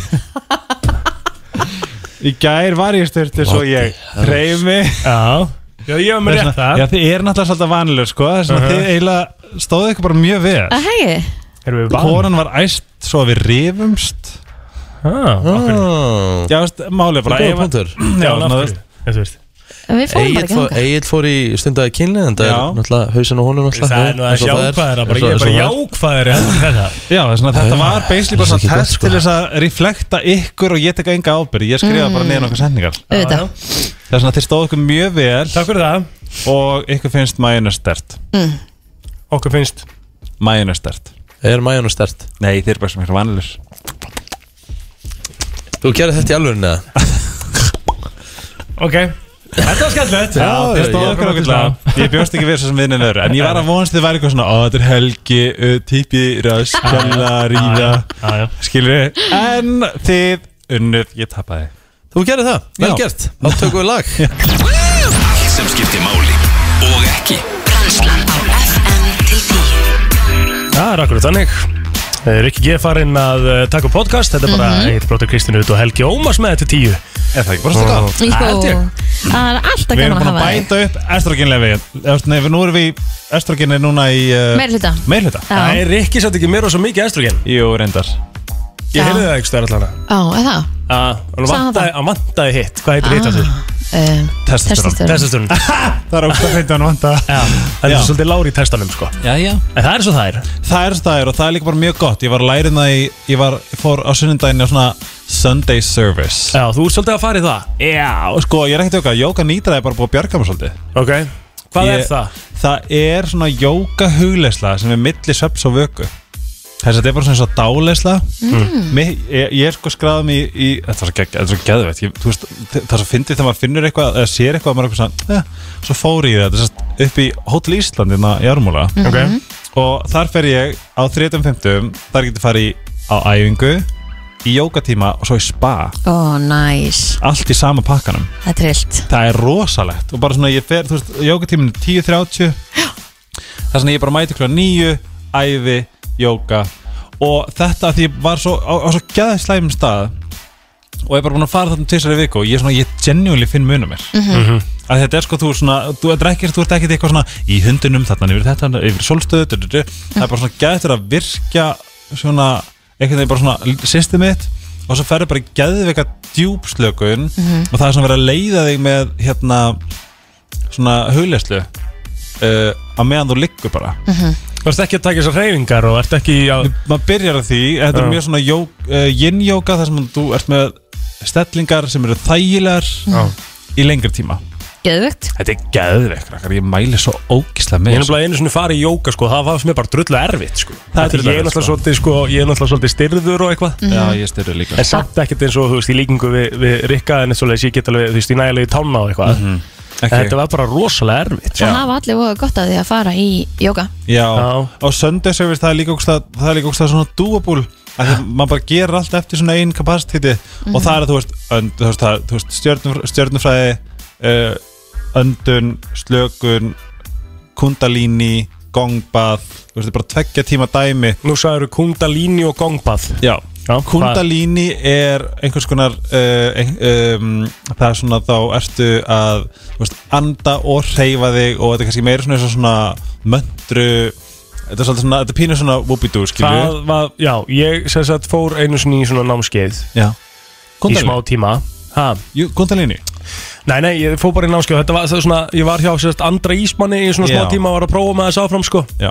Speaker 7: í gær var ég styrti svo ég reymi
Speaker 2: Já Já, ég var með rétt
Speaker 7: Já,
Speaker 2: þar
Speaker 7: þið er náttúrulega svolítið vanileg sko, þess að
Speaker 2: Mhm.
Speaker 7: þið eiginlega stóðu ykkur bara mjög vel
Speaker 3: Það hegi
Speaker 2: Erum við vann
Speaker 7: Konan var æst svo að við rifumst
Speaker 2: Já,
Speaker 1: ah,
Speaker 7: Já, veist, málið er bara
Speaker 1: Góða
Speaker 7: ef-
Speaker 1: punktur
Speaker 7: Já,
Speaker 2: hann
Speaker 7: svona,
Speaker 2: aftur Já, þú veist
Speaker 3: Við fórum
Speaker 1: Egil
Speaker 3: bara ekki
Speaker 1: fór,
Speaker 3: hanga
Speaker 1: Egil fór í stundaði kynni en það er
Speaker 7: Já.
Speaker 1: náttúrulega hausin og honum náttúrulega
Speaker 2: Það er nú að
Speaker 1: eins og það er,
Speaker 2: jákvæðara bara,
Speaker 1: eins og-
Speaker 2: ég er
Speaker 1: eins og
Speaker 2: bara
Speaker 1: það
Speaker 2: jákvæðari heldur þetta
Speaker 7: Já, þess að þetta
Speaker 1: Já,
Speaker 7: var basically bara
Speaker 1: það er ekki
Speaker 7: svona
Speaker 1: gott,
Speaker 7: test
Speaker 1: sko.
Speaker 7: til þess að reflekta ykkur og ég tek enga ábyrg Ég skrifa
Speaker 1: Mm.
Speaker 7: bara neðan okkur sendingar
Speaker 3: Auðvitað
Speaker 7: Það er svona að þið stóðu ykkur mjög vel
Speaker 2: Takk fyrir það,
Speaker 7: og ykkur finnst mæjuna stert
Speaker 2: okkur finnst
Speaker 7: Mæjuna stert
Speaker 1: Er mæjunum stert
Speaker 7: Nei, þið er bara sem ykkur vanilir
Speaker 1: Þú gerir þetta í alvörinu eða?
Speaker 2: Ok, þetta var skemmtilegt
Speaker 7: Já, þið stóðu okkur okkur lag Ég bjóst ekki við þessu sem viðninn öðru En ég var að vonast þið væri eitthvað svona Ó, þetta er helgi, uh, típi, raskjalla, ríða
Speaker 2: Já, já
Speaker 7: Skilur við En þið unnuð, ég tapaði
Speaker 1: Þú gerir það, vel
Speaker 7: Já.
Speaker 1: gert Þá tökum við lag
Speaker 4: Allt sem skiptir máli Og ekki
Speaker 8: Brennslan á FM til 10
Speaker 2: Það er akkurat þannig Eh, Rikki G farinn að eh, taka upp podcast Þetta er bara mm -hmm. Eitt Bróttur Kristín Ut og Helgi Ómars með þetta tíu
Speaker 7: Er það ekki bara stakka?
Speaker 3: Jú, Það er alltaf
Speaker 7: Við erum
Speaker 3: gaman að
Speaker 7: búin að
Speaker 3: hafa þig
Speaker 7: bæta upp estrogenlefi Nei, við- nú erum við í- Estrogen er núna í uh,
Speaker 3: Meir hluta
Speaker 7: meirhluta
Speaker 3: Já.
Speaker 2: Það er Rikki satt ekki mér og svo mikið estrogen
Speaker 7: Jú, reyndar
Speaker 2: Ég
Speaker 3: Já.
Speaker 2: heyrði það ekki stöðar allan
Speaker 3: Á, er það?
Speaker 2: að
Speaker 3: Sagði
Speaker 2: Hann
Speaker 3: hann
Speaker 2: vantaði-
Speaker 3: það? Ah.
Speaker 2: hann vantaði hitt Hvað heitir hitt að því?
Speaker 3: uh,
Speaker 7: Testosterón.
Speaker 2: Testasturinn
Speaker 7: Það er ógst að feita hann vanda
Speaker 2: Það er
Speaker 7: Já.
Speaker 2: svolítið lári í testanum sko
Speaker 9: Já, já
Speaker 2: En það er svo það er
Speaker 7: Það er svo það er og það er líka bara mjög gott Ég var að læra það í, ég var, fór á sunnundaginn á svona Sunday service
Speaker 2: Já, þú ert svolítið að fara í það
Speaker 7: Já, sko, ég er ekkert jóka, jóka nýtra er bara búið að bjarga mér svolítið
Speaker 2: Ok Hvað
Speaker 7: Ég-
Speaker 2: er það?
Speaker 7: Það er svona jóka hugleysla sem er milli sveps og vöku Þess að þetta er bara svona svo dáleysla mm. ég, ég er sko skráðum í, í Þetta var svo, gegg- þetta var svo geðveitt ég, þú veist, Það er svo fyndið þegar maður finnur eitthvað eða sér eitthvað maður er eitthvað svona, eh, Svo fór ég í þetta sest, upp í Hotel Íslandi þarna í Ármúla
Speaker 2: Ok
Speaker 7: og þar fer ég á 35. þar getur farið í- á æfingu í jókatíma og svo í spa
Speaker 3: Ó, næs,
Speaker 7: allt í sama pakkanum
Speaker 3: það er trillt
Speaker 7: það er rosalegt og bara svona ég fer, þú veist, jókatíminu 10.30 það er svona ég bara mæti kljóðan 9 æfi, jóka og þetta af því ég var svo á, á svo gæðislægum stað og ég er bara búin að fara þarna tvisar í viku og ég er svona, ég genuinely finn munum mér að þetta er sko, þú svona, þú er ekkert þú ert ekkert eitthvað svona í hundunum þarna yfir þetta, yfir solstöðu, du, du, du. það er bara svona gæðislega að virkja svona, einhvern veginn bara svona system mitt og svo ferðu bara í gæðveika djúpslökun og það er svona verið að leiða þig með hérna svona hugleyslu uh, að meðan þú liggur bara
Speaker 2: Þú ert ekki að taka þessar hreyfingar og ert ekki að
Speaker 7: maður byrjar á því, þetta
Speaker 2: Já.
Speaker 7: er mjög svona jó, uh, yin-yoga þar sem þú ert með stellingar sem eru þægilegar í lengri tíma
Speaker 3: Geðvögt
Speaker 7: Þetta er geðveik, krakkar, ég mæli svo ógislega
Speaker 2: Ég
Speaker 7: með
Speaker 2: er nefnilega einu svona farið í jóka sko Það var sem er bara drullu erfitt sko
Speaker 7: Það er
Speaker 2: Þetta
Speaker 7: drullu
Speaker 2: Ég er náttúrulega
Speaker 7: erfitt, sko.
Speaker 2: svolítið sko Ég er náttúrulega svolítið styrður og eitthvað
Speaker 7: Já, ég styrir líka
Speaker 2: En samt ekkert eins og þú veist í líkingu við, við Rikka en eins og leis ég get alveg þú veist í nægilegi tána og eitthvað
Speaker 7: Mhm,
Speaker 2: En
Speaker 7: Ekki-
Speaker 2: þetta var bara rosalega erfitt sko.
Speaker 3: Svo hafa allir voða gott að því að fara í jóga
Speaker 7: Já,
Speaker 2: Já.
Speaker 7: og Sunday Service það er líka ógstlega, það er líka ógstlega svona doable að því að maður bara gerir allt eftir svona einn kapasiteti og það er að þú veist, önd, þú veist, það, er, þú veist stjörnum, stjörnumfræði uh, öndun, slökun kundalíni gongbað, þú veist, þetta er bara tveggja tíma dæmi
Speaker 2: Nú sagður kundalíni og gongbað
Speaker 7: Já,
Speaker 2: Já,
Speaker 7: kundalíni er einhvers konar uh, ein, um, það er svona þá ertu að þú veist, anda og hreyfa þig og þetta er kannski meira svona, eins og svona möndru þetta er svolítið svona, þetta er pínu svona whoopidoo skilju
Speaker 2: Það var, já, ég sem sagt fór einu sinni í svona námskeið Í smá
Speaker 7: kundalíni,
Speaker 2: tíma ha.
Speaker 7: Jú, kundalíni.
Speaker 2: Nei, nei, ég fór bara í námskeið Þetta var það er svona, ég var hjá sem sagt Andra Ísmanni í svona
Speaker 7: Já.
Speaker 2: smá tíma og var að prófa með þess áfram sko
Speaker 7: Já.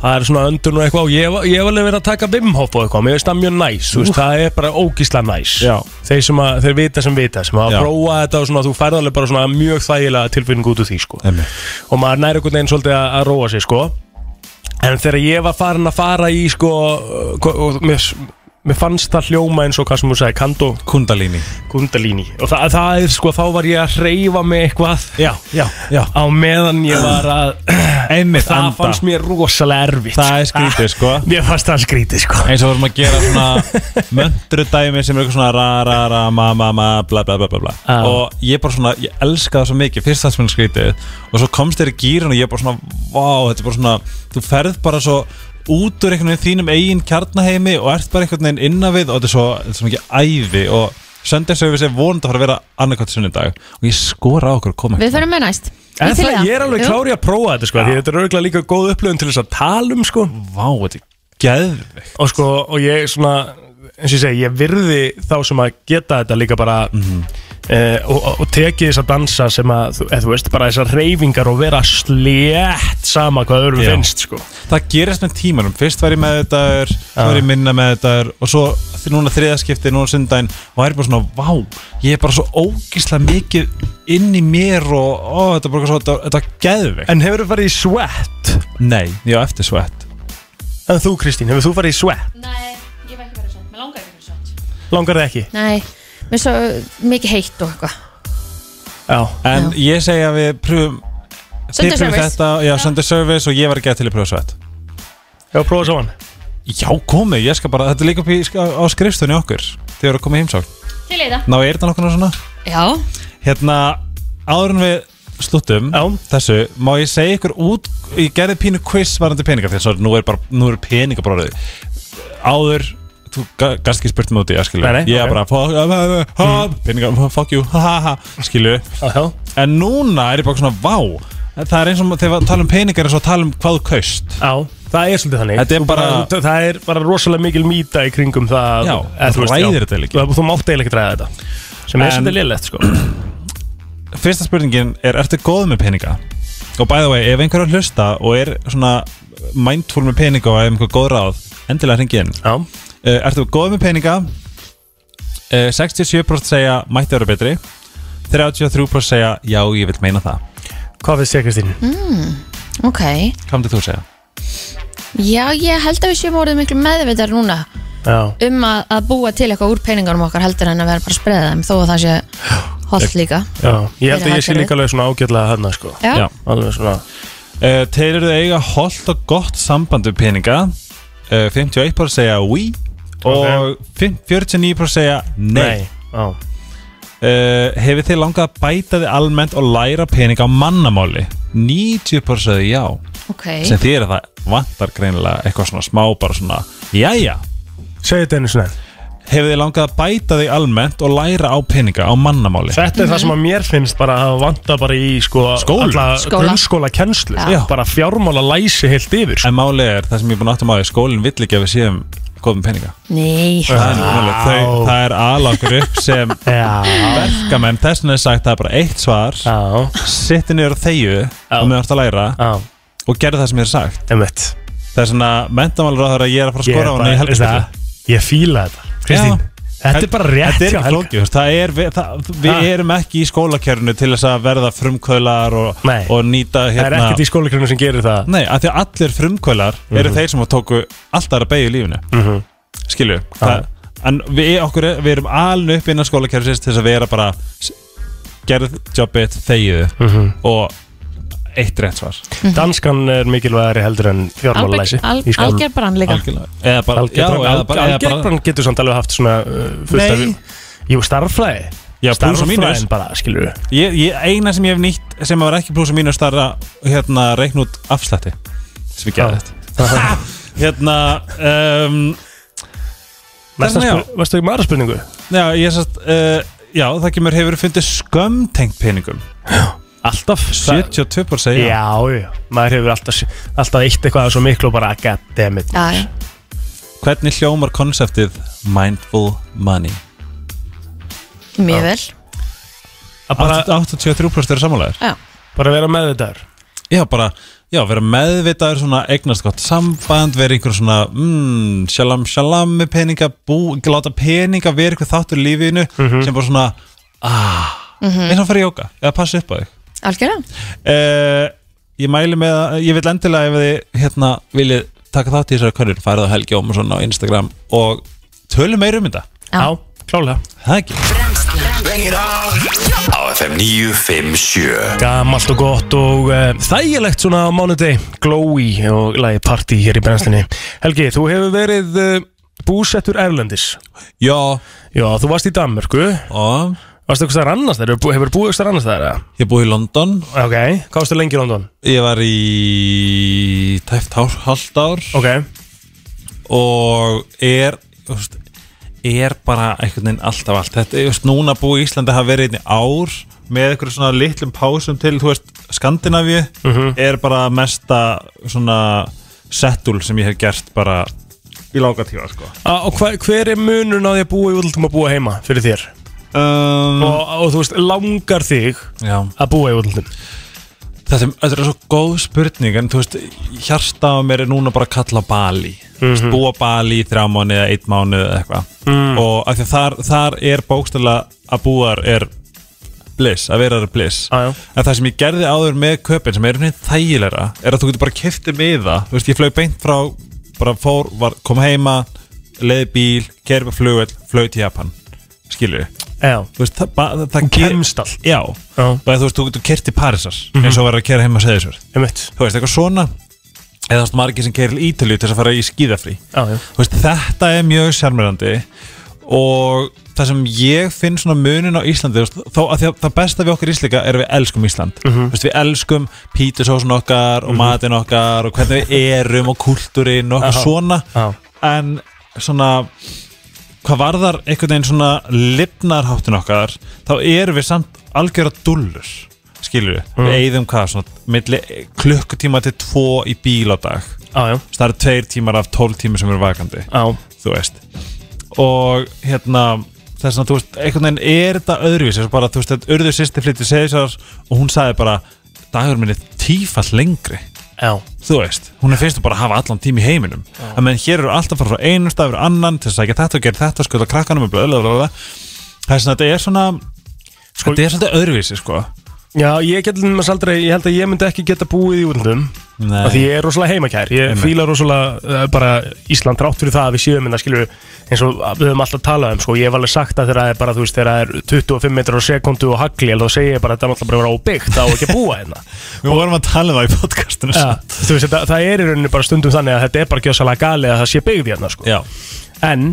Speaker 2: Það er svona öndun og eitthvað og ég, hef- ég hef alveg verið að taka Wim Hof og eitthvað, mér finnst það mjög næs þú veist, það er bara ógíslega næs
Speaker 7: Já.
Speaker 2: þeir, sem að, þeir vita sem vita, sem að
Speaker 7: Já.
Speaker 2: prófa þetta og svona, þú færð alveg bara svona mjög þægilega tilfinning út úr því sko.
Speaker 7: Einmitt.
Speaker 2: og maður næri einhvern veginn svolítið að, að róa sig sko. en þegar ég var farin að fara í sko, og, og, mér, mér fannst það hljóma eins og hvað sem þú sagði, kando
Speaker 7: kundalíni
Speaker 2: kundalíni og það, það er sko, þá var ég að hreyfa mig eitthvað já, já, já. á meðan ég var að
Speaker 7: einmitt,
Speaker 2: það
Speaker 7: anda,
Speaker 2: fannst mér rosalega erfitt
Speaker 7: það er skrítið sko
Speaker 2: Mér fannst það skrítið sko
Speaker 7: eins og vorum að gera svona möndru dæmi sem er eitthvað svona ra ra ra ma ma ma bla bla bla bla bla
Speaker 2: Já.
Speaker 7: og ég bara svona, ég elska það svo mikið fyrst það sem er skrítið og svo komst þér í gýrin og ég bara svona, vá, þetta er bara svona þú ferð bara svo út úr einhvern veginn þínum eigin kjarnaheimi og ert bara einhvern veginn innan við og þetta er svo, þetta er svo mikið æði og söndagsöfis er vonandi að fara að vera annarkvæmt sunnudag og ég skora á okkur að koma
Speaker 3: Við förum með næst
Speaker 2: En
Speaker 3: til í
Speaker 2: það, ég er alveg
Speaker 3: Jú.
Speaker 2: klári að prófa þetta sko Því þetta er auðvitað líka góð upplöfun til þess að tala um sko
Speaker 7: vá, þetta er geðvig
Speaker 2: Og sko, og ég svona eins og ég segi, ég virði þá sem að geta þetta líka bara mm
Speaker 7: Mhm.
Speaker 2: og, og, og tekið þess að dansa sem að þú, eð, þú veist, bara þessar reyfingar og vera slétt sama hvað öðrum
Speaker 7: Já.
Speaker 2: finnst sko
Speaker 7: það gerist með tímanum, fyrst var ég með þetta svo var ég minna með þetta og svo þ- núna þriðaskipti, núna sundaginn var ég bara svona, vá, ég er bara svo ógislega mikið inn í mér og ó, þetta er bara svo, þetta, þetta er geðveikt
Speaker 2: En hefur þú farið í svett?
Speaker 7: nei, ég á eftir svett
Speaker 2: En þú Kristín, hefur þú farið í svett?
Speaker 3: Nei, ég var ekki verið svont, mér langar ekki verið svont
Speaker 2: Langar þið ekki?
Speaker 3: Nei, mér er svo mikið heitt og eitthvað
Speaker 2: Já
Speaker 7: en ég segi að við pröfum þið
Speaker 3: Sunday
Speaker 7: pröfum
Speaker 3: service.
Speaker 7: þetta, já, Sunday service og ég var ekki að til að pröfa svett
Speaker 2: Ég var að prófa saman
Speaker 7: já, komið, ég skal bara, þetta er líka upp í- á, á skrifstunni okkur, þið eru að koma í heimsókn
Speaker 3: Til í það
Speaker 7: ná, er þetta nokkuð svona?
Speaker 3: Já,
Speaker 7: Hérna, áður en við sluttum
Speaker 2: Já.
Speaker 7: þessu, má ég segja ykkur út ég gerði pínu quiz varandi peningar þess að nú er bara, nú er peningabróðið áður þú ga- gast ekki spurt mig út í það, skilju
Speaker 2: Nei, nei,
Speaker 7: ég
Speaker 2: ok.
Speaker 7: er
Speaker 2: Mm.
Speaker 7: bara, fuck, uh, uh, uh, ha, peningar, fuck you ha, ha, ha, skilju
Speaker 2: Já, já
Speaker 7: en núna er ég bara svona, vá það er eins og þegar við tala um peningar er svo að tala um hvað þú kaust
Speaker 2: Já, það er svolítið þannig
Speaker 7: Þetta er
Speaker 2: Þú
Speaker 7: bara-
Speaker 2: það- Það er bara rosalega mikil mýta í kringum það
Speaker 7: Já,
Speaker 2: eða
Speaker 7: þú
Speaker 2: veist,
Speaker 7: ræðir
Speaker 2: já.
Speaker 7: þetta eiginlega
Speaker 2: Þú, þú mátt eiginlega ekki ræða þetta Sem er
Speaker 7: En-
Speaker 2: svolítið liðlegt sko
Speaker 7: fyrsta spurningin er ertu góð með peninga? Og by the way, ef einhver er að hlusta og er svona mindful með peninga og er einhver góð ráð, endilega hringi inn
Speaker 2: Já,
Speaker 7: uh, Ertu góð með peninga? Uh, 67% segja mætti vera betri 33% segja já, ég vil meina það
Speaker 2: hvað finnst ég Kristín?
Speaker 3: Hmm? Ok,
Speaker 7: Hvað myndir þú segja?
Speaker 3: já ég held að við séum orðið miklu meðvitar núna
Speaker 2: Já,
Speaker 3: um að, að búa til eitthvað úr peningunum okkar heldur en að vera bara að spreða þeim þó að það sé holdt líka
Speaker 2: já, ég
Speaker 3: Fyrir
Speaker 2: held að ég sé
Speaker 3: hagkerfið.
Speaker 2: líka alveg svona ágætlega hana sko
Speaker 3: Já,
Speaker 7: Já.
Speaker 2: Alveg svona
Speaker 7: Uh, þeir eru að eiga holdt og gott samband við peninga uh, 51% segja oui og fimm- 49% segja nei, nei.
Speaker 2: Já,
Speaker 7: Uh, Hefur þið langað að bæta þið almennt og læra peninga á mannamáli? 90% segja já
Speaker 3: ok
Speaker 7: sem þið er að það vantar greinilega eitthvað svona smá bara svona jæja
Speaker 2: segðu þetta einu svona
Speaker 7: Hefur þið langað að bæta þig almennt og læra á peninga á mannamáli?
Speaker 2: Þetta er það sem að mér finnst bara að vanta bara í sko
Speaker 7: Skóla.
Speaker 2: alla
Speaker 3: Skóla.
Speaker 2: grunnskóla kennslu
Speaker 7: Já.
Speaker 2: Bara fjármála læsi heilt yfir sko.
Speaker 7: En máli er það sem ég er búin að áttum á því skólinn vill ekki að við séum góðum peninga
Speaker 3: Nei,
Speaker 7: það er, málið. Þau, það er alagur upp sem
Speaker 2: Já,
Speaker 7: verkamenn þess vegna er sagt það er bara eitt svar
Speaker 2: já,
Speaker 7: sitti niður á þegju og meðan þú að læra
Speaker 2: já,
Speaker 7: og gerðu það sem ég er sagt
Speaker 2: einmitt
Speaker 7: það er svona mentamálur á það að ég er að fara að
Speaker 2: Ég er
Speaker 7: skora
Speaker 2: bara, veist
Speaker 7: á hann í helgastöldu
Speaker 2: það, ég fíla þetta Kristín, þetta er bara rétt
Speaker 7: Þetta er
Speaker 2: hjá
Speaker 7: ekki
Speaker 2: Helga.
Speaker 7: flókið, þú veist, það er, við, það, við
Speaker 2: Ha.
Speaker 7: erum ekki í skólakjörnu til þess að verða frumkvölar og,
Speaker 2: Nei.
Speaker 7: og nýta
Speaker 2: Það er
Speaker 7: hérna
Speaker 2: ekkert í skólakrinu sem gerir það
Speaker 7: Nei, af því að allir frumkvölar eru þeir sem tóku alltaf að beigja í lífinu mm -hmm. Skilju En við, okkur, er- við erum alveg upp innan skólakerfisins til þess að vera bara s- gerð jobbið þegið og eitt rétt svar
Speaker 2: Danskan er mikilvægari heldur en fjármálalæsi í
Speaker 3: algjör
Speaker 2: skóla.
Speaker 3: algjör brannleika
Speaker 7: Algjörlega Eða bara, já, eða bara, eða bara
Speaker 2: Algebran getur samt alveg haft svona uh, fullt af
Speaker 7: Nei.
Speaker 2: Jú, starffræði
Speaker 7: Já, plús og mínus.
Speaker 2: Starffræðin bara, skilur við
Speaker 7: ég, ég, Eina sem ég hef nýtt sem var ekki pluss og mínu starra hérna reikn út afslætti sem við gerðum þetta Hérna um,
Speaker 2: Næsta
Speaker 7: Þarna, já.
Speaker 2: spurning, varstu ekki maður spurningu?
Speaker 7: Já, ég sagt, uh, já, það kemur hefur fundið skömm tengt peningum
Speaker 2: Alltaf
Speaker 7: 72% segja
Speaker 2: Já, já, maður hefur alltaf, alltaf eitt eitthvað svo miklu og bara God damn it
Speaker 3: Já, já.
Speaker 7: Hvernig hljómar konseptið Mindful Money?
Speaker 3: mjög vel
Speaker 2: Að bara,
Speaker 7: 83% eru samanlegar
Speaker 3: Já,
Speaker 2: bara vera með þetta
Speaker 7: Já, bara, já, vera meðvitaður svona eignast gott samband, vera einhver svona mm, shalom shalom með peninga bú, láta peninga vera einhver þáttur í lífinu
Speaker 2: Mhm.
Speaker 7: sem bara svona ah, eins og að fara í jóka, eða passa upp á þig
Speaker 3: algjörlega
Speaker 7: uh, ég mæli með að ég vil endilega ef þið hérna viljið taka þátt í þessari könnun farið á Helgi Ómarsson á Instagram og tölum meira um þetta
Speaker 3: Já.
Speaker 2: Já, klálega
Speaker 7: það ekki
Speaker 4: Á FM 957
Speaker 2: Gamalt og gott og uh, þægilegt svona á mánudegi Glowy og lagi party hér í brennslinni Helgi, þú hefur verið uh, búsettur erlendis
Speaker 7: já
Speaker 2: Já, þú varst í Danmörku
Speaker 7: og
Speaker 2: Varstu eitthvað þar annars þar? Hefur búið eitthvað þar annars þar? eða?
Speaker 7: ég búið í London
Speaker 2: Ok, hvað varstu lengi í London?
Speaker 7: ég var í tæft hár, halvt ár
Speaker 2: Ok,
Speaker 7: og er þú veist, er bara einhvern veginn alltaf allt þetta, þú veist, núna búið í Íslandi hafa verið einn í ár með einhverjum svona litlum pásum til, þú veist, Skandinavíu er bara mesta svona settul sem ég hef gert bara í langa tíma, sko
Speaker 2: ah, og hver, hver er munurinn á því að búa í útlundum og búa heima fyrir þér?
Speaker 7: um,
Speaker 2: Og, og þú veist, langar þig
Speaker 7: Já,
Speaker 2: að búa í útlundum?
Speaker 7: þetta, er- þetta er svo góð spurning en þú veist, hjarta á mér er núna bara að kalla á Bali mm -hmm. búa á Bali í þrjá mánu eða eitt mánu eða eitthvað og af því að þar, þar er bókstæðlega að búar er bliss, að vera er bliss
Speaker 2: Já, já.
Speaker 7: en það sem ég gerði áður með köpinn sem er einhvern veginn þægilegra er að þú getur bara kiftið með það þú veist, ég flög beint frá, bara fór var, kom heima, leiði bíl kerði með flugveld, flög til Japan skilur
Speaker 2: Já,
Speaker 7: þú veist, það, ba- það, það ger-
Speaker 2: kemst allt
Speaker 7: já,
Speaker 2: Já. Mhm.
Speaker 7: og þú veist, þú getur kert til Parísar eins og verður að kera heima að segja þessu
Speaker 2: um mitt
Speaker 7: þú veist, eitthvað svona eða þú veist, margir sem keirir ítalju til þess að fara í skíðafrí
Speaker 2: Já, já.
Speaker 7: Þú veist, þetta er mjög sjarmirandi og það sem ég finn svona munin á Íslandi þú veist, þó að, því að það besta við okkur Íslika er að við elskum Ísland
Speaker 2: Mhm.
Speaker 7: Þú veist, við elskum pítusósun okkar og matinn okkar og hvernig við erum og kultúrin og eitthvað
Speaker 2: Aha.
Speaker 7: svona
Speaker 2: Já.
Speaker 7: en svona hvað varðar einhvern veginn svona lifnarháttin okkar þá erum við samt algjöra dullur skilur við, við eigðum hvað svona, milli klukkutíma til tvo í bíl á dag
Speaker 2: Já, já,
Speaker 7: Þess, það eru tveir tímar af tól tími sem eru vakandi
Speaker 2: já
Speaker 7: þú veist og hérna þess að þú veist, einhvern veginn er þetta öðruvís þess að bara, þú veist, þetta urðu sýsti flytti segisar og hún sagði bara, dagur minni tífall lengri
Speaker 2: Já
Speaker 7: þú veist, hún er fyrst að bara hafa allan tími í heiminum að menn hér eru alltaf frá einum stafur annan til þess að ekki þetta og gera þetta skölda krakkanum og blablabla þess að þetta er svona
Speaker 2: Sko-
Speaker 7: þetta er svolítið öðruvísi sko
Speaker 2: Já, ég get lindum aldrei, ég held að ég myndi ekki geta búið í útlöndum
Speaker 7: Nei.
Speaker 2: af Því ég er rosalega heimakær Ég
Speaker 7: Einmitt.
Speaker 2: fíla rosalega uh, bara Ísland rátt fyrir það að við séum en það skilur eins og við höfum alltaf talað um sko. Ég hef alveg sagt að þegar það er bara þú veist þegar það er 25 metrar á sekundu og hagli þá segi ég bara að það er náttúrulega bara óbyggt á ekki að búa hérna
Speaker 7: við vorum að tala um það í podcastinu
Speaker 2: ja, þú veist, það, það er í rauninni bara stundum þannig að þetta er bara gjössalega gali að það sé byggð hérna sko.
Speaker 7: já,
Speaker 2: en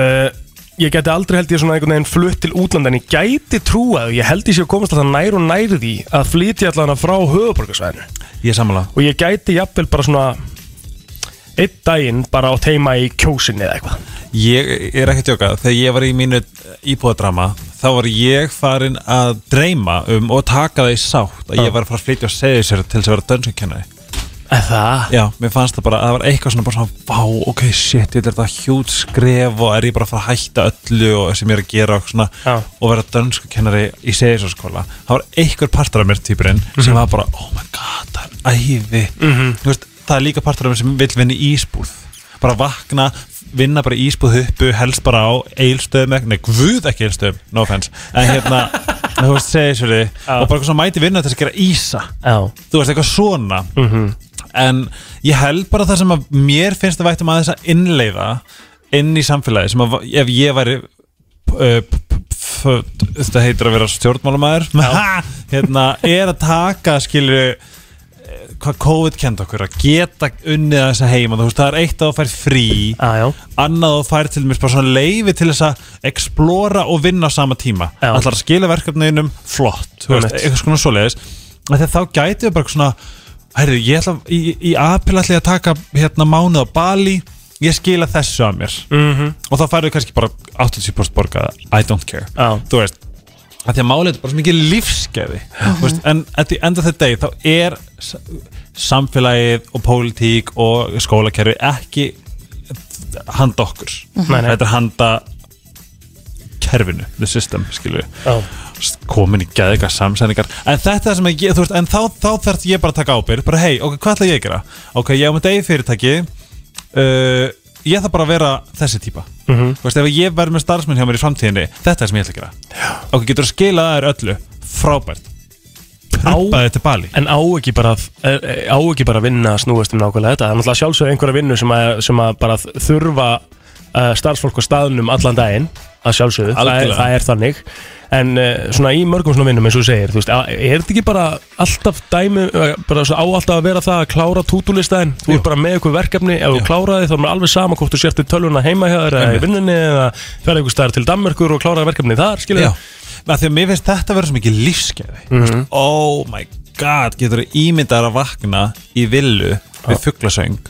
Speaker 2: uh, ég geti aldrei held ég svona einhvern veginn flutt til útlanda en ég gæti trúað og ég held ég sé að komast alltaf nær og nær því að flytja allavega frá höfuborgarsvæðinu
Speaker 7: ég sammála
Speaker 2: og ég gæti jafnvel bara svona einn daginn bara á teima í kjósinni eða eitthvað
Speaker 7: Ég er ekki að tjóka, þegar ég var í mínu íbúðadrama þá var ég farin að dreyma um og taka það í sátt að ég var að fara að flytja og segja sér til þess að vera dönskjökennari
Speaker 2: Það?
Speaker 7: Já, mér fannst það bara, það var eitthvað svona bara svona, vá, ok, shit, þetta er það hjút skref og er ég bara að fara að hætta öllu og sem ég er að gera og svona
Speaker 2: Já.
Speaker 7: og vera dönsku kennari í segisarskóla það var einhver partur af mér týpurinn sem var bara, oh my god, það er æði Þú veist, það er líka partur af mér sem vill vinna í ísbúð bara vakna, vinna bara í ísbúð uppu helst bara á eilstöðum eða- nei, guð ekki eilstöðum, no offense en hérna, þú veist, segisari og bara eitthvað svona mæti vinna til þess að gera ísa
Speaker 2: Já
Speaker 7: þú veist, eitthvað svona en ég held bara það sem að mér finnst að vættum aðeins að innleiða inn í samfélagi sem að ef ég væri uh, p- p- f- þetta heitir að vera stjórnmálamaður hérna, er að taka skilju hvað COVID kenda okkur að geta unnið að þessa heima, þú veist, það er eitt að þú fær frí
Speaker 2: Já, já.
Speaker 7: annað þú fær til mér bara svona leifi til þess að explora og vinna á sama tíma
Speaker 2: Já.
Speaker 7: allar að skila verkefninum flott, þú veist,
Speaker 2: Einmitt.
Speaker 7: eitthvað svona svoleiðis af því að þá gæti við bara svona herri, ég ætla, í, í apil ætla ég að taka hérna mánuð á Bali ég skila þessu að mér -hmm.
Speaker 2: Mhm.
Speaker 7: og þá færðu kannski bara 80% borga I don't care,
Speaker 2: Já.
Speaker 7: þú veist af því að málið er bara svo mikið lífskeiði þú veist, en at the end of the day þá er s- samfélagið og pólitík og skólakerfi ekki handa okkur
Speaker 2: Mhm. Nei, nei.
Speaker 7: þetta er handa kerfinu, the system, skilur við
Speaker 2: Já.
Speaker 7: komin í geðika samsæningar en þetta sem ég, þú veist, en þá, þá þarf ég bara að taka ábyrgð, bara hei, ok, hvað ætla ég að gera ok, ég á með degi fyrirtæki uh, ég þarf bara að vera þessi típa, þú veist, ef ég verð með starfsmenn hjá mér í framtíðinni, þetta er sem ég ætla að gera Já. ok, getur að skila þær öllu frábært, pröpaði til Bali
Speaker 2: En á ekki bara að- er- er- á ekki bara að vinna að snúast um nákvæmlega þetta Það er náttúrulega sjálfsögðu einhverja vinnu sem að, sem að bara þurfa uh, starfsfólk á staðnum allan daginn að sjálfsögðu, það er,
Speaker 7: Algjörlega.
Speaker 2: það er þannig en uh, svona í mörgum svona vinnum eins og þú segir þú veist, að- er þetta ekki bara alltaf dæmi eh, bara svo á alltaf að vera það að klára tútulistaðin, þú ert bara með eitthvað verkefni ef þú kláraði þá er maður alveg sama hvort þú sért í tölvuna heima hjá þér eða í vinnunni eða ferði einhver staðar til Danmörkur og kláraði verkefni þar, skilja
Speaker 7: Já, að því að mér finnst þetta verður svo mikið lífskeiði
Speaker 2: Mhm.
Speaker 7: -hmm. Oh my god, getur þú ímyndar að vakna í villu við fugglasöng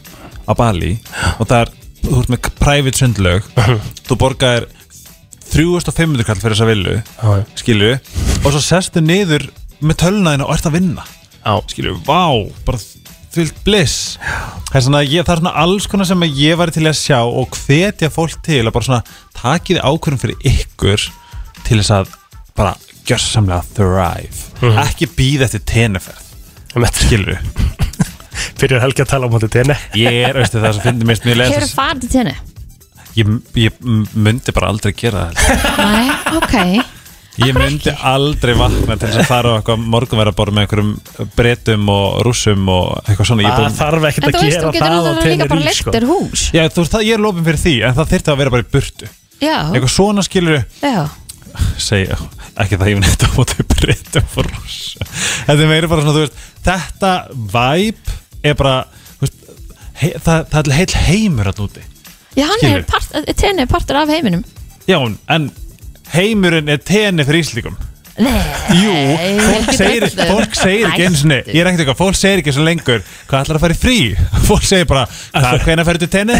Speaker 7: á Bali og það er, þú ert með private sundlög þú borgar 3500 kall fyrir þessa villu
Speaker 2: Já, já.
Speaker 7: skilju, og svo sestu niður með tölnaðina og ert að vinna
Speaker 2: Já.
Speaker 7: skilju, vá, bara fyllt bliss það er, svona, ég, það er svona alls konar sem að ég var til að sjá og hvetja fólk til að bara svona takið ákvörðum fyrir ykkur til þess að bara gjörsamlega thrive ekki býða eftir teneferð skilju,
Speaker 2: fyrir helgi að tala um þetta tenni
Speaker 7: ég er veistu, það sem finnir mest mjög
Speaker 3: Hefur
Speaker 7: leiðast
Speaker 3: farið til henni?
Speaker 7: ég, ég myndi bara aldrei gera það
Speaker 3: Nei, ok
Speaker 7: Ég myndi aldrei vakna til þess að fara á eitthvað morgunverðarbor með einhverjum breytum og rússum og eitthvað svona Ég er
Speaker 2: Það
Speaker 7: búinn-
Speaker 2: þarf ekkert
Speaker 3: En
Speaker 2: að
Speaker 3: þú veist,
Speaker 2: gera
Speaker 3: þú getur
Speaker 2: það á sko.
Speaker 3: náttúrulega líka bara
Speaker 2: tenni
Speaker 3: leitt þér hús
Speaker 7: Já, þú veist, það, ég er lópin fyrir því, en það þyrfti að vera bara í burtu
Speaker 3: Já,
Speaker 7: Eitthvað svona skilur
Speaker 3: já
Speaker 7: segja, ekki það ég myndi þetta á móti breytum og rússum Þetta er meira bara svona, þú veist, þetta vibe er bara, þú veist, he, það, það er heil heimur að núti
Speaker 3: Já, hann
Speaker 7: Skilur.
Speaker 3: er part, eh, tenni er partur af heiminum
Speaker 7: Já, en heimurinn er tenni fyrir Íslingum
Speaker 3: Nei,
Speaker 7: Jú,
Speaker 3: Nei,
Speaker 7: fólk
Speaker 3: ekki
Speaker 7: segir,
Speaker 3: öllum.
Speaker 7: fólk segir ekki eins og
Speaker 3: Hættu.
Speaker 7: Ég er ekkert eitthvað, fólk segir ekki eins og lengur Hvað ætlar að fara í frí? Fólk segir bara, hvað, hvenær ferðu til tenni?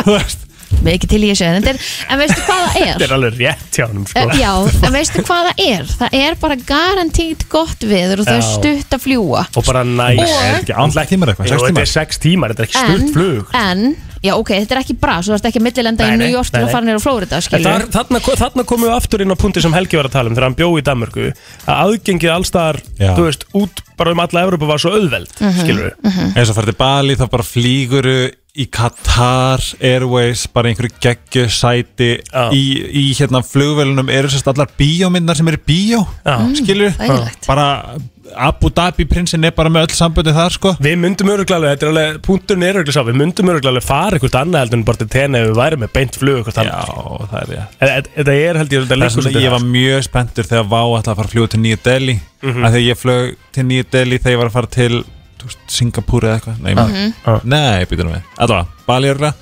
Speaker 7: Þú veist,
Speaker 3: við ekki til í þessu En, þetta er, en veistu hvað það er?
Speaker 2: Þetta er alveg rétt hjá hann sko.
Speaker 3: Eh, Já, en veistu hvað það er? Það er bara garantínt gott viður og það er
Speaker 2: Já.
Speaker 3: stutt að fljúa
Speaker 2: Og bara næs
Speaker 3: Og-
Speaker 7: ekki andlega tímar eitthvað,
Speaker 2: Jú,
Speaker 7: sex
Speaker 2: Þetta
Speaker 7: tímar
Speaker 2: er 6 tímar, þetta er ekki sturt flug
Speaker 3: en Já, ok, þetta er ekki bra, svo það er ekki að millilenda
Speaker 2: Nei,
Speaker 3: í
Speaker 2: nei,
Speaker 3: New York
Speaker 2: nei,
Speaker 3: til að
Speaker 2: nei.
Speaker 3: fara nýra á Flórida,
Speaker 2: En
Speaker 3: skilur
Speaker 2: Þar, þarna, þarna komum við aftur inn á punkti sem Helgi var að tala um þegar hann bjóði í Danmörku að aðgengið allstaðar,
Speaker 7: Já.
Speaker 2: þú veist, út bara um alla Evrópa var svo auðveld, mm
Speaker 3: Mhm.
Speaker 2: skilur við
Speaker 7: eins og færði Bali þá bara flýguru í Qatar Airways bara í einhverju geggju sæti
Speaker 2: Já.
Speaker 7: í, í hérna flugvelunum eru sérst allar bíómyndar sem eru í bíó
Speaker 2: Já. Mm,
Speaker 7: skilur,
Speaker 3: þægilegt.
Speaker 7: bara Abu Dhabi prinsinn er bara með öll samböndi þar sko
Speaker 2: Við myndum öruglega, þetta er alveg, punkturinn er öruglega sá, við myndum öruglega fara eitthvað annað heldur en bara til tenni ef við værum með beint flug eitthvað
Speaker 7: Já,
Speaker 2: þannig.
Speaker 7: það er ég
Speaker 2: En þetta- Þetta er held ég, þetta
Speaker 7: Þess
Speaker 2: leikur
Speaker 7: vegna ég var mjög spenntur þegar Vá ætlaði að fara að fljúa til Nýja Delhi mm
Speaker 2: Mhm.
Speaker 7: -hmm. Þegar ég flög til Nýja Delhi þegar ég var að fara til þú veist, Singapúr eða eitthvað Nei, mm
Speaker 2: ah.
Speaker 7: -hmm. nei býtum við Allá, Bali örgulega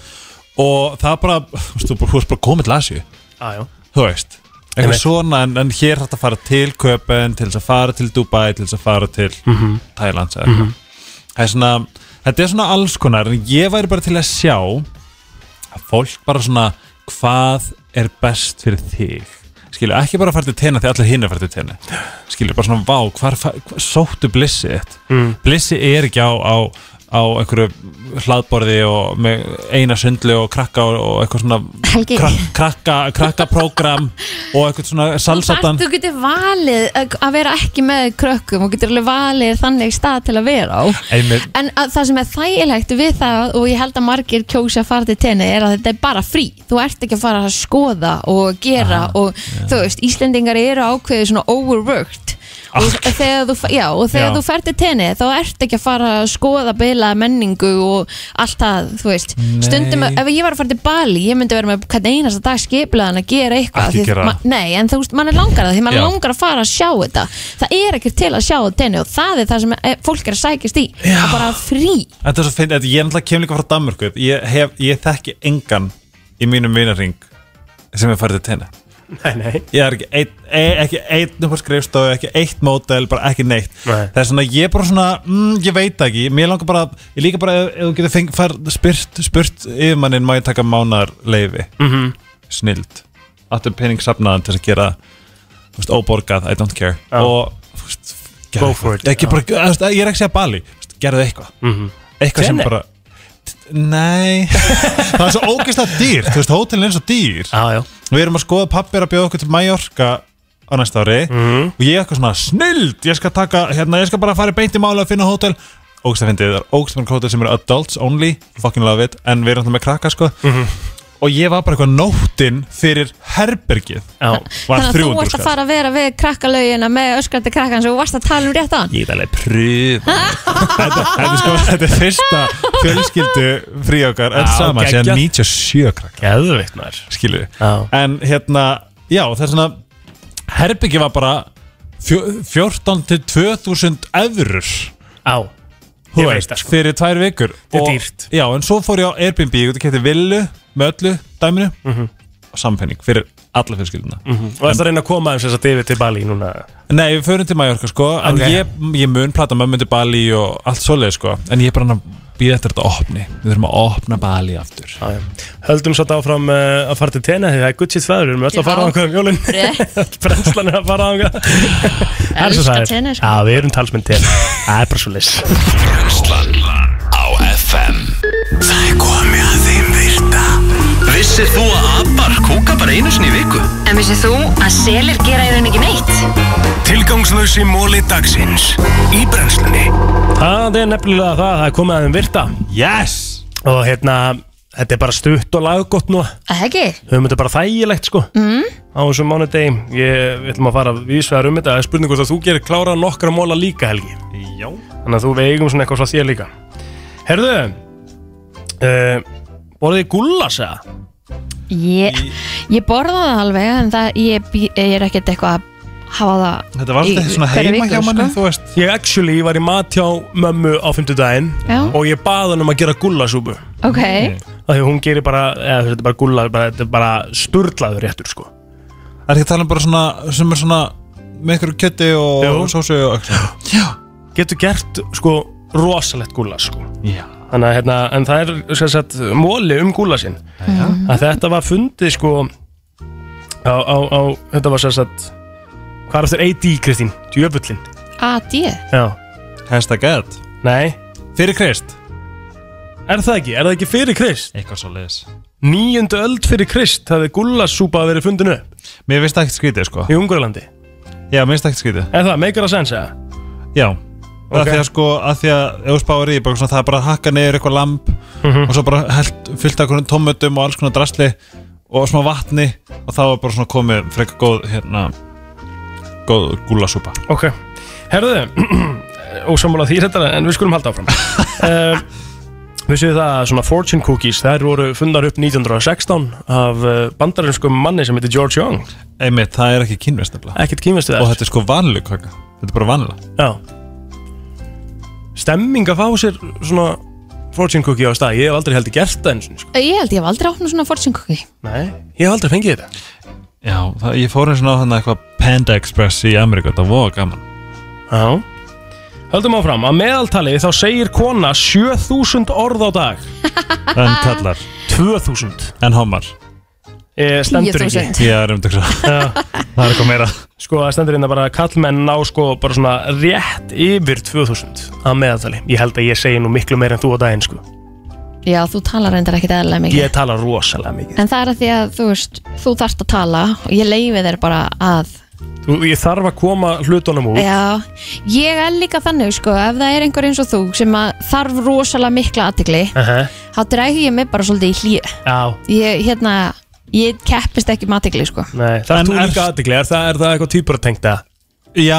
Speaker 7: Og það bara, þú veist, þú bara- þú veist bara komið til Asíu
Speaker 2: Ah, já.
Speaker 7: Þú veist Eitthvað
Speaker 2: Einmitt.
Speaker 7: svona, en, en hér hægt að fara til Köpen, til þess að fara til Dubai, til þess að fara til mm -hmm. Thailands eða eitthvað Það er svona, þetta er svona alls konar En ég væri bara til að sjá að fólk bara svona hvað er best fyrir þig skilur, ekki bara að fara til tenni því allir hinn er að fara til tenni skilur, bara svona vá, hvar, fa- hvar sóttu blissið þitt mm. blissið er ekki á, á, á einhverju hlaðborði og með eina sundlu og krakka og, og eitthvað svona
Speaker 3: Helgi.
Speaker 7: krak- krakka, krakkaprógram og eitthvað svona salsatan
Speaker 3: Þú getur valið að að vera ekki með krökkum og getur alveg valið þannig stað til að vera á
Speaker 7: einmitt,
Speaker 3: En að, það sem er þægilegt við það og ég held að margir kjósi að fara til tenni er að þetta er bara frí, þú ert ekki að fara að skoða og gera
Speaker 7: Ah,
Speaker 3: og þú veist, Íslendingar eru ákveðið svona overworked og þegar þú, fa- já, og þegar
Speaker 7: Já.
Speaker 3: þú ferð til tenni þá ert ekki að fara að skoða beila menningu og allt það, þú veist stundum, að- ef ég var að fara til Bali ég myndi vera með hvern einasta dag skiplaðan að gera eitthvað
Speaker 7: Ekki
Speaker 3: því-
Speaker 7: gera.
Speaker 3: ma- Nei, en þú veist, mann er langar það því mann
Speaker 7: Já.
Speaker 3: langar að fara að sjá þetta það er ekkert til að sjá þetta henni og það er það sem eh, fólk er að sækjast í Já. að bara frí
Speaker 7: þetta er svo finn ég er náttúrulega kem líka frá Danmörku ég, hef, ég þekki engan í mínum vinaring sem er farið til tenni
Speaker 2: Nei, nei.
Speaker 7: ég er ekki einn e, ekki einn upp á skrifstofu, ekki eitt mótel bara ekki neitt,
Speaker 2: Nei.
Speaker 7: það er svona ég er bara svona, mm, ég veit það ekki, mér langar bara ég líka bara ef, ef þú getur feng, far, spyrt, spurt yfirmannin má ég taka mánar leifi, mm
Speaker 2: Mhm,
Speaker 7: -hmm. snild áttu pening sapnaðan til að gera þú veist, óborgað, I don't care
Speaker 2: Já.
Speaker 7: og þú veist, gerðu
Speaker 2: Go
Speaker 7: eitthvað.
Speaker 2: for it,
Speaker 7: ekki
Speaker 2: já.
Speaker 7: bara, þú veist, ég er ekki að segja bali þú veist, gerðu eitthvað,
Speaker 2: mhm.
Speaker 7: eitthvað sem
Speaker 2: Tenni?
Speaker 7: bara Nei Það er svo ógeðslega dýr Þú veist, hótelin er svo dýr
Speaker 2: Ah, já.
Speaker 7: Við erum að skoða pappir að bjóða okkur til Mallorca á næsta ári
Speaker 2: Mhm.
Speaker 7: og ég er eitthvað svona snild ég skal taka, hérna, ég skal bara fara í beint í mála að finna hótel ógst að fyndið, það er ógst mörg hótel sem eru adults only, fucking love it en við erum alltaf með krakka sko
Speaker 2: Mhm.
Speaker 7: og ég var bara eitthvað nóttin fyrir herbergið
Speaker 2: Já.
Speaker 7: var
Speaker 3: þannig að þú
Speaker 7: 300
Speaker 3: varst að
Speaker 7: skall
Speaker 3: fara að vera við krakkalaugina með öskrandi krakkan sem þú varst að tala um rétt á hann
Speaker 7: Ég er alveg pröf þetta, þetta, er sko, þetta er fyrsta fjölskyldu frí okkar öll
Speaker 2: Já,
Speaker 7: saman, séðan
Speaker 2: geggjað.
Speaker 7: 97 krakka
Speaker 2: Geðveikt maður.
Speaker 7: skilu
Speaker 2: Já.
Speaker 7: en hérna, já það er svona herbyggi var bara fjó- 14 til 2000 eurur
Speaker 2: Á.
Speaker 7: þú
Speaker 2: Ég veit
Speaker 7: veist,
Speaker 2: það, sko.
Speaker 7: fyrir tvær vikur
Speaker 2: Þetta er
Speaker 7: Og-
Speaker 2: dýrt.
Speaker 7: já, en svo fór ég á Airbnb, ég geti kætti villu með öllu dæminu og sampenning fyrir alla fjölskylduna
Speaker 2: Mhm. Og þess að reyna að koma þeim sem þess að yfir til Bali núna.
Speaker 7: nei, við förum til Mallorca sko en
Speaker 2: Ok.
Speaker 7: ég, ég mun plata mömmu til Bali og allt svoleið sko, en ég er bara hann að býða eftir þetta opni, við þurfum að opna Bali aftur
Speaker 2: Á, já. Höldum svolítið áfram uh, að fara til tenni því það er guttsitt sveður, við erum öll að fara á
Speaker 3: Já.
Speaker 2: einhverjum um jólinn. Brennslan er að fara á einhverjum. Það er svo
Speaker 3: Elskar
Speaker 2: það er.
Speaker 3: tenni, sko.
Speaker 2: Já, við erum talsmenn tenni. Það er bara svo leys.
Speaker 4: Brennslan á FM Það er komið að þeim virta Vissir þú að abar kúka bara einu sinni í viku?
Speaker 8: En vissið þú að selir gera í rauninni ekki neitt?
Speaker 4: Tilgangslösi móli dagsins Í brennslunni
Speaker 2: Það er nefnilega það, það er komið að þeim virta
Speaker 7: yes!
Speaker 2: og hérna, þetta er bara stutt og laggott nú,
Speaker 3: Það ekki?
Speaker 2: við höfum þetta bara þægilegt sko mm. á þessum mánudegi ég við ætlum að fara vísvegar um þetta það er spurning hvort að þú gerir klára nokkra móla líka Helgi
Speaker 7: já,
Speaker 2: þannig að þú veigum svona eitthvað frá þér líka Herðu uh, Borðið þið gullas eða?
Speaker 3: Ég, ég borða það alveg en það, ég, bý- ég er ekkert eitthvað að hafa það
Speaker 7: þetta var
Speaker 3: í
Speaker 7: alltaf svona
Speaker 3: hverri
Speaker 7: heima
Speaker 3: viku,
Speaker 7: hjá manni,
Speaker 3: sko.
Speaker 7: þú veist
Speaker 2: Ég actually var í mat hjá mömmu á 50 daginn
Speaker 3: Já.
Speaker 2: og ég bað hann um að gera gullasúbu
Speaker 3: Ok,
Speaker 2: af því að hún gerir bara, eða þetta er bara gulla bara, þetta er bara sturlaður réttur sko
Speaker 7: Það er ekki að tala um bara svona sem er svona með einhverju kjötti og
Speaker 2: Jú.
Speaker 7: sósu og eitthvað
Speaker 2: getur gert sko rosalegt gullas sko
Speaker 7: Já
Speaker 2: Þannig að hérna, en það er sem sagt móli um gúlasinn að þetta var fundið sko á, á, á þetta var sem sagt hvað er eftir AD Kristín, djöfullin
Speaker 3: að ég
Speaker 2: Já,
Speaker 7: Hashtag ad
Speaker 2: nei,
Speaker 7: Fyrir Krist
Speaker 2: Er það ekki? Er það ekki fyrir Krist?
Speaker 7: Eitthvað svo leiðis
Speaker 2: Níundu öld fyrir Krist hafði gullasúpa verið fundinu
Speaker 7: Mér finnst það ekkert skrítið sko
Speaker 2: í Ungurlandi
Speaker 7: Já, mér finnst það ekkert skrítið
Speaker 2: Er það, meikar að sensa?
Speaker 7: Já okay. að Því að sko, að því að ef þú spáir í bara svona, það er bara að hakka neyður eitthvað lamb og svo bara held, fyllt af einhvern tómötum og alls konar drasli og smá vatni og þá er bara svona komið frekar góð hérna góð gúlasúpa
Speaker 2: Ok, herðu ósammála því þetta en við skulum halda áfram uh, Við séum það að svona fortune cookies þær voru fundar upp 1916 af eh, bandarinskum manni sem heitir George Young
Speaker 7: Einmitt, það er ekki kynvist nefnilega
Speaker 2: ekkert kýmast við
Speaker 7: og
Speaker 2: það
Speaker 7: þetta er sko vanlug kaka þetta er bara vanlega
Speaker 2: Já Stemming að fá sér svona fortune cookie á stað ég hef aldrei heldur gert það eins og sko.
Speaker 3: Ég held ég hef aldrei opnað svona fortune cookie
Speaker 2: Nei, ég hef aldrei fengið þetta
Speaker 7: Já, það, ég fór eins og ná þannig eitthvað Panda Express í Ameríku, þetta var gaman
Speaker 2: Já Höldum áfram, að meðaltali þá segir kona 7000 orð á dag
Speaker 7: en kallar,
Speaker 2: 2000
Speaker 7: en homar
Speaker 2: eh, Stendur ekki
Speaker 3: 10.000.
Speaker 7: ég er um þetta það
Speaker 2: Já
Speaker 7: er eitthvað meira
Speaker 2: Sko það stendur hérna bara að kallmenn ná sko bara svona rétt yfir 2000 að meðaltali. Ég held að ég segi nú miklu meir en þú á daginn sko.
Speaker 3: Já, þú talar reyndar ekkit eðlilega mikið
Speaker 2: Ég tala rosalega mikið.
Speaker 3: En það er að því að þú veist, þú þarft að tala og ég leifi þér bara að
Speaker 2: Þú, ég þarf að koma hlutunum úr.
Speaker 3: Já, ég er líka þannig sko, ef það er einhver eins og þú sem að þarf rosalega mikla aðtegli
Speaker 2: Uh
Speaker 3: þá drægi ég mig bara svolítið í hlýju
Speaker 2: Já,
Speaker 3: Ég, hérna, ég keppist ekki um aðtegli sko
Speaker 2: nei. Það
Speaker 7: En
Speaker 2: er þú
Speaker 7: er-
Speaker 2: líka aðdegli, er, það- er það eitthvað týpur að tengta?
Speaker 7: Já,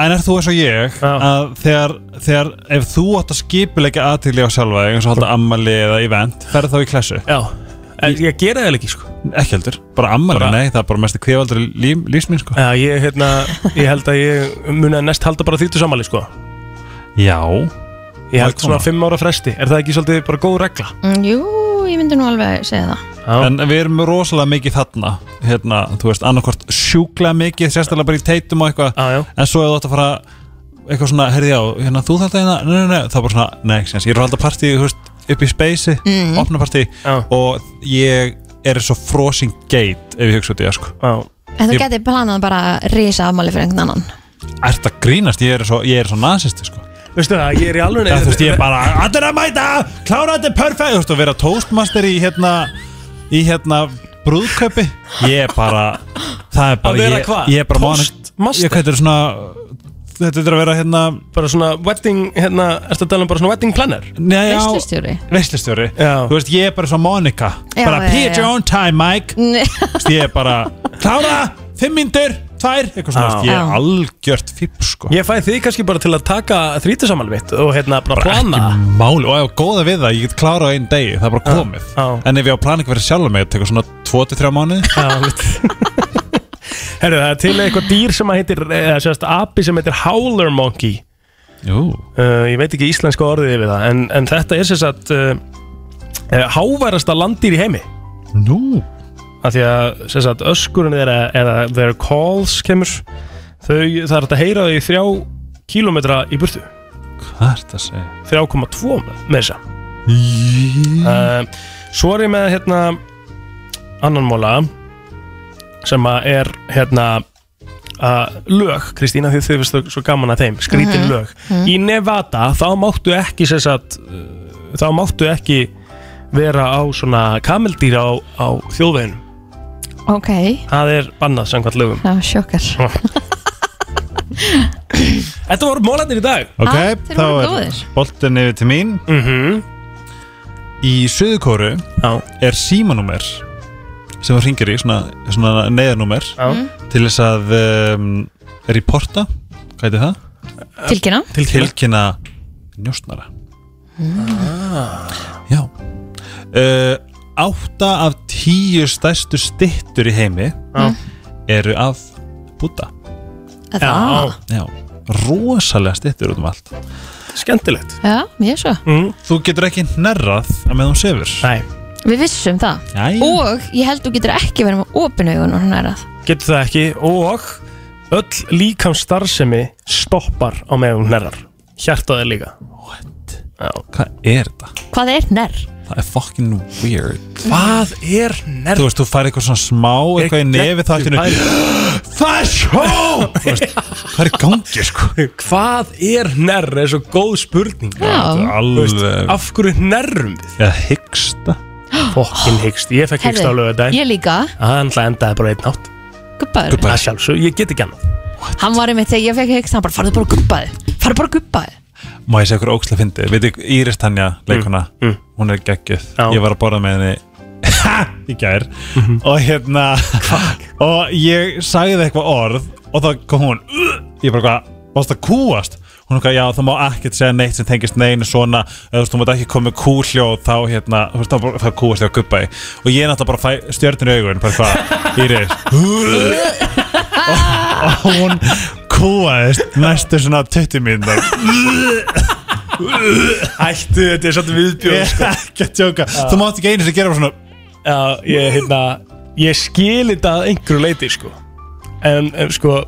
Speaker 7: en er þú eins og ég
Speaker 2: Já.
Speaker 7: að þegar, þegar ef þú átt að skipuleika aðtýrli á sjálfa þig, eins og halda ammali eða event, ferð þá í klessu
Speaker 2: Já, en ég gera það ekki sko.
Speaker 7: ekki heldur, bara ammali,
Speaker 2: Bara-
Speaker 7: nei, það er bara mest kvevaldur líf, lífsmín sko
Speaker 2: Já, ég, hérna, ég held að ég muni að næst halda bara þýttu samali sko.
Speaker 7: Já,
Speaker 2: Ég held
Speaker 7: Að
Speaker 2: svona
Speaker 7: koma.
Speaker 2: fimm ára fresti. Er það ekki svolítið bara góð regla?
Speaker 3: mm, Jú, ég myndi nú alveg segja það
Speaker 2: Já.
Speaker 7: en við erum rosalega mikið þarna hérna, þú veist, annarkvort sjúklega mikið sérstaklega bara í teitum og eitthvað
Speaker 2: Já, já.
Speaker 7: en svo ef þú átt að fara eitthvað svona, herði á, hérna þú þarft að hérna, nei, nei, nei, þá bara svona, nei, sens, ég er að halda partí, þú veist, upp í speysi, opna partí
Speaker 2: Já.
Speaker 7: og ég er svo frozen gate ef ég hugsa út í það, sko.
Speaker 2: Já.
Speaker 3: En þú
Speaker 7: Ég-
Speaker 3: geti planað bara að risa afmáli fyrir einhvern annan
Speaker 7: Ert að grínast, ég er svo, ég er svo nazisti, sko.
Speaker 2: Veistu það, ég er í alveg...
Speaker 7: Það, þú veist, ég er bara, allir að mæta, klára þetta er perfect, þú veist, að vera toastmaster í hérna, í hérna, brúðkaupi, ég er bara, það er bara,
Speaker 2: Að vera
Speaker 7: ég,
Speaker 2: hvað?
Speaker 7: ég er bara mánu,
Speaker 2: Toastmaster?
Speaker 7: ég hvað þetta er svona, þetta er að vera hérna,
Speaker 2: Bara svona wedding, hérna, ertu að tala um bara svona wedding planner?
Speaker 7: neða,
Speaker 3: Veislustjóri
Speaker 7: veislustjóri
Speaker 2: Já.
Speaker 7: þú veist ég er bara svo Monica
Speaker 3: Já,
Speaker 7: bara
Speaker 3: já,
Speaker 7: pitch
Speaker 3: já.
Speaker 7: your own time Mike þú
Speaker 3: Nei.
Speaker 7: veist ég er bara klára, fimm myndur, tvær eitthvað svona,
Speaker 2: Já.
Speaker 7: þú veist, ég
Speaker 3: Já.
Speaker 7: er algjört fíp sko
Speaker 2: Ég fæ þig kannski bara til að taka þrítisammal mitt og hérna bara plana
Speaker 7: ekki máli og ef góða við það, ég get klárað á einn degi það er bara komið,
Speaker 2: já.
Speaker 7: en ef ég á plana ekki verið sjálf með, tekur svona 2-3 mánuði
Speaker 2: Já, einmitt. Herru, það er til eitthvað dýr sem að heitir, eða sérst api sem heitir Howler Monkey
Speaker 7: jú,
Speaker 2: uh, Ég veit ekki íslenska orðið yfir það En, en þetta er sérst að uh, eh, háværasta landdýr í heimi
Speaker 7: nú
Speaker 2: af því að sem sagt, öskurinn þeirra eða their calls kemur þau, það er hægt að heyra þau í þrjá kílómetra í burtu
Speaker 7: hvað er þetta að segja
Speaker 2: 3,2 með þessa uh, Svo er ég með hérna annan móla sem að er hérna uh, lög, Kristína því þau finnst þau svo gaman að þeim, skrítin lög Í Nevada þá máttu ekki sem sagt, uh, þá máttu ekki vera á svona kameldýra á, á þjóðveginum
Speaker 3: Ok,
Speaker 2: það er bannað samkvæmt lögum
Speaker 3: það var sjokkar
Speaker 2: Þetta voru mólarnir í dag
Speaker 7: ok,
Speaker 3: Ah, þeir
Speaker 7: þá
Speaker 3: voru
Speaker 7: er
Speaker 3: góðir.
Speaker 7: boltin yfir til mín
Speaker 2: mm -hmm.
Speaker 7: í söðukóru
Speaker 2: Já,
Speaker 7: er símanúmer sem þú ringir í, svona, svona neyðanúmer
Speaker 2: já,
Speaker 7: til þess að um, reporta, hvað heitir það?
Speaker 3: Tilkynna
Speaker 7: Tilkynna njósnara Já uh, Átta af tíu stærstu styttur í heimi
Speaker 2: Já.
Speaker 7: eru af Buddha
Speaker 2: já.
Speaker 3: Það,
Speaker 7: Já, rosalega styttur út um allt
Speaker 2: skemmtilegt
Speaker 3: já, ég svo
Speaker 2: mm.
Speaker 7: Þú getur ekki hnerrað að með hún sefur
Speaker 2: Nei,
Speaker 3: Við vissum það
Speaker 7: Jæja.
Speaker 3: Og ég held þú getur ekki verið með opinu augun og hún er að
Speaker 2: getur það ekki og öll líkam starfsemi stoppar á meðum hnerrar Hjartað er líka Já.
Speaker 7: Hvað er þetta?
Speaker 3: Hvað er nær?
Speaker 7: Það er fucking weird
Speaker 2: Hvað er hnerr?
Speaker 7: Þú veist, þú fær eitthvað svona smá eitthvað í nefi það allt í einu-
Speaker 2: Það er sjó!
Speaker 7: Hvað er í gangi sko?
Speaker 2: Hvað er nærr er svo góð spurning
Speaker 3: Já,
Speaker 2: Þú veist,
Speaker 7: Alveg
Speaker 2: Af hverju nærrum við?
Speaker 7: Eða hyggsta
Speaker 2: Fokkin hyggst, ég fekk hyggst á
Speaker 3: herðu,
Speaker 2: lögadaginn
Speaker 3: ég líka
Speaker 2: Það náttúrulega endaði bara einn átt
Speaker 3: Gubbaður,
Speaker 2: Það sjálfsög, ég get ekki annað
Speaker 3: hann var einmitt þegar ég fekk hegst hann bara, farðu bara gubbaði, farðu bara gubbaði
Speaker 7: Má ég segja okkur óksla fyndi Veit ekki, Íris Tanja, leikuna
Speaker 2: mm.
Speaker 7: Hún er geggjöð
Speaker 2: Já. Mhm.
Speaker 7: Ég var að borða með henni í gær og hérna og ég sagði eitthvað orð og þá kom hún "Ugh." ég bara hvað, varst það kúast hún er hvað, já það má ekkert segja neitt sem tengist neinu svona, eða þú veist, þú mátt ekki koma með kúhljóð þá hérna, þú veist, þá bara- þá kúast ég á gubbaði og ég er náttúrulega bara fæ stjörnir í augun bara hvað, Íris "Ugh." og, og hún kúaðist næstu svona 20 mínútur
Speaker 2: Ættu, þetta er svolítið viðbjóð
Speaker 7: ég er ekki að tjóka þú mátt ekki einu sem gera bara svona
Speaker 2: Já, ég, hérna, ég skil þetta að einhverju leiti, sko En, en sko,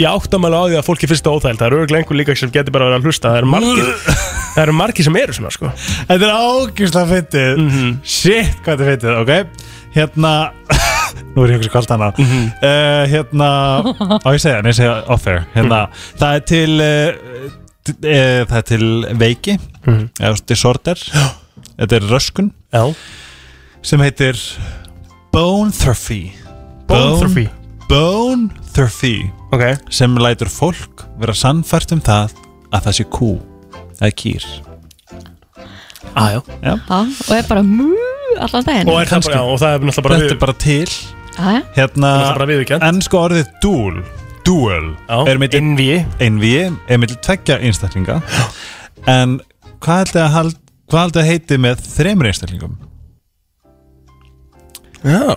Speaker 2: ég áttamælu á því að fólki finnst það óþægild Það eru örgulega einhver líka sem getur bara að vera að hlusta Það eru margir, það eru margir sem eru svona, sko Mhm.
Speaker 7: Þetta er ágjúslega fyndið
Speaker 2: Mm.
Speaker 7: Shit, hvað þetta er fyndið, ok Hérna Nú er ég okkur kvart annað mm Hérna, á ég að segja, nei, ég segja off-air Hérna, það er til uh, uh, Það er til veiki Eða disorder Þetta er röskun
Speaker 2: Já,
Speaker 7: Sem heitir Bone Therapy
Speaker 2: Bone Therapy.
Speaker 7: Bone Therapy
Speaker 2: ok
Speaker 7: Sem lætur fólk vera sannfært um það Að það sé kú Eða kýr
Speaker 2: ah,
Speaker 3: Já, og er bara mú allan daginn
Speaker 2: og, er það bara, já, og það er náttúrulega bara,
Speaker 7: Þetta er
Speaker 2: við,
Speaker 7: bara til
Speaker 3: Já, já.
Speaker 7: hérna,
Speaker 2: Það er bara viðurkennt.
Speaker 7: ennska orðið dual dual
Speaker 2: já,
Speaker 7: er mitt
Speaker 2: innvíi
Speaker 7: einví er mitt tveggja einstaklinga en hvað haldið að hald, hvað haldið að heiti með þremur einstaklingum
Speaker 6: Já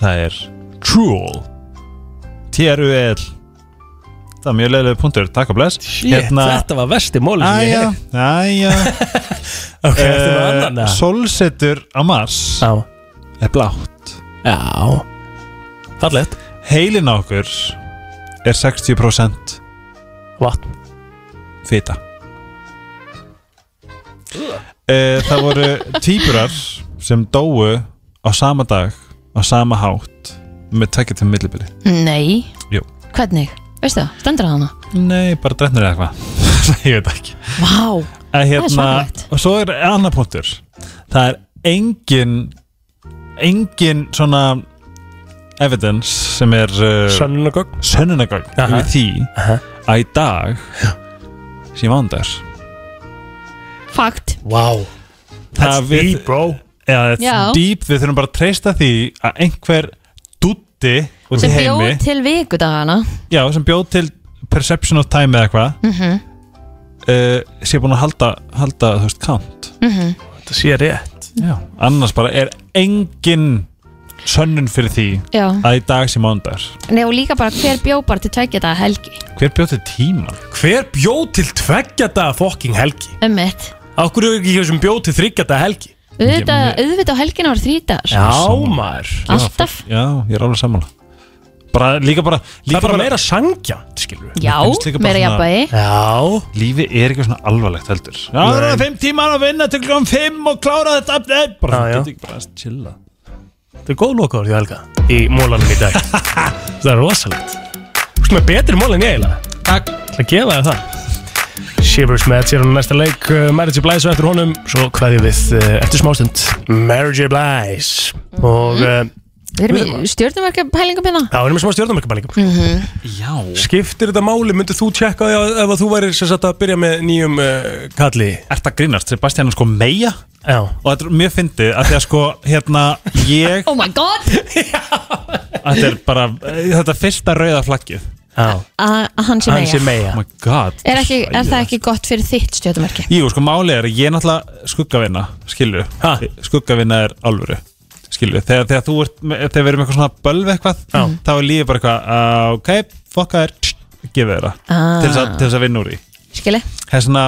Speaker 7: það er trual T-R-U-L það er mjög leiðilega punktur, takk og bless
Speaker 2: Þetta var vesti móli sem ég
Speaker 7: Æja,
Speaker 2: hef
Speaker 7: æja Eh,
Speaker 2: Ok, Ah, þetta var annan eða?
Speaker 7: Solsetur á Mars
Speaker 2: Já,
Speaker 7: er blátt
Speaker 2: já Fallegt
Speaker 7: Heilin á okkur er 60%
Speaker 2: Vatn
Speaker 7: Fita e, Það voru týpurar sem dóu á sama dag á sama hátt með tækja til millibili
Speaker 3: Nei
Speaker 7: Jú.
Speaker 3: Hvernig? Veistu það? Stendur það hana?
Speaker 7: Nei, bara drefnur eða eitthvað Ég veit ekki
Speaker 3: Vá
Speaker 7: en,
Speaker 3: er
Speaker 7: hérna,
Speaker 3: svakalegt.
Speaker 7: Og svo er annar punktur Það er engin engin svona evidence sem er uh,
Speaker 2: Sönnunagögg
Speaker 7: sönnunagögn
Speaker 2: Aha.
Speaker 7: yfir því
Speaker 2: Aha.
Speaker 7: að í dag sem vandar
Speaker 3: Fakt
Speaker 2: Wow
Speaker 7: Það
Speaker 2: That's
Speaker 7: við-
Speaker 2: deep, bro
Speaker 7: eða it's
Speaker 3: Já.
Speaker 7: deep, við þurfum bara að treysta því að einhver dutti út í
Speaker 3: Sem
Speaker 7: heimi
Speaker 3: bjóð til vikudagana
Speaker 7: já, sem bjóð til perception of time eða eitthvað mm
Speaker 3: Mhm,
Speaker 7: sé búin að halda, halda þú veist, count
Speaker 3: mhm.
Speaker 2: Þetta sé rétt
Speaker 7: já. annars bara er engin sönnun fyrir því
Speaker 3: Já
Speaker 7: að í dag sem ándar
Speaker 3: Nei og líka bara hver bjóð bara til tveggja daga helgi
Speaker 7: hver bjóð til tíman?
Speaker 2: Hver bjóð til tveggja daga fokking helgi?
Speaker 3: Ömmit
Speaker 2: Akkur er ekki hjá sem bjóð til þryggja daga helgi?
Speaker 3: Auðvitað, auðvitað á helgina var þrítar
Speaker 2: Já,
Speaker 7: Sammála.
Speaker 2: maður
Speaker 3: Alltaf
Speaker 7: já, ég er alveg sammála bara, líka bara,
Speaker 2: Það
Speaker 7: líka
Speaker 2: er bara meira sangja, skilur við
Speaker 3: Já,
Speaker 7: finnst líka bara
Speaker 3: meira
Speaker 7: svona-
Speaker 3: jafnvægi
Speaker 2: Já
Speaker 7: lífi er eitthvað svona alvarlegt heldur já, það er fimm tímar að vinna til klokkan fimm og klára þetta eh, bara,
Speaker 2: Já, já.
Speaker 7: getur ekki bara að chilla
Speaker 2: Þetta er góð lokaður hjá Helga Í mólanum í dag Það er rosalegt Þú veist með betri mól en ég eiginlega Takk Það gefa þér það Shivers með sér á næsta leik uh, Marriage of Blies og eftir honum Svo kveðjum við uh, eftir smástund Marriage of Blies Og uh,
Speaker 3: Við erum í stjórnumverkja pælingum hérna
Speaker 2: það er með smá stjórnumörkabælingum mm -hmm. Já Skiptir þetta máli, myndir þú tjekka því að- ef að þú væri sem sagt að byrja með nýjum uh, kalli
Speaker 7: Ert að grínast, Sebastian er sko meia
Speaker 2: Já
Speaker 7: og þetta er mjög fyndið að því að sko hérna ég,
Speaker 3: Oh my god
Speaker 7: þetta er bara þetta er fyrsta rauða flaggið
Speaker 2: Já
Speaker 3: Að að hann sé
Speaker 2: Hann sé
Speaker 3: meia
Speaker 2: meia
Speaker 7: oh my god
Speaker 3: Er, ekki, er það ekki gott fyrir þitt stjórnumverki?
Speaker 7: Jú, sko málið er að ég er náttúrulega skuggavinna skilju,
Speaker 2: Ha?
Speaker 7: skuggavinna er alvöru skilju, þegar, þegar þú ert með- þegar við erum eitthvað svona bölv eitthvað
Speaker 2: Já.
Speaker 7: þá er lífið bara eitthvað, uh, ok, fokka þér gefið þeirra,
Speaker 3: Ah.
Speaker 7: til, þess að, til þess að vinna úr í
Speaker 3: Skili?
Speaker 7: það er svona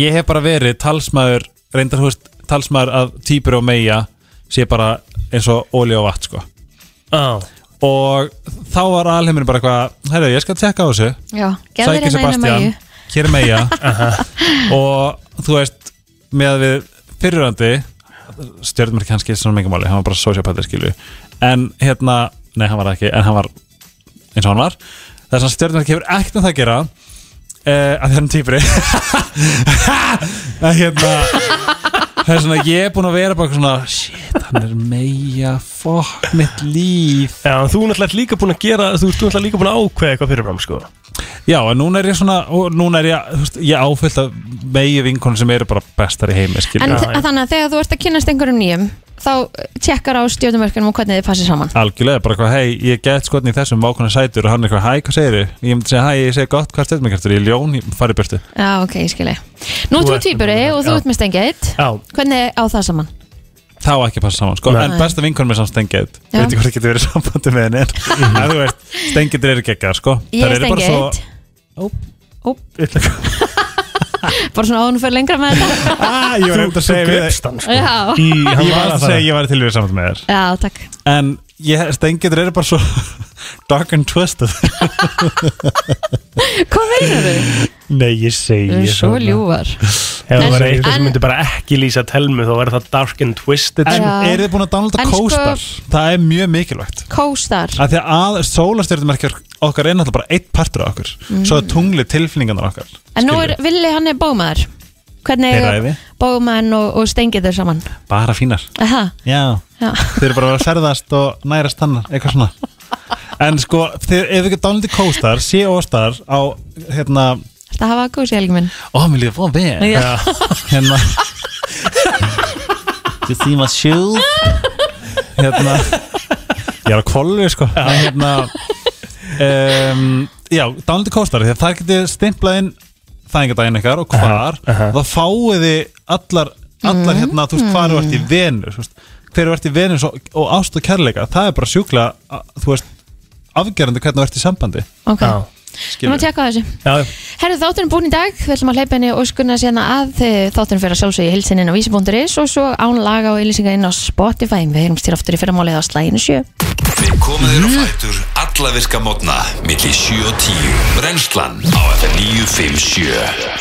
Speaker 7: ég hef bara verið talsmaður reyndar þú veist, talsmaður að týpur og meia sé bara eins og óli og vatn sko
Speaker 2: Já
Speaker 7: og þá var alheiminn bara eitthvað herru, ég skal tjekka á þessu
Speaker 3: Já, gerður
Speaker 7: Sækja
Speaker 3: hérna einu mæju
Speaker 7: hér er meia og þú veist, með að við fyrirrandi stjörnum er kannski svona mikið máli, hann var bara sociopatið skilju en hérna, nei hann var það ekki en hann var eins og hann var þess að stjörnverk hefur ekkert með það að gera uh, að þennan týpri að hérna það er svona ég er búin að vera bara eitthvað svona shit hann er meia fuck mitt líf
Speaker 2: Já, en þú er náttúrulega líka búin að gera Þú ert náttúrulega líka búin að ákveða eitthvað fyrirfram sko.
Speaker 7: Já, en núna er ég svona, og núna er ég, þú veist, ég áfyllt af megi vinkonum sem eru bara bestar í heimi,
Speaker 3: En
Speaker 7: skilja.
Speaker 2: já, já.
Speaker 3: þannig að þegar þú ert að kynast einhverjum nýjum þá tjekkar á stjórnumörkunum og hvernig þið passir saman
Speaker 7: Algjörlega, bara eitthvað, hei, ég get skotni í þessum vákona sætur og hann er eitthvað, hæ, hvað segir þið? Ég myndi segja, hæ, ég segi gott, hvað er stefnmekjartur? Ég er ljón, ég fari í burtu.
Speaker 3: Já, ok, ég skilji Nú
Speaker 2: Þú
Speaker 3: þú
Speaker 2: ert-
Speaker 3: týpuri og þú
Speaker 2: já.
Speaker 3: ert með stengið
Speaker 2: Já,
Speaker 3: Hvernig á það saman?
Speaker 7: Þá á ekki að passa saman, sko,
Speaker 2: Nei.
Speaker 7: en besta vinkonum er samt stengið.
Speaker 3: Já.
Speaker 7: Ég veit ekki hvað getur verið í sambandi með henni, en en þú veist, stengið eru geggar, sko.
Speaker 3: Ég
Speaker 7: Þær
Speaker 3: er
Speaker 7: eru bara
Speaker 3: stengið
Speaker 7: svo-
Speaker 3: Bara svona áðun fyrir lengra með þetta
Speaker 7: Ah, ég var reynd að segja við-
Speaker 2: gripst hann sko.
Speaker 3: Já,
Speaker 2: Í, hann
Speaker 7: ég var
Speaker 2: að
Speaker 7: að
Speaker 2: fara.
Speaker 7: segja, ég var til við saman með þér.
Speaker 3: já takk
Speaker 7: En ég, stengið eru bara svo dark and twisted.
Speaker 3: Hvað meinar þau?
Speaker 2: Nei, ég segi
Speaker 3: Þau eru svo
Speaker 2: svona.
Speaker 3: ljúfar
Speaker 2: Ef það
Speaker 3: En-
Speaker 2: var eitthvað
Speaker 3: en-
Speaker 2: sem myndi bara ekki lýsa telmu þá væri það dark and twisted
Speaker 7: En
Speaker 3: Já.
Speaker 7: eru þið búin að downloada
Speaker 3: En sko-
Speaker 7: kóstar? Það er mjög mikilvægt
Speaker 3: Kóstar
Speaker 7: Af því að sólastjörnumerkjar okkar er náttúrulega bara eitt partur af okkur Svo er tungli tilfinningarnar okkar
Speaker 3: Mm. En nú er
Speaker 7: skilurðu.
Speaker 3: Villi, hann er bómaður Hvernig
Speaker 7: Þeirra
Speaker 3: eiga
Speaker 7: ævi.
Speaker 3: bómaðurinn og, og stengið þau saman?
Speaker 7: Bara fínar
Speaker 3: Aha,
Speaker 7: Já
Speaker 3: já.
Speaker 7: Þeir eru bara að ferðast og nærast hann Eitthvað svona En sko, þeir, ef þið ekki downloada kóstar Sé óstar á hérna
Speaker 3: Þetta hafa kósi helgi minn
Speaker 7: Ó, mér líður fóð vel
Speaker 3: Já.
Speaker 7: Hérna Just see my shoes Hérna Ég er að kvollu sko En hérna um, Já, dánlítið kostar því að það getið stimplað inn þægingadaginn ykkar og hvar uh
Speaker 2: aha.
Speaker 7: þá fáið þið allar, allar hérna, þú veist, hvar þú ert í venur þú veist, hver þú ert í venur og, og ást og kærleika það er bara sjúklega, a- þú veist afgerandi hvernig þú ert í sambandi
Speaker 3: Ok,
Speaker 2: Já,
Speaker 3: við
Speaker 7: skilurðu.
Speaker 3: maður tjekka á þessu
Speaker 2: já,
Speaker 3: Herðu þátturinn búin í dag, við ætlum að hleypa henni og skunna sérna að eh, þátturinn fyrir að sjálfsögja hilsinn inn á vísi.is og svo án laga og ylisinga inn á Spotify Við heyrumst til aftur í fyrramálið á slæginu sjö
Speaker 4: Við komum þér á fætur alla virka mótna milli 7 og 10 Brennslan á FM 957